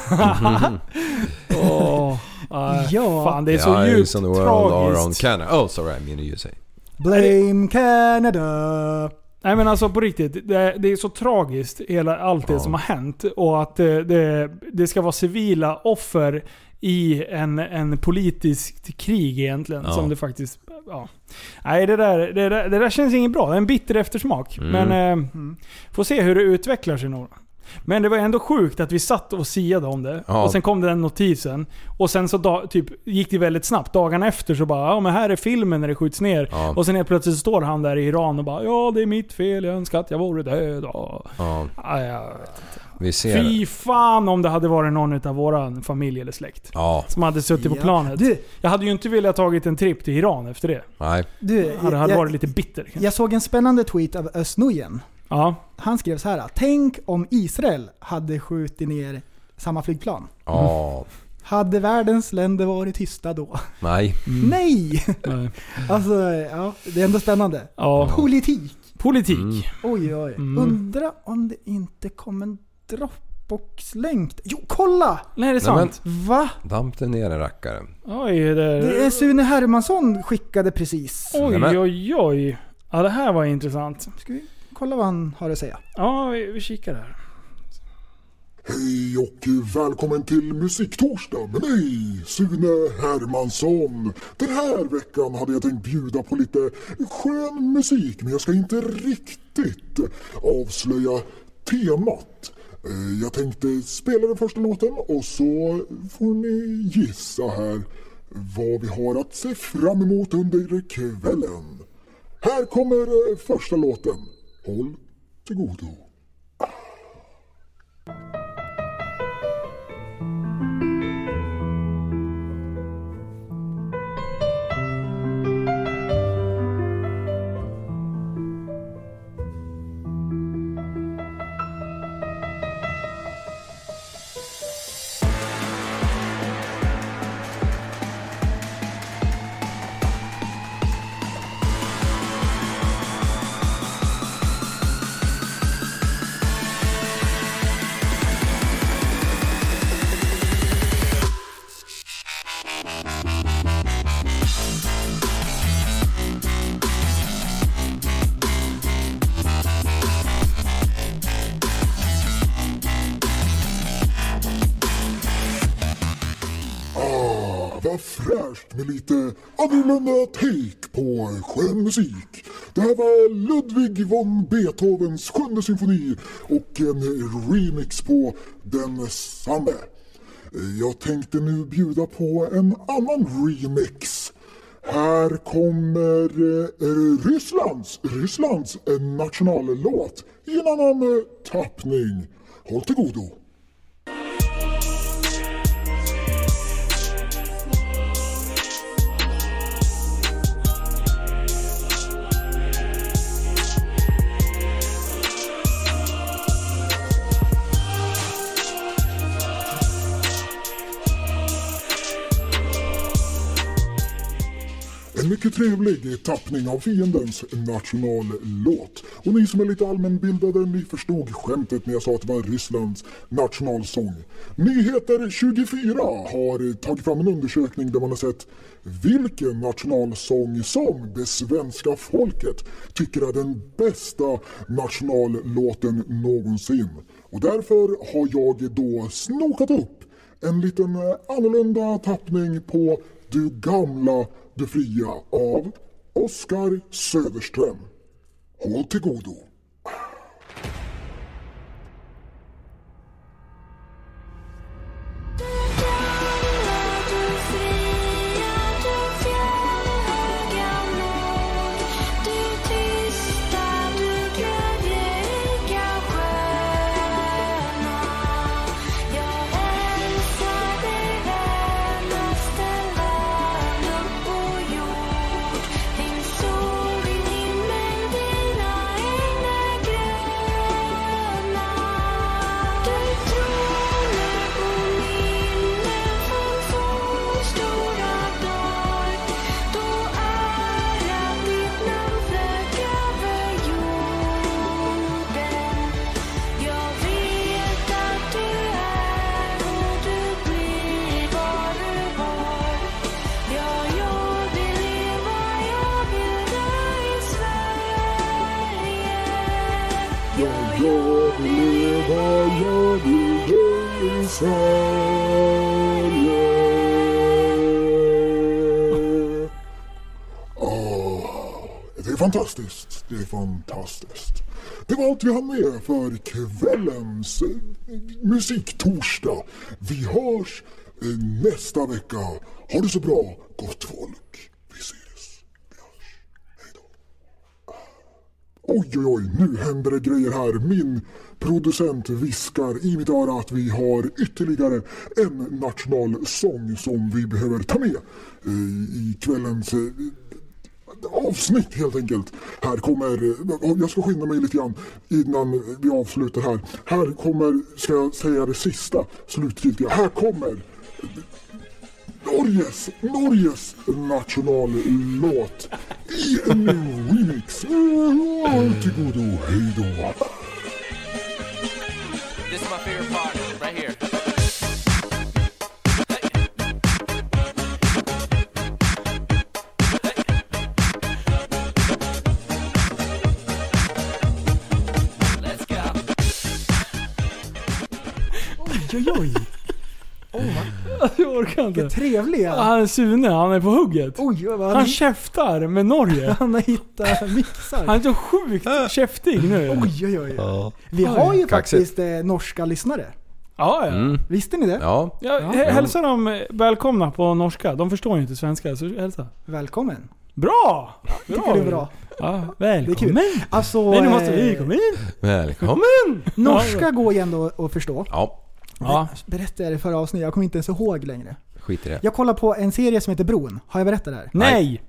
Speaker 5: Åh, nej,
Speaker 7: Ja.
Speaker 5: Fan, det är så
Speaker 6: The eyes
Speaker 5: djupt
Speaker 6: on liksom the world are on
Speaker 5: tragiskt.
Speaker 6: Canada. Oh sorry, I mean USA.
Speaker 7: Blame Canada.
Speaker 5: Nej men alltså på riktigt, det är, det är så tragiskt hela, allt det
Speaker 6: Ja.
Speaker 5: som har hänt. Och att eh, det, det ska vara civila offer i en, en politiskt krig egentligen.
Speaker 6: Ja.
Speaker 5: Som det faktiskt... Ja. Nej det där, det, där, det där känns inget bra. Det är en bitter eftersmak.
Speaker 6: Mm.
Speaker 5: Men eh, får se hur det utvecklar sig nog. Men det var ändå sjukt att vi satt och siade om det.
Speaker 6: Ja.
Speaker 5: Och sen kom den notisen. Och sen så da, typ, gick det väldigt snabbt. Dagarna efter så bara ja men här är filmen när det skjuts ner.
Speaker 6: Ja.
Speaker 5: Och sen helt plötsligt står han där i Iran och bara ja det är mitt fel, jag önskar att jag vore död. Ja,
Speaker 6: Ja,
Speaker 5: jag vet.
Speaker 6: vi ser.
Speaker 5: Fy fan om det hade varit någon av våran familj eller släkt.
Speaker 6: Ja,
Speaker 5: Som hade suttit på
Speaker 7: Ja.
Speaker 5: planet.
Speaker 7: Du,
Speaker 5: Jag hade ju inte velat tagit en tripp till Iran efter det.
Speaker 6: nej.
Speaker 7: du
Speaker 5: Jag hade, hade varit
Speaker 7: jag,
Speaker 5: lite bitter.
Speaker 7: jag såg en spännande tweet av Özz Nujen.
Speaker 5: Ja.
Speaker 7: Han skrev så här. Tänk om Israel hade skjutit ner samma flygplan.
Speaker 6: Ja,
Speaker 7: Hade världens länder varit tysta då?
Speaker 6: nej.
Speaker 5: Mm.
Speaker 7: Nej!
Speaker 5: nej.
Speaker 7: Alltså, ja, det är ändå spännande.
Speaker 5: ja.
Speaker 7: Politik.
Speaker 5: Politik.
Speaker 6: Mm.
Speaker 7: Oj, oj.
Speaker 5: Mm.
Speaker 7: Undra om det inte kom en Dropbox-länk. Jo, kolla!
Speaker 5: Nej det är
Speaker 6: Nej, men-
Speaker 5: sant.
Speaker 7: Va?
Speaker 6: Damp det ner en rackare.
Speaker 5: Oj, det...
Speaker 7: Det är Sune Hermansson skickade precis.
Speaker 6: Nej,
Speaker 5: oj,
Speaker 6: men-
Speaker 5: oj, oj. Ja det här var intressant.
Speaker 7: Ska vi kolla vad han har att säga?
Speaker 5: Ja, vi, vi kikar där.
Speaker 9: Hej och välkommen till Musiktorsdag med mig, Sune Hermansson. Den här veckan hade jag tänkt bjuda på lite skön musik men jag ska inte riktigt avslöja temat. Eh, Jag tänkte spela den första låten och så får ni gissa här vad vi har att se fram emot under kvällen. Här kommer eh, första låten. Håll till godo. ganska fräscht med lite annorlunda take på skön musik. Det här var Ludwig von Beethovens sjunde symfoni och en remix på densamme. Jag tänkte nu bjuda på en annan remix. Här kommer eh, Rysslands, Rysslands eh, nationallåt i en annan eh, tappning. Håll till godo! En mycket trevlig tappning av fiendens nationallåt. Och ni som är lite allmänbildade, ni förstod skämtet när jag sa att det var Rysslands nationalsång. Nyheter 24 har tagit fram en undersökning där man har sett vilken nationalsång som det svenska folket tycker är den bästa nationallåten någonsin. Och därför har jag då snokat upp en liten eh, annorlunda tappning på Du gamla, du fria av Oskar Söderström. Håll till godo. Ja, jag vill leva, jag vill dö i Sverige. Ah, det är fantastiskt. Det är fantastiskt. Det var allt vi hann med för kvällens eh, musiktorsdag. Vi hörs eh, nästa vecka. Ha det så bra, gott folk. Vi ses. Vi hörs. Hej då. Oj, oj, oj, nu händer det grejer här. Min producent viskar i mitt öra att vi har ytterligare en nationalsång som vi behöver ta med eh, i kvällens eh, avsnitt helt enkelt. Här kommer, eh, jag ska skynda mig lite grann innan vi avslutar här. Här kommer, ska jag säga det sista, slutgiltiga. Här kommer Norges, Norges nationallåt i en remix. Håll till godo, hej då.
Speaker 1: This is my favorite part, right here. Let's go.
Speaker 7: Oj, oj, oj.
Speaker 5: Jag orkar inte.
Speaker 7: Vilket trevlig han är.
Speaker 5: Han Sune, han är på hugget.
Speaker 7: Oj, vad han,
Speaker 5: Han käftar med Norge.
Speaker 7: han har hittat mixar.
Speaker 5: Han är så sjukt käftig nu.
Speaker 7: Äh. Oj, oj, oj. Vi har ju
Speaker 6: Kaxigt.
Speaker 7: faktiskt eh, norska lyssnare.
Speaker 5: Ja, ja.
Speaker 6: Mm.
Speaker 7: Visste ni det?
Speaker 6: Ja.
Speaker 5: Jag hä- hälsar dem välkomna på norska. De förstår ju inte svenska, så hälsa.
Speaker 7: Välkommen.
Speaker 5: Bra! Bra!
Speaker 7: Tycker det är bra.
Speaker 5: Ja,
Speaker 7: Det är kul.
Speaker 5: välkommen.
Speaker 7: Alltså,
Speaker 5: Nej, nu måste
Speaker 7: eh,
Speaker 5: vi komma in.
Speaker 6: Välkommen!
Speaker 7: norska går ju ändå att förstå.
Speaker 6: Ja,
Speaker 5: Ja.
Speaker 7: Berättade jag det i förra avsnittet, jag kommer inte ens ihåg längre.
Speaker 6: skit i det.
Speaker 7: Jag kollar på en serie som heter Bron. Har jag berättat det här?
Speaker 5: Nej!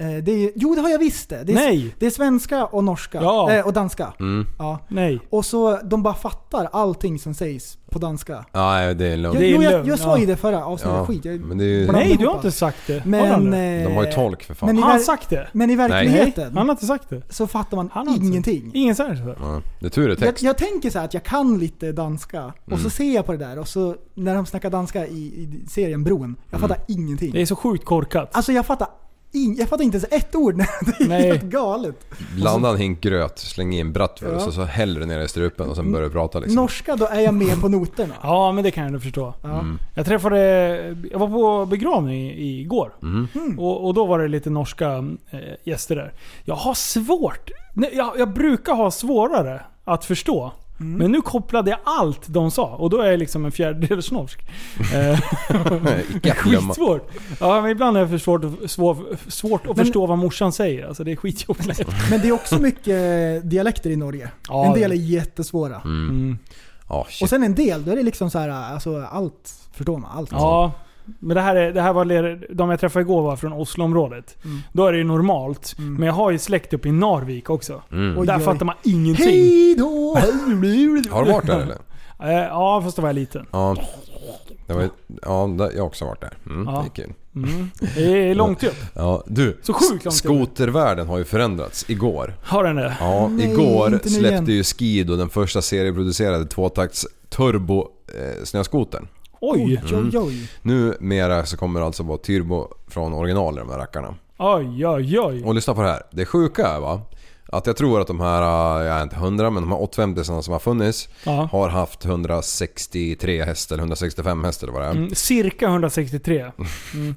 Speaker 7: Eh, det är, jo, det har jag visst det. det är,
Speaker 5: Nej.
Speaker 7: Det är svenska och norska.
Speaker 5: Ja.
Speaker 7: Eh, och danska.
Speaker 6: Mm.
Speaker 7: Ja.
Speaker 5: Nej.
Speaker 7: Och så de bara fattar allting som sägs på danska.
Speaker 6: Nej, det är
Speaker 7: Jag,
Speaker 6: lugnt.
Speaker 5: är
Speaker 7: jo, jag,
Speaker 5: lugnt,
Speaker 7: jag sa
Speaker 5: ja.
Speaker 7: ju det förra avsnittet.
Speaker 6: Ja,
Speaker 7: Skit. Jag,
Speaker 6: men det är ju-
Speaker 7: blandar
Speaker 5: Nej, du
Speaker 7: ihop
Speaker 5: har inte
Speaker 7: allt.
Speaker 5: sagt det. Har han
Speaker 7: Men,
Speaker 5: det?
Speaker 7: eh,
Speaker 6: De har ju tolk för fan.
Speaker 7: men i,
Speaker 5: Har han
Speaker 7: ver-
Speaker 5: sagt det?
Speaker 7: men i verkligheten
Speaker 5: Han har inte sagt det.
Speaker 7: så fattar man
Speaker 5: Han har inte-
Speaker 7: ingenting.
Speaker 5: Ingen säger så.
Speaker 6: Ja, det är tur det är
Speaker 7: Jag,
Speaker 6: text.
Speaker 7: jag tänker så här att jag kan lite danska och
Speaker 5: Mm.
Speaker 7: så ser jag på det där och så när de snackar danska i, i serien Bron. Jag fattar ingenting.
Speaker 5: Mm. Det är så sjukt korkat.
Speaker 7: Alltså jag fattar in, jag fattar inte ens ett ord. Det är
Speaker 5: Nej.
Speaker 7: helt galet.
Speaker 6: Blanda en hink gröt, släng i en bratwurst
Speaker 7: Ja.
Speaker 6: och så häller du ner det i strupen och sen börjar du prata liksom.
Speaker 7: Norska, då är jag med på noterna.
Speaker 5: Ja, Mm. men det kan jag ändå förstå. Jag träffade... Jag var på begravning i- igår.
Speaker 7: Mm.
Speaker 5: Och, och då var det lite norska eh, gäster där. Jag har svårt... Nej, jag, jag brukar ha svårare att förstå.
Speaker 7: Mm.
Speaker 5: Men nu kopplade jag allt de sa och då är jag liksom en fjärdedels norsk. Eh,
Speaker 6: Icke att glömma.
Speaker 5: skitsvårt. Ja, men ibland är det för svårt, att- svår, svårt att
Speaker 7: Men-
Speaker 5: förstå vad morsan säger. Alltså det är skitjobbigt.
Speaker 7: Men det är också mycket dialekter i Norge.
Speaker 5: Ja,
Speaker 7: en del är
Speaker 5: det-
Speaker 7: jättesvåra.
Speaker 5: Mm.
Speaker 6: Ja,
Speaker 7: Och
Speaker 6: shit.
Speaker 7: sen en del, då är det liksom så här, alltså allt. Förstår man? Allt.
Speaker 5: Ja, men det här, är, det här var ler- de jag träffade igår var från Osloområdet. Då är det ju normalt. Men jag har ju släkt uppe i Narvik också.
Speaker 6: Mm.
Speaker 5: Och där
Speaker 7: Oj, oj.
Speaker 5: fattar man ingenting.
Speaker 7: Hej då!
Speaker 6: Har du varit där eller?
Speaker 5: Eh, Ja, fast då var jag liten.
Speaker 6: Ja. Det var, ja, där- jag har också varit där. Mm,
Speaker 5: Ja.
Speaker 6: Det är kul.
Speaker 5: Mm. Det är långt upp.
Speaker 6: Ja, du,
Speaker 5: Så sjukt långt
Speaker 6: skotervärlden har ju förändrats igår.
Speaker 5: Har den det?
Speaker 6: Ja,
Speaker 7: Nej,
Speaker 6: igår
Speaker 7: inte nu
Speaker 6: släppte
Speaker 7: igen.
Speaker 6: ju Skido den första serieproducerade tvåtakts turbo eh, snöskotern.
Speaker 5: Oj!
Speaker 7: Oj, oj, oj.
Speaker 6: Numera så kommer det alltså vara turbo från original i de här rackarna.
Speaker 5: Oj, oj, oj.
Speaker 6: Och lyssna på det här. Det sjuka är va, att jag tror att de här, eh, jag är inte hundra, men de här 850 som har funnits
Speaker 5: Ja.
Speaker 6: har haft 163 häst eller 165 häst eller vad det är.
Speaker 5: Mm, Cirka 163.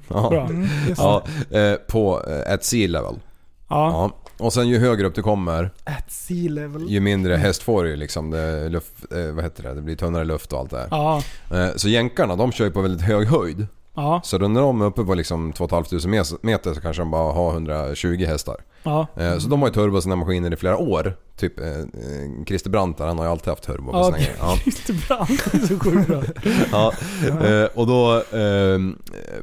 Speaker 6: Ja.
Speaker 5: Bra.
Speaker 7: Just det.
Speaker 6: Ja, eh, på eh, at sea level.
Speaker 5: Mm, Ja.
Speaker 6: Ja. Och sen ju högre upp du kommer,
Speaker 7: At sea level.
Speaker 6: ju mindre häst får du ju liksom. Det, luft, eh, vad heter det? det blir tunnare luft och allt det här.
Speaker 5: Ja.
Speaker 6: Eh, Så jänkarna de kör ju på väldigt hög höjd.
Speaker 5: Ja.
Speaker 6: Så då när de är uppe på liksom 2500 meter så kanske de bara har 120 hästar.
Speaker 5: Ja.
Speaker 6: Eh, Så de har ju turbo i sina maskiner i flera år. Typ eh, eh, Christer Brantar, han har ju alltid haft turbo på sina
Speaker 5: Ja.
Speaker 6: grejer. Ja.
Speaker 5: Christer Brandt är så sjukt bra.
Speaker 6: Ja, eh, och då... Eh,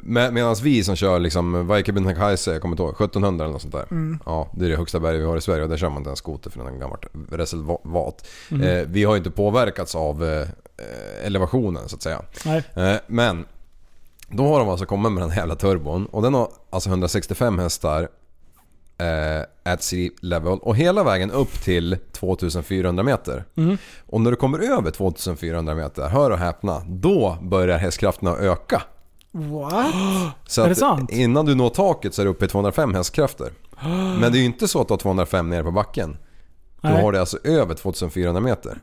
Speaker 6: med, medan vi som kör liksom Vajkebenhekajse, jag kommer inte ihåg, 1700 eller något sånt där. Ja, det är det högsta berget vi har i Sverige och där kör man inte en skoter för den är ett gammalt reservat. Eh, vi har ju inte påverkats av eh, eh, elevationen så att säga.
Speaker 5: Nej.
Speaker 6: Eh, men då har de alltså kommit med den här jävla turbon och den har alltså 165 hästar eh, at sea level och hela vägen upp till 2400 meter.
Speaker 5: Mhm.
Speaker 6: Och när du kommer över 2400 meter, hör och häpna, då börjar hästkrafterna att öka.
Speaker 7: What?
Speaker 6: Så
Speaker 5: Är det
Speaker 6: att
Speaker 5: sant?
Speaker 6: innan du når taket så är du uppe i 205 hästkrafter. Men det är ju inte så att du har 205 nere på backen. Du
Speaker 5: Nej.
Speaker 6: har det alltså över 2400 meter.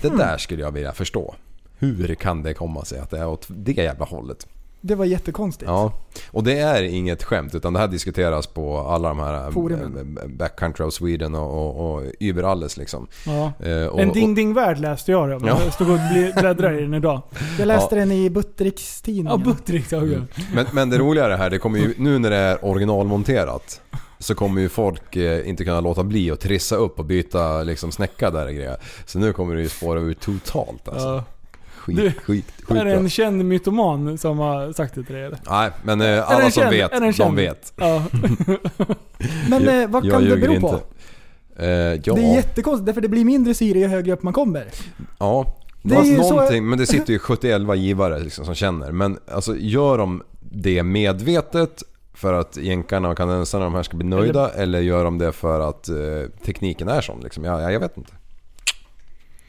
Speaker 6: Det
Speaker 5: Hmm.
Speaker 6: där skulle jag vilja förstå. Hur kan det komma sig att det är åt det jävla hållet?
Speaker 7: Det var jättekonstigt.
Speaker 6: Ja, och det är inget skämt utan det här diskuteras på alla de här
Speaker 7: Forumen.
Speaker 6: eh, Backcountry of Sweden och, och, och Uber alles liksom.
Speaker 5: Ja.
Speaker 6: Eh, och,
Speaker 5: En ding ding värld läste jag det om.
Speaker 6: Ja.
Speaker 5: Jag stod och bli- bläddrade i den idag.
Speaker 7: Jag läste den i Buttericks
Speaker 5: Ja,
Speaker 7: tidningen.
Speaker 5: Buttrick sa jag.
Speaker 6: Men, men det roliga är det här, det kommer ju, nu när det är originalmonterat så kommer ju folk eh, inte kunna låta bli att trissa upp och byta liksom snäcka där och grejer. Så nu kommer det ju spåra ur totalt alltså.
Speaker 5: Ja.
Speaker 6: Skit,
Speaker 5: Du,
Speaker 6: skit, skit,
Speaker 5: Är det
Speaker 6: bra.
Speaker 5: en känd mytoman som har sagt det till dig eller?
Speaker 6: Nej, men eh,
Speaker 5: Är det
Speaker 6: alla
Speaker 5: en
Speaker 6: som
Speaker 5: känd? Är det en
Speaker 6: vet, de
Speaker 5: känd?
Speaker 6: vet.
Speaker 5: Ja.
Speaker 7: Men
Speaker 6: Jag-
Speaker 7: eh, vad
Speaker 6: jag
Speaker 7: kan det
Speaker 6: ljuger
Speaker 7: bero på?
Speaker 6: inte. Eh, ja,
Speaker 7: Det är jättekonstigt, därför det blir mindre syre ju högre upp man kommer.
Speaker 6: ja.
Speaker 7: Det
Speaker 6: Det
Speaker 7: är ju så-
Speaker 6: någonting, men det sitter ju 71 givare liksom, som känner. Men alltså, gör de det medvetet för att jänkarna och kanadensarna de här ska bli nöjda eller, gör de det för att eh, tekniken är sån? Liksom? Jag, jag, jag vet inte.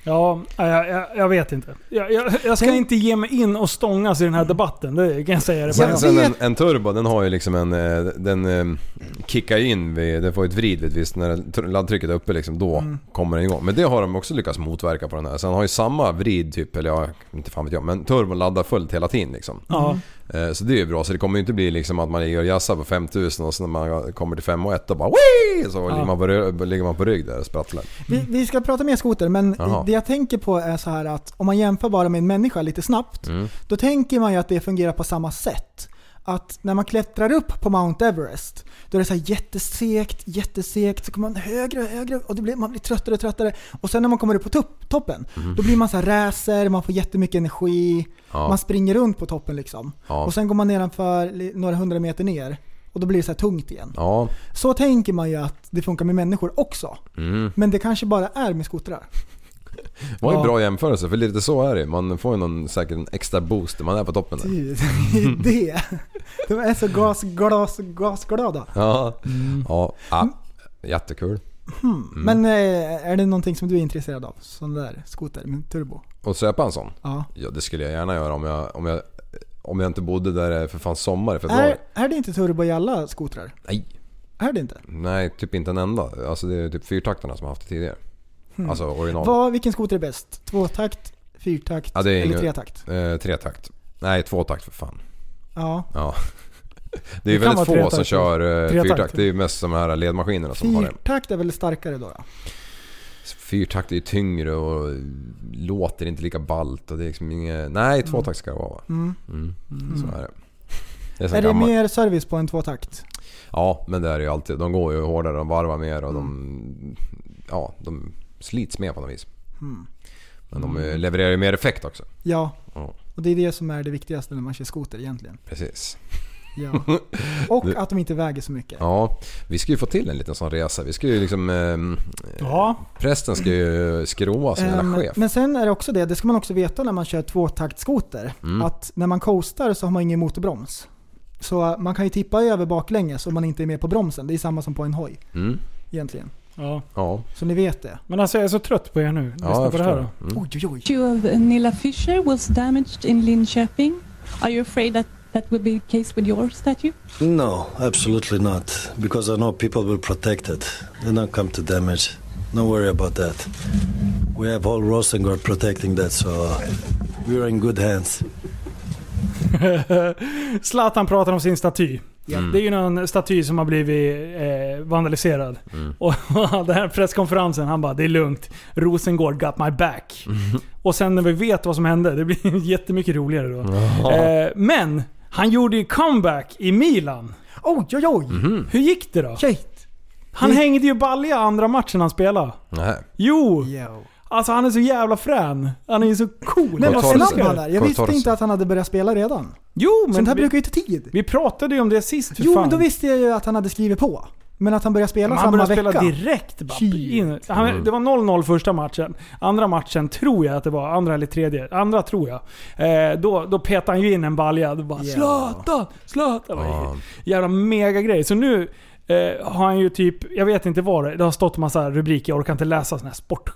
Speaker 5: Ja, jag, jag, jag vet inte. Jag, jag, jag ska
Speaker 7: Tänk-
Speaker 5: inte ge mig in och stångas i den här debatten. Det kan jag säga. Det
Speaker 7: Jag
Speaker 6: Sen,
Speaker 5: bara.
Speaker 7: vet-
Speaker 6: sen en, en turbo den har ju liksom en... eh, Den eh, kickar ju in vid... Den får ju ett vrid vid ett visst... När tr- laddtrycket är uppe liksom, då kommer den igång. Men det har de också lyckats motverka på den här. Sen har ju samma vrid typ, eller ja, inte fan vet jag. Men turbon laddar fullt hela tiden liksom.
Speaker 5: Ja.
Speaker 6: Eh, Så det är ju bra. Så det kommer ju inte bli liksom att man ligger och jassar på 5000 och sen när man kommer till 5 och 1 och bara Wii! Så ligger, man på, rö- ligger man på rygg där och sprattlar.
Speaker 7: Vi, vi ska prata mer skoter, men
Speaker 6: Mm. Jaha.
Speaker 7: det jag tänker på är så här att om man jämför bara med en människa lite snabbt,
Speaker 6: Mm.
Speaker 7: då tänker man ju att det fungerar på samma sätt. Att när man klättrar upp på Mount Everest, då är det så här jättesekt, jättesekt, så kommer man högre och högre och det blir, man blir tröttare och tröttare. Och sen när man kommer upp på tupp, toppen, då blir man så här räser, man får jättemycket energi,
Speaker 6: Mm. Ja.
Speaker 7: man springer runt på toppen liksom.
Speaker 6: Ja.
Speaker 7: Och sen går man nedanför li- några hundra meter ner och då blir det så här tungt igen.
Speaker 6: Ja.
Speaker 7: Så tänker man ju att det funkar med människor också.
Speaker 6: Mm.
Speaker 7: Men det kanske bara är med skotrar.
Speaker 6: Det var ju
Speaker 5: Ja.
Speaker 6: en bra jämförelse för lite så är det Man får ju någon, säkert en extra boost när man är på toppen där.
Speaker 7: Gud, det
Speaker 6: Mm.
Speaker 7: är det. De är så gas, glas, gasglada.
Speaker 6: Ja. Ja. ja. Jättekul. Mm.
Speaker 7: Men eh, är det någonting som du är intresserad av? Sån där skoter med turbo?
Speaker 6: Och söpa en sån?
Speaker 7: Ja.
Speaker 6: Ja det skulle jag gärna göra om jag, om jag Om jag inte bodde där det för fan sommar för ett
Speaker 7: Är,
Speaker 6: år.
Speaker 7: är det inte turbo i alla skotrar?
Speaker 6: Nej.
Speaker 7: Är det inte?
Speaker 6: Nej, typ inte en enda. Alltså det är typ fyrtaktarna som har haft det tidigare. Alltså original.
Speaker 7: Vad, vilken skoter är bäst? Tvåtakt, fyrtakt
Speaker 6: Ja, det är
Speaker 7: eller
Speaker 6: ingen-
Speaker 7: tretakt?
Speaker 6: Eh, tretakt. Nej, tvåtakt för fan.
Speaker 7: Ja.
Speaker 6: Ja. Det är ju
Speaker 5: Det kan
Speaker 6: väldigt få
Speaker 5: vara
Speaker 6: som
Speaker 5: tretakt.
Speaker 6: kör eh,
Speaker 5: Tretakt.
Speaker 6: fyrtakt. Det är ju mest de här ledmaskinerna som har det.
Speaker 7: Fyrtakt är väl starkare då? ja.
Speaker 6: Fyrtakt är ju tyngre och låter inte lika ballt. Och det är liksom inget... Nej, tvåtakt ska det vara va?
Speaker 7: Mm.
Speaker 6: Mm. Så är det. Det är, så
Speaker 7: Är det
Speaker 6: gammalt.
Speaker 7: mer service på en tvåtakt?
Speaker 6: Ja, men det är det ju alltid. De går ju hårdare, de varvar mer och de... Ja, de slits mer på något vis.
Speaker 7: Mm.
Speaker 6: Men de eh, levererar ju mer effekt också.
Speaker 7: Ja.
Speaker 6: Ja.
Speaker 7: Och det är det som är det viktigaste när man kör skoter egentligen.
Speaker 6: Precis.
Speaker 7: Ja. Och att de inte väger så mycket.
Speaker 6: Ja, vi ska ju få till en liten sån resa. Vi ska ju liksom... ehm,
Speaker 5: Ja,
Speaker 6: Prästen ska ju skroa som
Speaker 7: Ehm,
Speaker 6: hela chef.
Speaker 7: men sen är det också det, det ska man också veta när man kör tvåtaktskoter,
Speaker 6: Mm.
Speaker 7: att när man coastar så har man ingen motorbroms. Så eh, man kan ju tippa över baklänges om man inte är med på bromsen. Det är samma som på en hoj
Speaker 6: Mm.
Speaker 7: egentligen.
Speaker 5: ja.
Speaker 6: Ja,
Speaker 7: Så ni vet det.
Speaker 5: Men alltså jag är så trött på er nu. Lyssna
Speaker 6: ja jag
Speaker 5: på det här
Speaker 6: förstår.
Speaker 5: då.
Speaker 6: Mm.
Speaker 7: Oj, oj, oj.
Speaker 10: statue of Nilla Fisher was damaged in Linköping. Are you afraid that that will be the case with your statue?
Speaker 11: No, absolutely not. Because I know people will protect it. They don't come to damage. Don't worry about that. We have all Rosengård protecting that, so we're in good hands.
Speaker 5: Zlatan pratar om sin staty.
Speaker 7: Ja.
Speaker 6: Mm.
Speaker 5: Det är ju någon staty som har blivit eh, vandaliserad.
Speaker 6: Mm.
Speaker 5: Och den här presskonferensen, han bara “Det är lugnt, Rosengård got my back”.
Speaker 6: Mm.
Speaker 5: Och sen när vi vet vad som hände, det blir jättemycket roligare då. Eh, men, han gjorde ju comeback i Milan.
Speaker 7: Oj, oj, oj.
Speaker 6: Mhm. Mm.
Speaker 5: Hur gick det då?
Speaker 7: Shit.
Speaker 5: Han hängde ju balja andra matchen han spelade.
Speaker 6: Nej.
Speaker 5: Jo!
Speaker 7: Yo.
Speaker 5: Alltså han är så jävla frän. Han är ju så cool.
Speaker 7: Men
Speaker 6: Vad
Speaker 7: vad
Speaker 6: tar det
Speaker 7: snabb
Speaker 6: sig?
Speaker 7: han är. Jag
Speaker 6: Vad tar
Speaker 7: visste
Speaker 6: det
Speaker 7: inte
Speaker 6: sig?
Speaker 7: att han hade börjat spela redan.
Speaker 5: Jo men
Speaker 7: Sånt här
Speaker 5: vi,
Speaker 7: brukar ju ta tid.
Speaker 5: vi pratade ju om det sist för
Speaker 7: Jo,
Speaker 5: fan.
Speaker 7: men då visste jag ju att han hade skrivit på. Men att han började spela
Speaker 5: Men han
Speaker 7: samma
Speaker 5: började
Speaker 7: vecka.
Speaker 5: spela direkt. Bara,
Speaker 7: Shit.
Speaker 5: in. Han, det var 0-0 första matchen. Andra matchen tror jag att det var. Andra eller tredje. Andra tror jag. Eh, då, då petade han ju in en balja. Då bara
Speaker 7: Ja.
Speaker 5: “Zlatan! Zlatan!”
Speaker 6: Ja.
Speaker 5: Jävla megagrej. Så nu eh, har han ju typ, jag vet inte vad det Det har stått massa rubriker. Jag orkar inte läsa sån här sportskit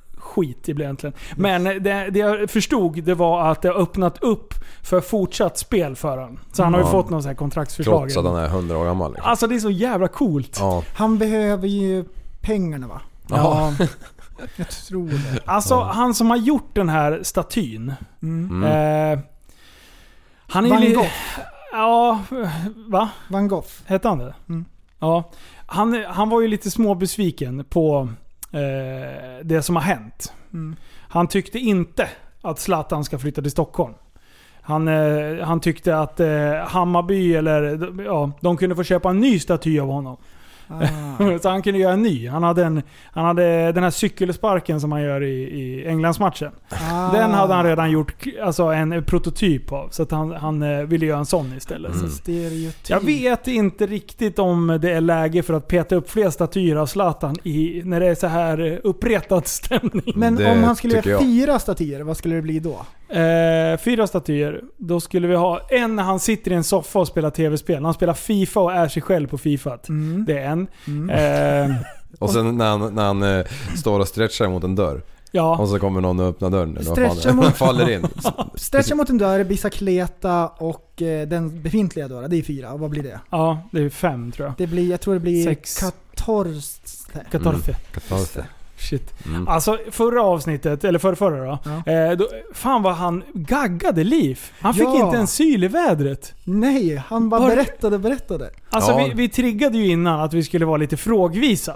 Speaker 5: egentligen. Men det, det jag förstod det var att det har öppnat upp för fortsatt spel för honom. Så han har ju
Speaker 6: Ja.
Speaker 5: fått någon sån här kontraktsförslag.
Speaker 6: Trots att han är 100 år gammal. Liksom.
Speaker 5: Alltså det är så jävla coolt.
Speaker 6: Ja.
Speaker 7: Han behöver ju pengarna va?
Speaker 5: Ja.
Speaker 7: Jag tror det.
Speaker 5: Alltså han som har gjort den här statyn. Eh, han är
Speaker 7: Mm. Van
Speaker 5: li-
Speaker 7: Gogh.
Speaker 5: Ja, va?
Speaker 7: Van Gogh.
Speaker 5: Hette han det?
Speaker 7: Mm.
Speaker 5: Ja. Han, han var ju lite småbesviken på eh, det som har hänt.
Speaker 7: Mm.
Speaker 5: Han tyckte inte att Zlatan ska flytta till Stockholm. Han, eh, han tyckte att eh, Hammarby eller ja, de kunde få köpa en ny staty av honom.
Speaker 7: Ah.
Speaker 5: Så han kunde göra en ny. Han hade, en, han hade den här cykelsparken som han gör i, i Englandsmatchen.
Speaker 7: Ah.
Speaker 5: Den hade han redan gjort k- alltså, en prototyp av. Så att han, han eh, ville göra en sån istället. Så att-
Speaker 7: Stereotyp.
Speaker 5: jag vet inte riktigt om det är läge för att peta upp fler statyer av Zlatan i, när det är så här eh, uppretad stämning.
Speaker 7: Men
Speaker 6: Det
Speaker 7: om han skulle
Speaker 6: tycker
Speaker 7: göra
Speaker 6: jag.
Speaker 7: fyra statyer, vad skulle det bli då?
Speaker 5: Eh, fyra statyer. Då skulle vi ha en när han sitter i en soffa och spelar tv-spel. Han spelar Fifa och är sig själv på Fifa. Det är en.
Speaker 7: Mm.
Speaker 5: Eh,
Speaker 6: Och sen när han, när han eh, står och stretchar mot en dörr.
Speaker 5: ja.
Speaker 6: Och så kommer någon och öppnar dörren. Eller vad fan det är.
Speaker 7: Stretchar mot-
Speaker 6: faller in.
Speaker 7: Stretcha mot en dörr, bicycleta och eh, den befintliga dörren. Det är fyra. Och Vad blir det?
Speaker 5: ja, det är fem tror jag.
Speaker 7: Det blir, jag tror det blir
Speaker 5: Sex.
Speaker 7: 14.
Speaker 5: Katorfe.
Speaker 6: Katastrof.
Speaker 5: Shit.
Speaker 6: Mm.
Speaker 5: Alltså förra avsnittet, eller förra, förra då,
Speaker 7: Ja.
Speaker 5: eh, då. Fan vad han gaggade liv. Han fick
Speaker 7: Ja.
Speaker 5: inte en syl i vädret.
Speaker 7: Nej, han bara
Speaker 5: Var-
Speaker 7: berättade och berättade.
Speaker 5: Alltså
Speaker 6: Ja.
Speaker 5: vi, vi triggade ju innan att vi skulle vara lite frågvisa.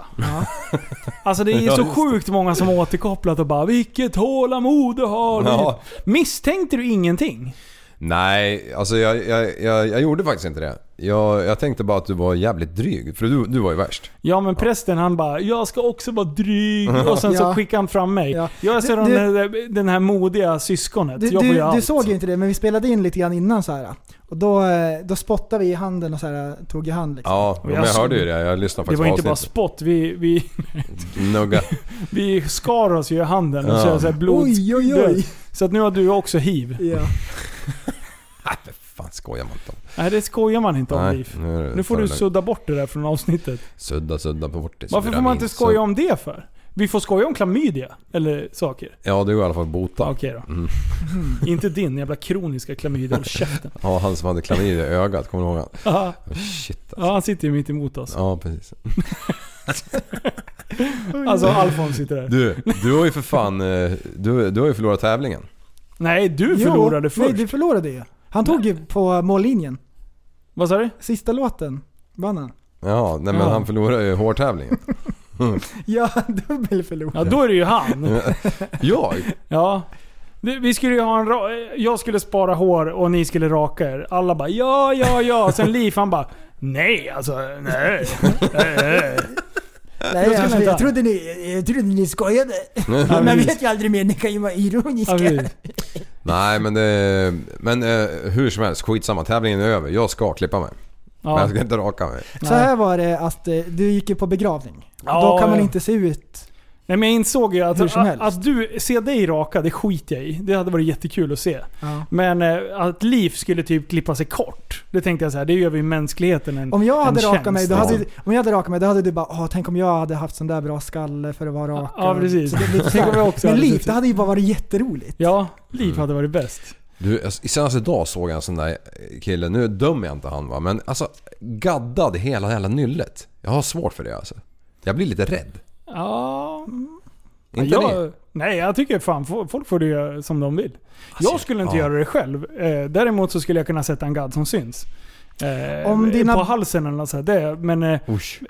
Speaker 7: Ja.
Speaker 5: Alltså det är
Speaker 6: Ja,
Speaker 5: så
Speaker 6: just det.
Speaker 5: sjukt många som har återkopplat och bara “Vilket tålamod du har”.
Speaker 6: Ja.
Speaker 5: Misstänkte du ingenting?
Speaker 6: Nej, alltså jag, jag, jag, jag gjorde faktiskt inte det. Jag, jag tänkte bara att du var jävligt dryg. För du, du var ju värst.
Speaker 5: Ja men prästen han bara “Jag ska också vara dryg” och sen så
Speaker 7: Ja.
Speaker 5: skickade han fram mig.
Speaker 7: Ja.
Speaker 5: Jag är så
Speaker 7: Du-
Speaker 5: den, den här modiga syskonet.
Speaker 7: Du,
Speaker 5: jag får
Speaker 7: du,
Speaker 5: göra
Speaker 7: du
Speaker 5: allt.
Speaker 7: såg ju inte det, men vi spelade in lite grann innan så här. Och då, eh, då spottade vi i handen och så här, tog i hand liksom.
Speaker 6: Ja, men jag
Speaker 5: jag-
Speaker 6: hörde ju det. Jag lyssnade
Speaker 5: alltså, Det
Speaker 6: faktiskt
Speaker 5: var inte
Speaker 6: på
Speaker 5: bara
Speaker 6: avsnittet.
Speaker 5: spott. Vi, vi,
Speaker 6: Nugga.
Speaker 5: Vi skar oss ju i handen och
Speaker 6: Ja.
Speaker 5: så, så, här blod,
Speaker 7: Oj, oj, oj.
Speaker 5: så att nu har du också hiv.
Speaker 7: Ja.
Speaker 6: Nej, för fan skojar man inte om.
Speaker 5: Nej det skojar man inte om
Speaker 6: Nej,
Speaker 5: Liv.
Speaker 6: nu, är det-
Speaker 5: Nu får
Speaker 6: tar
Speaker 5: du
Speaker 6: det lugnt.
Speaker 5: sudda bort det där från avsnittet.
Speaker 6: Sudda, sudda på bort det.
Speaker 5: Varför får man inte skoja om det för? Vi får skoja om klamydia eller saker.
Speaker 6: Ja, du är i alla fall botad.
Speaker 5: Okej då.
Speaker 6: Mm.
Speaker 5: Inte din jävla kroniska klamydia. Håll käften.
Speaker 6: Ja, han som hade klamydia i ögat, kommer du ihåg han?
Speaker 5: Ja,
Speaker 6: Oh, shit alltså.
Speaker 5: han sitter ju mitt emot oss.
Speaker 6: Ja, precis.
Speaker 5: Alltså Alfons sitter där.
Speaker 6: Du, du har ju för fan... eh, Du, du har ju förlorat tävlingen.
Speaker 5: Nej, du förlorade
Speaker 7: jo,
Speaker 5: först.
Speaker 7: Nej, du förlorade ju. Han tog ju på mållinjen.
Speaker 5: Vad sa du?
Speaker 7: Sista låten vann han.
Speaker 6: Ja, nej men
Speaker 5: Ja.
Speaker 6: han förlorade ju hårtävlingen.
Speaker 7: Ja, dubbel förlorare.
Speaker 5: Ja, då är det ju han.
Speaker 6: Jag?
Speaker 5: Ja. Du, Vi skulle ju ha en ra- Jag skulle spara hår och ni skulle raka er. Alla bara ja, ja, ja. Sen Liv han bara nej alltså, nej. nej.
Speaker 7: Nej,
Speaker 5: skulle
Speaker 7: alltså,
Speaker 5: inte
Speaker 7: jag,
Speaker 5: han.
Speaker 7: trodde ni, jag trodde ni skojade.
Speaker 5: Ja,
Speaker 7: Man
Speaker 5: precis.
Speaker 7: vet ju aldrig mer, ni kan ju vara ironiska.
Speaker 5: Ja, precis.
Speaker 6: Nej men det, Men eh, hur som helst, skitsamma. Tävlingen är över. Jag ska klippa mig. Men
Speaker 5: Ja.
Speaker 6: jag ska inte raka mig.
Speaker 7: Så här var det att eh, du gick ju på begravning.
Speaker 5: Ja,
Speaker 7: Då kan man
Speaker 5: ja.
Speaker 7: inte se ut...
Speaker 5: Nej men jag insåg ju att,
Speaker 7: Hur som
Speaker 5: att,
Speaker 7: helst.
Speaker 5: att du, se dig raka, det skiter jag i. Det hade varit jättekul att se.
Speaker 7: Ja.
Speaker 5: Men eh, att Liv skulle typ klippa sig kort. Det tänkte jag så här, det gör vi mänskligheten en
Speaker 7: Om jag hade
Speaker 5: en
Speaker 7: rakat mig, då
Speaker 5: tjänst. liksom.
Speaker 7: hade, om jag hade rakat mig, då hade du bara Åh, tänk om jag hade haft sån där bra skalle för att vara rak.
Speaker 5: Ja precis.
Speaker 7: Så det blir så
Speaker 5: Tänk om jag
Speaker 7: här.
Speaker 5: också
Speaker 7: Men
Speaker 5: hade
Speaker 7: liv,
Speaker 5: suttit-
Speaker 7: det hade ju bara varit jätteroligt.
Speaker 5: Ja, Liv hade varit bäst.
Speaker 6: Du, alltså, i senaste dag såg jag en sån där kille. Nu dömer jag inte han va. Men alltså gaddad hela jävla nyllet. Jag har svårt för det alltså. Jag blir lite rädd.
Speaker 5: Ja... mm.
Speaker 6: Inte
Speaker 5: jag,
Speaker 6: ni?
Speaker 5: Nej, jag tycker fan fo- folk får det göra som de vill.
Speaker 7: Alltså,
Speaker 5: jag skulle inte
Speaker 6: ja.
Speaker 5: göra det själv. Eh, däremot så skulle jag kunna sätta en gadd som syns. Eh,
Speaker 7: Om dina-
Speaker 5: På halsen eller något sånt. Det, men eh,
Speaker 6: Usch.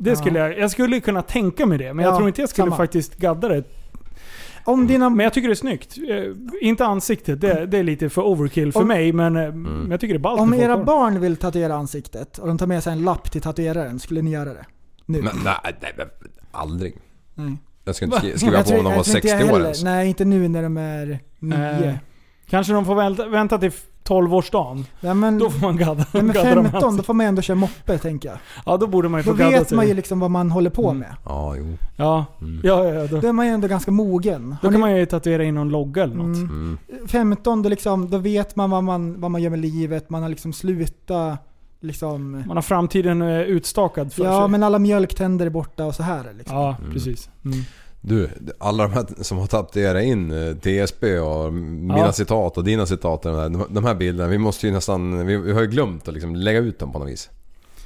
Speaker 5: det skulle jag, jag skulle kunna tänka mig det. Men jag
Speaker 7: Ja,
Speaker 5: tror inte jag skulle
Speaker 7: samma.
Speaker 5: faktiskt gadda det. Mm.
Speaker 7: Om dina...
Speaker 5: Men jag tycker det är snyggt. Eh, inte ansiktet, det, det är lite för overkill för
Speaker 7: Om- Mm.
Speaker 5: mig. Men, eh, men jag tycker det är ballt
Speaker 7: Om
Speaker 5: med folk
Speaker 7: era
Speaker 5: har-
Speaker 7: barn vill tatuera ansiktet och de tar med sig en lapp till tatueraren, skulle ni göra det? Nu?
Speaker 6: Men nej, nej, men aldrig.
Speaker 7: Nej.
Speaker 6: Jag ska inte skri- skriva på om de var
Speaker 7: tror inte
Speaker 6: 60
Speaker 7: Mm. jag
Speaker 6: år
Speaker 7: heller-
Speaker 6: ens.
Speaker 7: Nej, inte nu när de är nio.
Speaker 5: Eh, Kanske de får vänta, vänta till 12-årsdagen.
Speaker 7: Nej, men,
Speaker 5: Då alltså. får man gadda.
Speaker 7: nej, men
Speaker 5: gadda dem
Speaker 7: 15, då
Speaker 5: ansiktet.
Speaker 7: får man ändå köra moppe tänker jag.
Speaker 5: Ja, då borde man ju få
Speaker 7: Då
Speaker 5: gadda
Speaker 7: vet
Speaker 5: sig.
Speaker 7: man ju Mm. liksom vad man håller på
Speaker 5: Mm.
Speaker 7: med.
Speaker 6: Ja, jo.
Speaker 5: Ja, ja, ja, ja då,
Speaker 7: Då är man ju ändå ganska mogen.
Speaker 5: då
Speaker 7: Har
Speaker 5: kan
Speaker 7: ni-
Speaker 5: man ju tatuera in någon logga eller något.
Speaker 7: Mm.
Speaker 6: Mm.
Speaker 7: 15, då, liksom, då vet man vad, man vad man gör med livet. Man har liksom slutat liksom...
Speaker 5: Man har framtiden eh, utstakad för
Speaker 7: Ja,
Speaker 5: sig.
Speaker 7: men alla mjölktänder är borta och så här. Liksom.
Speaker 5: Ja, precis. Mm.
Speaker 6: Du, alla de här som har tatuerat in eh, TSB och mina
Speaker 5: Ja.
Speaker 6: citat och dina citat och de här, de här bilderna. Vi måste ju nästan... Vi, vi har ju glömt att liksom lägga ut dem på något vis.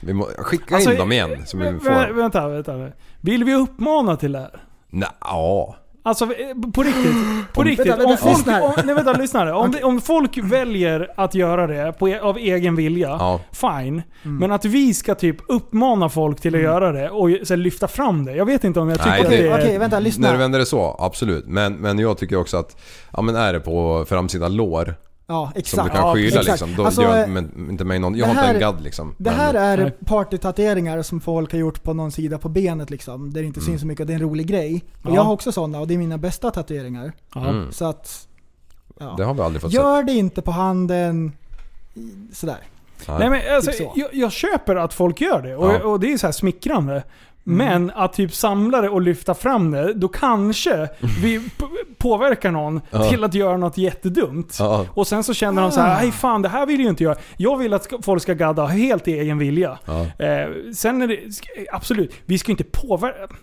Speaker 6: Vi må, skicka
Speaker 5: Alltså,
Speaker 6: in dem igen så vi
Speaker 5: Vä-
Speaker 6: får...
Speaker 5: vä- vänta, vänta. Vill vi uppmana till det här?
Speaker 6: Nja, ja.
Speaker 5: Alltså eh, på riktigt. På riktigt.
Speaker 7: vänta,
Speaker 5: Om
Speaker 7: vänta,
Speaker 5: folk,
Speaker 7: lyssna här.
Speaker 5: om, nej, vänta, lyssna. här. Om, det- om folk väljer att göra det på, e- av egen vilja,
Speaker 6: Ja.
Speaker 5: fine.
Speaker 7: Mm.
Speaker 5: Men att vi ska typ uppmana folk till att göra det och ju- sen lyfta fram det. Jag vet inte om jag tycker
Speaker 6: Mm. Nej,
Speaker 5: att
Speaker 6: det-
Speaker 5: det är...
Speaker 7: Okej, Eh, vänta, lyssna.
Speaker 6: När du vänder det så, absolut. Men, men jag tycker också att... Ja men är det på framsida lår
Speaker 7: Ja,
Speaker 6: som
Speaker 7: exakt.
Speaker 6: du kan
Speaker 7: ja,
Speaker 6: skyla
Speaker 7: exakt.
Speaker 6: liksom. Då
Speaker 7: Alltså,
Speaker 6: gör
Speaker 7: eh,
Speaker 6: men, inte mig någon... Jag
Speaker 7: det
Speaker 6: har inte en
Speaker 7: här-
Speaker 6: gadd liksom.
Speaker 7: Det här är
Speaker 5: Nej.
Speaker 7: partytatueringar som folk har gjort på någon sida på benet liksom. Där det
Speaker 6: Mm.
Speaker 7: inte syns så mycket och det är en rolig grej. Och
Speaker 5: Ja.
Speaker 7: jag har också sådana och det är mina bästa tatueringar.
Speaker 5: Ja.
Speaker 6: Mm.
Speaker 7: Så att... Ja.
Speaker 6: Det har vi aldrig fått
Speaker 7: Gör det inte på handen. i- Sådär.
Speaker 6: se. Nej.
Speaker 5: Nej men alltså,
Speaker 7: Typ så.
Speaker 5: jag, jag köper att folk gör det och,
Speaker 6: Ja. Mm.
Speaker 5: och det är så här smickrande. Men att typ samla det och lyfta fram det, då kanske vi p- påverkar någon
Speaker 6: Mm. Ja.
Speaker 5: till att göra något jättedumt.
Speaker 6: Ja. Ah.
Speaker 5: Och sen så känner de så här, nej fan det här vill ju inte jag. Jag vill att ska- folk ska gadda helt i egen vilja.
Speaker 6: Ja.
Speaker 5: Eh, sen är det, sk- absolut, vi ska inte påverka.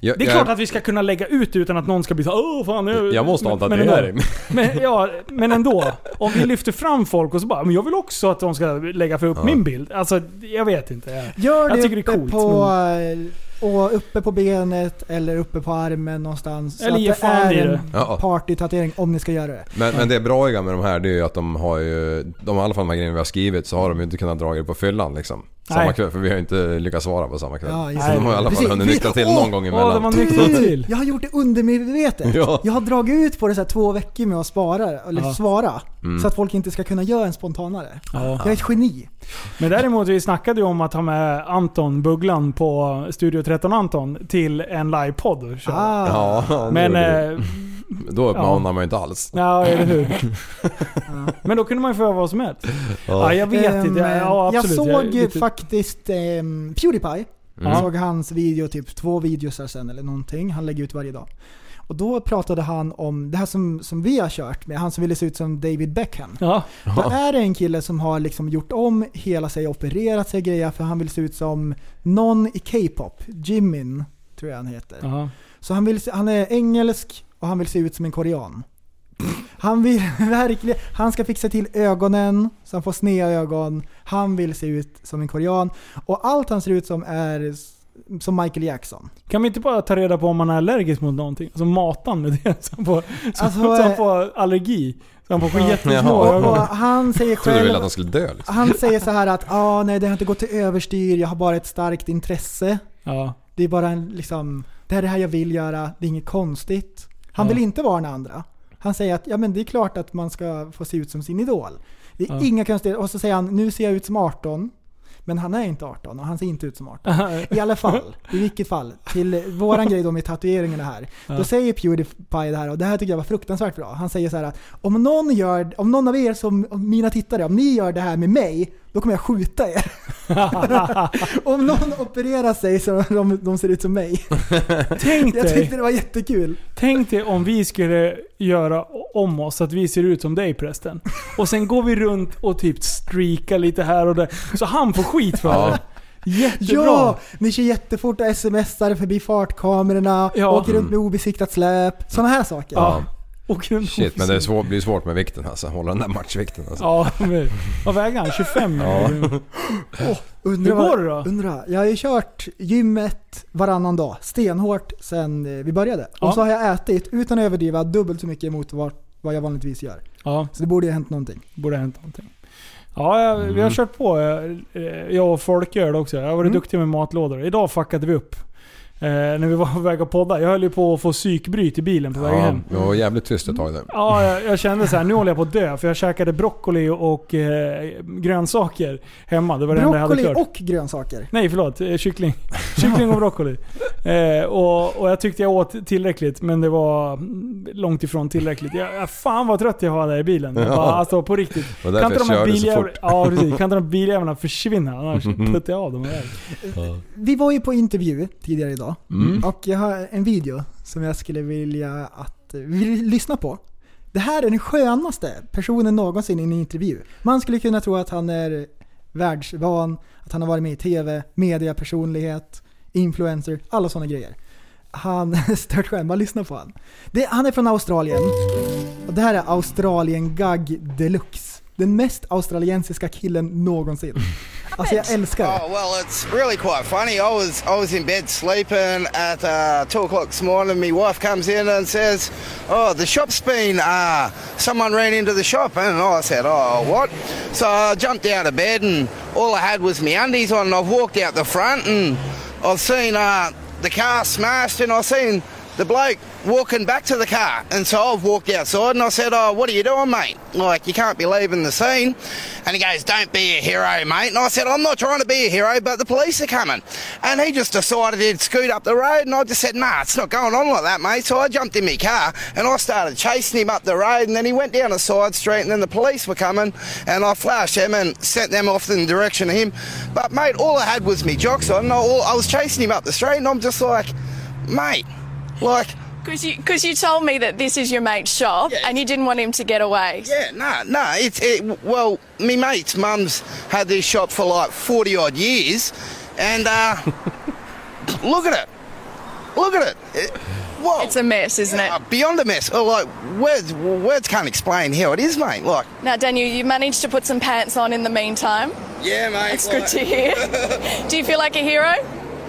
Speaker 6: Jag,
Speaker 5: Det är
Speaker 6: jag-
Speaker 5: klart att vi ska kunna lägga ut utan att någon ska bli så här, åh fan. nu-
Speaker 6: Jag måste ha en
Speaker 5: men- men ändå.
Speaker 6: tatuering.
Speaker 5: Men, ja, men ändå. Om vi lyfter fram folk och så bara, men jag vill också att de ska lägga för upp min bild. Alltså, jag vet inte.
Speaker 7: Gör
Speaker 5: Jag
Speaker 7: det,
Speaker 5: tycker det
Speaker 7: uppe,
Speaker 5: är coolt,
Speaker 7: på, och uppe på benet eller uppe på armen någonstans.
Speaker 5: Eller
Speaker 7: så
Speaker 5: ge
Speaker 7: att det
Speaker 5: fan
Speaker 7: är
Speaker 5: i det.
Speaker 7: en
Speaker 6: Ja.
Speaker 7: partytatuering om ni ska göra det.
Speaker 6: Men, men det bra med de här det är ju att de har ju, de, i alla fall de här grejerna vi har skrivit så har de ju inte kunnat dra det på fyllan liksom. Samma
Speaker 5: Nej.
Speaker 6: kväll, för vi har ju inte lyckats svara på samma kväll.
Speaker 7: Ja, just
Speaker 6: så
Speaker 5: det.
Speaker 6: de har i alla fall
Speaker 7: Precis.
Speaker 6: hunnit nyktra till
Speaker 7: Åh,
Speaker 6: någon gång
Speaker 5: Åh,
Speaker 6: emellan.
Speaker 5: de har nyktrat
Speaker 7: Du,
Speaker 5: till.
Speaker 7: jag har gjort det undermedvetet.
Speaker 6: Ja.
Speaker 7: Jag har dragit ut på det så här två veckor med att spara, eller
Speaker 5: Ja.
Speaker 7: svara.
Speaker 6: Mm.
Speaker 7: Så att folk inte ska kunna göra en spontanare.
Speaker 5: Ja.
Speaker 7: Jag är ett geni.
Speaker 5: Men däremot, vi snackade ju om att ha med Anton Bugglan på Studio 13 Anton till en livepodd. och köra.
Speaker 7: Ah,
Speaker 6: Ja,
Speaker 5: Men,
Speaker 6: men, det,
Speaker 5: eh,
Speaker 6: då uppmanar
Speaker 5: ja.
Speaker 6: man ju inte alls.
Speaker 5: ja eller hur? Men då kunde man ju få göra vad som helst. Ja, jag vet
Speaker 7: ehm,
Speaker 5: inte. Ja,
Speaker 7: jag
Speaker 5: absolut.
Speaker 7: såg
Speaker 5: är lite-
Speaker 7: faktiskt ehm, Pewdiepie.
Speaker 5: Ja.
Speaker 7: Jag såg hans video, typ två videosar sen eller någonting. Han lägger ut varje dag. Och då pratade han om det här som, som vi har kört med, han som ville se ut som David Beckham.
Speaker 5: Ja,
Speaker 7: Då är det en kille som har liksom gjort om hela sig, opererat sig och grejer för han vill se ut som någon i K-pop, Jimin. tror jag han heter.
Speaker 5: Ja.
Speaker 7: Så han, vill se, han är engelsk och han vill se ut som en korean. Han vill verkligen, han ska fixa till ögonen så han får sneda ögon. Han vill se ut som en korean. Och allt han ser ut som är s- som Michael Jackson.
Speaker 5: Kan vi inte bara ta reda på om man är allergisk mot någonting? Alltså matan med det. Så han får, så,
Speaker 7: Alltså,
Speaker 5: så han
Speaker 7: eh,
Speaker 5: får allergi. Så han får
Speaker 7: Ja.
Speaker 5: jättesmå
Speaker 7: Och, och
Speaker 5: ögon.
Speaker 7: han säger
Speaker 6: Jag trodde du ville
Speaker 7: själv...
Speaker 6: att han skulle dö liksom.
Speaker 7: Han säger så här att ah, nej, det har inte gått till överstyr, jag har bara ett starkt intresse.
Speaker 5: Ja.
Speaker 7: Det är bara en, liksom, det här är det här jag vill göra, det är inget konstigt. Han
Speaker 5: Ja.
Speaker 7: vill inte vara den andra. Han säger att ja, men det är klart att man ska få se ut som sin idol. Det är
Speaker 5: Ja.
Speaker 7: inga konstigheter. Och så säger han, nu ser jag ut som 18. Men han är inte 18 och han ser inte ut som 18. I alla fall, i vilket fall, till våran grej då med tatueringarna här.
Speaker 5: Ja.
Speaker 7: Då säger Pewdiepie det här och det här tycker jag var fruktansvärt bra. Han säger så här att om någon, gör, om någon av er som, om mina tittare, om ni gör det här med mig, då kommer jag skjuta er. om någon opererar sig så de, de ser ut som mig.
Speaker 5: Tänk
Speaker 7: Jag
Speaker 5: dig,
Speaker 7: tyckte det var jättekul.
Speaker 5: tänk dig om vi skulle göra om oss, så att vi ser ut som dig prästen. Och sen går vi runt och typ streakar lite här och där. Så han får skit för
Speaker 6: Ja.
Speaker 5: det. Jättebra.
Speaker 7: Ja! Ni kör jättefort och smsar förbi fartkamerorna,
Speaker 5: Ja.
Speaker 7: åker runt med obesiktat släp. Sådana här saker.
Speaker 6: Ja.
Speaker 5: Och en
Speaker 6: Shit, men det är svårt, blir svårt med vikten alltså. Hålla den där matchvikten alltså.
Speaker 5: Ja, men- vad väger han? 25?
Speaker 6: Ja.
Speaker 7: Undrar
Speaker 5: Hur går
Speaker 7: vad-
Speaker 5: det då?
Speaker 7: Undrar. Jag har ju kört gymmet varannan dag, stenhårt, sen eh, vi började.
Speaker 5: Ja.
Speaker 7: Och så har jag ätit, utan att överdriva, dubbelt så mycket mot vad, vad jag vanligtvis gör.
Speaker 5: Ja,
Speaker 7: Så det borde ju ha hänt någonting.
Speaker 5: borde ha hänt någonting. Ja, jag, vi
Speaker 6: Mm.
Speaker 5: har kört på. eh, Jag och folköl också. Jag har varit
Speaker 7: Mm.
Speaker 5: duktig med matlådor. Idag fuckade vi upp. Eh, när vi var på väg att podda. Jag höll ju på att få psykbryt i bilen på vägen
Speaker 6: Ja,
Speaker 5: hem.
Speaker 6: det var jävligt tyst ett tag där.
Speaker 5: Ja, jag, jag kände så här, nu håller jag på att dö. För jag käkade broccoli och eh, grönsaker hemma. Det var det enda jag hade
Speaker 7: Broccoli
Speaker 5: kört.
Speaker 7: och grönsaker.
Speaker 5: Nej förlåt, eh, kyckling. kyckling och broccoli. Eh, och, och jag tyckte jag åt tillräckligt men det var mm, långt ifrån tillräckligt. Jag, jag, fan vad trött jag var där i bilen. Jag
Speaker 6: Ja.
Speaker 5: Bara, alltså på riktigt.
Speaker 6: Det var därför jag
Speaker 5: de här
Speaker 6: körde så
Speaker 5: biljävla-
Speaker 6: fort. Mm-hmm.
Speaker 5: ja, precis. kan inte de här biljävlarna försvinna? Annars puttar jag av dem iväg.
Speaker 7: Vi var ju på intervju tidigare idag
Speaker 6: Mm.
Speaker 7: och jag har en video som jag skulle vilja att vi lyssna på. Det här är den skönaste personen någonsin i en intervju. Man skulle kunna tro att han är världsvan, att han har varit med i TV, mediapersonlighet, influencer, alla sådana grejer. Han är störtskön, bara lyssna på han. Det, han är från Australien. Och det här är Australien-gag deluxe. Den mest australiensiska killen någonsin. Alltså jag älskar det.
Speaker 12: Oh well, it's really quite funny. I was I was in bed sleeping at uh, two o'clock this morning. My wife comes in and says, "Oh, the shop's been. Uh, someone ran into the shop." And I said, "Oh, what?" So I jumped out of bed and all I had was my undies on. And I've walked out the front and I've seen uh, the car smashed and I've seen the bloke walking back to the car. And so I've walked outside and I said, Oh, what are you doing, mate? Like, you can't be leaving the scene. And he goes, Don't be a hero, mate. And I said, I'm not trying to be a hero, but the police are coming. And he just decided he'd scoot up the road. And I just said, Nah, it's not going on like that, mate. So I jumped in my car and I started chasing him up the road. And then he went down a side street and then the police were coming. And I flashed them and sent them off in the direction of him. But, mate, all I had was me jocks on. And I, all, I was chasing him up the street and I'm just like, Mate, like,
Speaker 10: Because you, cause you told me that this is your mate's shop
Speaker 12: Yeah.
Speaker 10: and you didn't want him to get away.
Speaker 12: yeah, no, no, it's it. Well, me mate's mum's had this shop for like forty odd years, and uh, look at it, look at it. it whoa,
Speaker 10: It's a mess, isn't
Speaker 12: uh,
Speaker 10: it?
Speaker 12: beyond a mess. Oh, like words, words can't explain how it is, mate. Like,
Speaker 10: Now, Daniel, you managed to put some pants on in the meantime.
Speaker 12: yeah, mate.
Speaker 10: That's good to hear. Do you feel like a hero?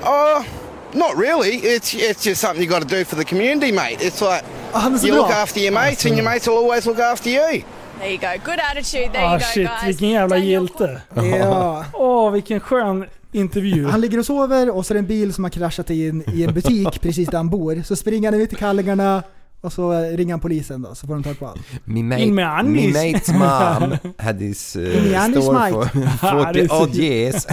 Speaker 12: Oh, not really. It's it's just something you got to do for the community, mate. It's like
Speaker 7: Han är så
Speaker 12: you
Speaker 7: bra.
Speaker 12: look after your mates, and your mates will always look after you.
Speaker 10: There you go. Good attitude. There
Speaker 5: Ah
Speaker 10: you go,
Speaker 5: shit,
Speaker 10: guys.
Speaker 5: vilken jävla
Speaker 10: Daniel,
Speaker 5: hjälte.
Speaker 7: Ja.
Speaker 5: Åh, vilken skön intervju.
Speaker 7: Han ligger och sover och så är det en bil som har kraschat in i en butik precis där han bor. Så springer han ut till kallingarna och så ringer han polisen då, så får de tag på honom.
Speaker 6: Min mate,
Speaker 5: In med Anis.
Speaker 6: min mate's mom had this
Speaker 7: In med
Speaker 6: uh,
Speaker 7: Anis,
Speaker 6: store
Speaker 7: mate.
Speaker 6: for 40 odd years.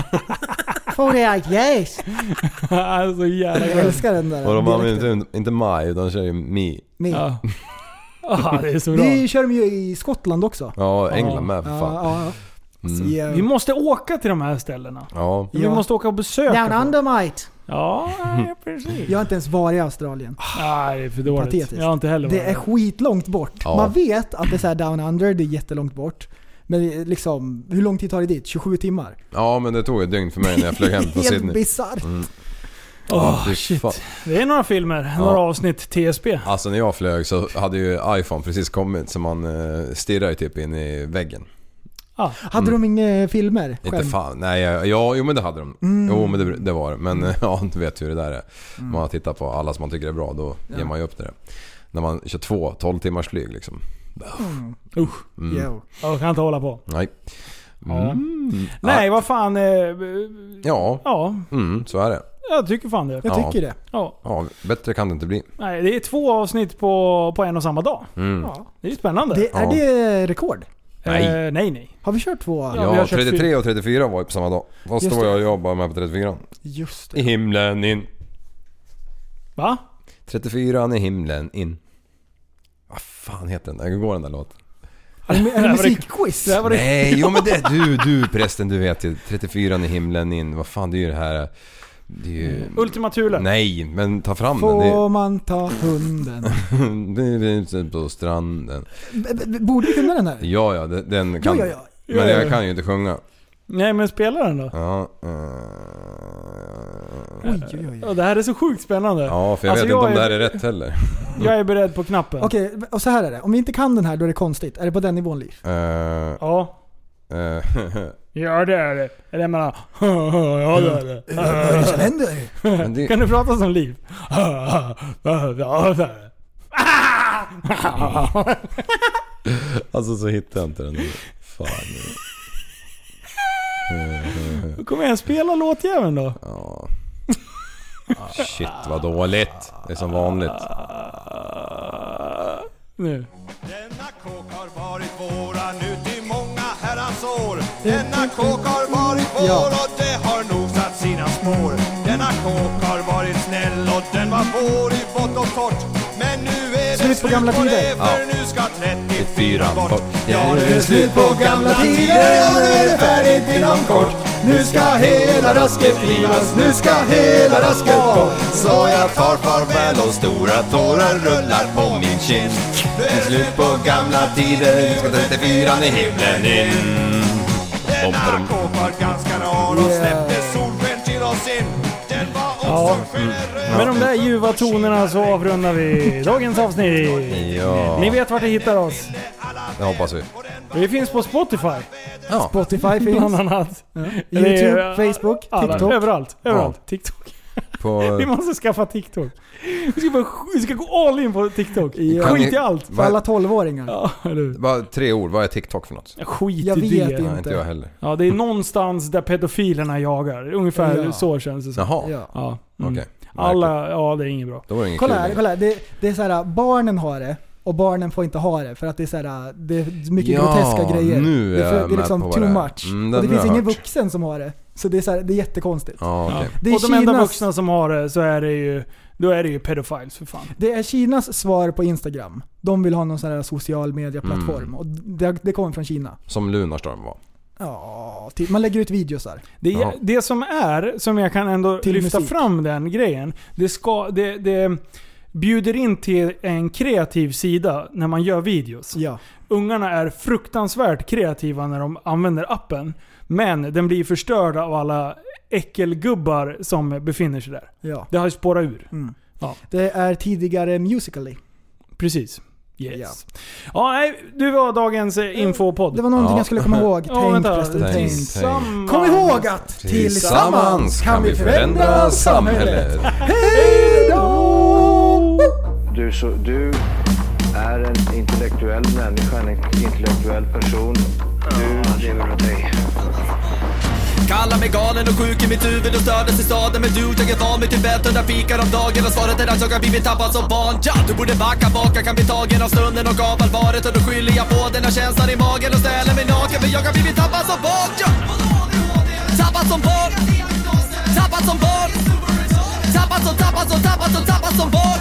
Speaker 7: For the yes!
Speaker 5: alltså jävla
Speaker 7: Jag älskar den där
Speaker 6: Och de använder
Speaker 7: dialekten.
Speaker 6: inte, inte my utan kör ju me.
Speaker 7: Ni.
Speaker 5: Ja. Ah, det är så bra.
Speaker 7: Vi kör dem ju i Skottland också.
Speaker 6: Ja, England med för
Speaker 7: Ja,
Speaker 6: fan. Mm.
Speaker 7: ja, ja. Så, ja.
Speaker 5: Vi måste åka till de här ställena.
Speaker 6: Ja.
Speaker 5: Vi
Speaker 7: Ja.
Speaker 5: måste åka och besöka.
Speaker 7: Down
Speaker 5: folk.
Speaker 7: under mate.
Speaker 5: Ja, precis.
Speaker 7: Jag har inte ens varit i Australien.
Speaker 5: Nej, det är för dåligt.
Speaker 7: Patetiskt.
Speaker 5: Jag har inte heller
Speaker 7: Det
Speaker 5: varit
Speaker 7: är skitlångt bort.
Speaker 6: Ja.
Speaker 7: Man vet att det är så här down under, det är jättelångt bort. Men liksom, hur lång tid tar det dit? 27 timmar?
Speaker 6: ja, men det tog ett dygn för mig när jag flög hem från
Speaker 7: Helt Ah,
Speaker 6: Sydney.
Speaker 7: bisarrt.
Speaker 5: Åh,
Speaker 6: fy
Speaker 5: shit.
Speaker 6: fan.
Speaker 5: Det är några filmer, några avsnitt TSB.
Speaker 6: Alltså när jag flög så hade ju iPhone precis kommit så man eh, stirrar ju typ in i väggen.
Speaker 7: Hade de inga filmer?
Speaker 6: Mm. Inte fan. Nej, jag- ja, jo men det hade de.
Speaker 7: Mm.
Speaker 6: Jo men det, det var det. Men ja, du vet hur det där är. Om Man tittar på alla som man tycker är bra, då ger man ju upp det där. När man kör två 12 timmars flyg liksom.
Speaker 5: Mm. Usch.
Speaker 6: Mm.
Speaker 5: Jag kan inte hålla på.
Speaker 6: Nej.
Speaker 5: Ja.
Speaker 6: Mm.
Speaker 5: Nej, vad fan. eh, eh,
Speaker 6: Ja.
Speaker 5: Ja,
Speaker 6: Mm, så är det.
Speaker 5: jag tycker fan det.
Speaker 6: Jag tycker
Speaker 5: det. Ja.
Speaker 6: Ja, bättre kan det inte bli.
Speaker 5: Nej, det är två avsnitt på, på en och samma dag.
Speaker 6: Mm.
Speaker 5: Ja, det är ju spännande.
Speaker 6: Det- är Ja.
Speaker 7: det rekord?
Speaker 6: Nej.
Speaker 5: Eh, nej, nej.
Speaker 7: Har vi kört två?
Speaker 6: Ja, 33 och 34 var ju på samma dag. Fast
Speaker 7: Just
Speaker 6: då var
Speaker 7: det.
Speaker 6: jag och jobbade med på 34.
Speaker 7: Just
Speaker 6: I himlen in.
Speaker 5: Va?
Speaker 6: 34 i himlen in. Vad fan heter den där? Hur går den där låten?
Speaker 7: Är det musikquiz?
Speaker 6: Nej, jo men det, du, du prästen du vet ju. 34 i himlen in. Vad fan det är ju det här... Det är ju...
Speaker 5: Ultima Thule.
Speaker 6: Nej, men ta fram den.
Speaker 7: Får
Speaker 6: Det
Speaker 7: man ta hunden?
Speaker 6: är... det är ute på stranden.
Speaker 7: B- b- Borde du kunna den här?
Speaker 6: Ja, ja, det- den kan...
Speaker 7: Ja, ja, ja.
Speaker 6: Men
Speaker 7: Ja, ja,
Speaker 6: jag
Speaker 7: ja.
Speaker 6: kan ju inte sjunga.
Speaker 5: Nej, men spela den då.
Speaker 6: Ja, eh,
Speaker 7: Oj, oj, oj.
Speaker 5: Ja, Det här är så sjukt spännande.
Speaker 6: ja för jag
Speaker 5: Alltså,
Speaker 6: vet inte om
Speaker 5: är-
Speaker 6: det här är rätt heller.
Speaker 5: Jag är beredd på knappen.
Speaker 7: Mm. Okej, och så här är det. Om vi inte kan den här då är det konstigt. Är det på den nivån Liv?
Speaker 6: Eh,
Speaker 5: Ja.
Speaker 6: eh,
Speaker 5: Ja det är det. Eller jag menar... Ja det är det.
Speaker 7: Vad är det som händer?
Speaker 6: Men det-
Speaker 5: Kan du prata som Liv? Ja det är det.
Speaker 6: alltså så hittar jag inte den. Fan.
Speaker 5: Kom igen, spela låtjäveln då.
Speaker 6: Ja. Shit vad dåligt. Det är som vanligt.
Speaker 5: Nu.
Speaker 13: varit våran ut i många herrans år. Denna kåk har varit vår och det har nog satt sina spår. Denna kåk har varit snäll och den var vår i vått och torrt. Men nu är det
Speaker 7: Slut på gamla
Speaker 13: och
Speaker 7: tider.
Speaker 13: det, för nu ska 34 bort.
Speaker 6: Ja,
Speaker 13: nu är det slut på gamla tider, ja nu är det färdigt inom kort. Nu ska hela rasket rivas, nu ska hela rasket bort. Så jag tar farväl och stora tårar rullar på min kind. Nu är det slut på gamla tider, nu ska 34 i himlen in. Denna kåk var ganska rar och släppte solsken till oss in. Den var
Speaker 5: Ja. Med de där ljuva tonerna så avrundar vi dagens avsnitt.
Speaker 6: Ja,
Speaker 5: Ni vet vart ni hittar oss.
Speaker 6: det hoppas vi.
Speaker 5: Vi finns på Spotify.
Speaker 6: Ja.
Speaker 7: Spotify finns.
Speaker 5: Bland annat.
Speaker 7: YouTube,
Speaker 5: Det är-
Speaker 7: Facebook,
Speaker 5: alla,
Speaker 7: TikTok.
Speaker 5: Överallt. Överallt. TikTok.
Speaker 6: På,
Speaker 5: Vi måste skaffa TikTok. Vi ska, bara, vi ska gå all in på TikTok.
Speaker 6: Kan
Speaker 5: Skit
Speaker 6: ni-
Speaker 5: i allt.
Speaker 6: Vad-
Speaker 7: Alla tolvåringar.
Speaker 5: Ja, eller hur?
Speaker 6: Bara tre ord, vad är TikTok för något?
Speaker 5: Skit
Speaker 7: Jag
Speaker 5: i det.
Speaker 7: vet
Speaker 6: Nej, inte jag heller.
Speaker 5: Ja, det är någonstans där pedofilerna jagar. Ungefär
Speaker 7: Ja.
Speaker 5: så känns det som.
Speaker 6: Jaha.
Speaker 7: Ja.
Speaker 5: Ja. Mm.
Speaker 6: Okej.
Speaker 5: Alla, ja det är inget bra.
Speaker 6: Då var det inget
Speaker 7: Kolla
Speaker 6: kul.
Speaker 7: här, kolla här. Det, det är så här, barnen har det och barnen får inte ha det för att det är så här, det är mycket
Speaker 6: Ja,
Speaker 7: groteska grejer.
Speaker 6: nu är
Speaker 7: det,
Speaker 6: jag
Speaker 7: det är
Speaker 6: med
Speaker 7: liksom
Speaker 6: på vad
Speaker 7: too
Speaker 6: det är.
Speaker 7: much.
Speaker 6: Mm, den
Speaker 7: och det
Speaker 6: har
Speaker 7: finns
Speaker 6: jag
Speaker 7: ingen
Speaker 6: hört.
Speaker 7: vuxen som har det. Så det är, så här, det är jättekonstigt.
Speaker 6: Ja, okej.
Speaker 7: Det är
Speaker 5: och de enda
Speaker 7: Kinas-
Speaker 5: vuxna som har det så är det ju, då är det ju pedofiles för fan.
Speaker 7: Det är Kinas svar på Instagram. De vill ha någon sån här social media-plattform.
Speaker 6: Mm.
Speaker 7: Och det, det kommer från Kina.
Speaker 6: Som Lunarstorm var.
Speaker 7: Ja, typ. man lägger ut videosar.
Speaker 5: Det,
Speaker 6: Jaha.
Speaker 5: det som är, som jag kan ändå
Speaker 7: Till
Speaker 5: lyfta
Speaker 7: musik.
Speaker 5: fram den grejen, det, ska, det, det bjuder in till en kreativ sida när man gör videos.
Speaker 7: Ja.
Speaker 5: Ungarna är fruktansvärt kreativa när de använder appen, men den blir förstörd av alla äckelgubbar som befinner sig där.
Speaker 7: Ja.
Speaker 5: Det har ju spårat ur.
Speaker 7: Mm.
Speaker 5: Ja.
Speaker 7: Det är tidigare Musical.ly.
Speaker 5: Precis. Yes. Ja, nej, du var dagens eh, infopodd.
Speaker 7: Det var någonting
Speaker 6: Ja.
Speaker 7: jag skulle komma ihåg.
Speaker 5: Ja,
Speaker 7: tänk
Speaker 5: vänta.
Speaker 7: förresten,
Speaker 6: Tänk,
Speaker 7: tänk.
Speaker 6: tänk.
Speaker 7: Kom ihåg att tillsammans kan vi förändra samhället.
Speaker 3: Du, så, du är en intellektuell människa, en intellektuell person. Du lever av dig.
Speaker 1: Kallar mig galen och sjuk i mitt huvud och stördes i staden Men du, jag är van vid Tibet under fikar om dagen Och svaret är att jag har blivit tappad som barn ja, Du borde backa bak, jag kan bli tagen av stunden och av allvaret Och då skyller jag på den här känslan i magen och ställer mig naken För jag har blivit tappad som barn ja. Tappad som barn Tappad som barn Tappad som, tappad som, tappad som, tappad som barn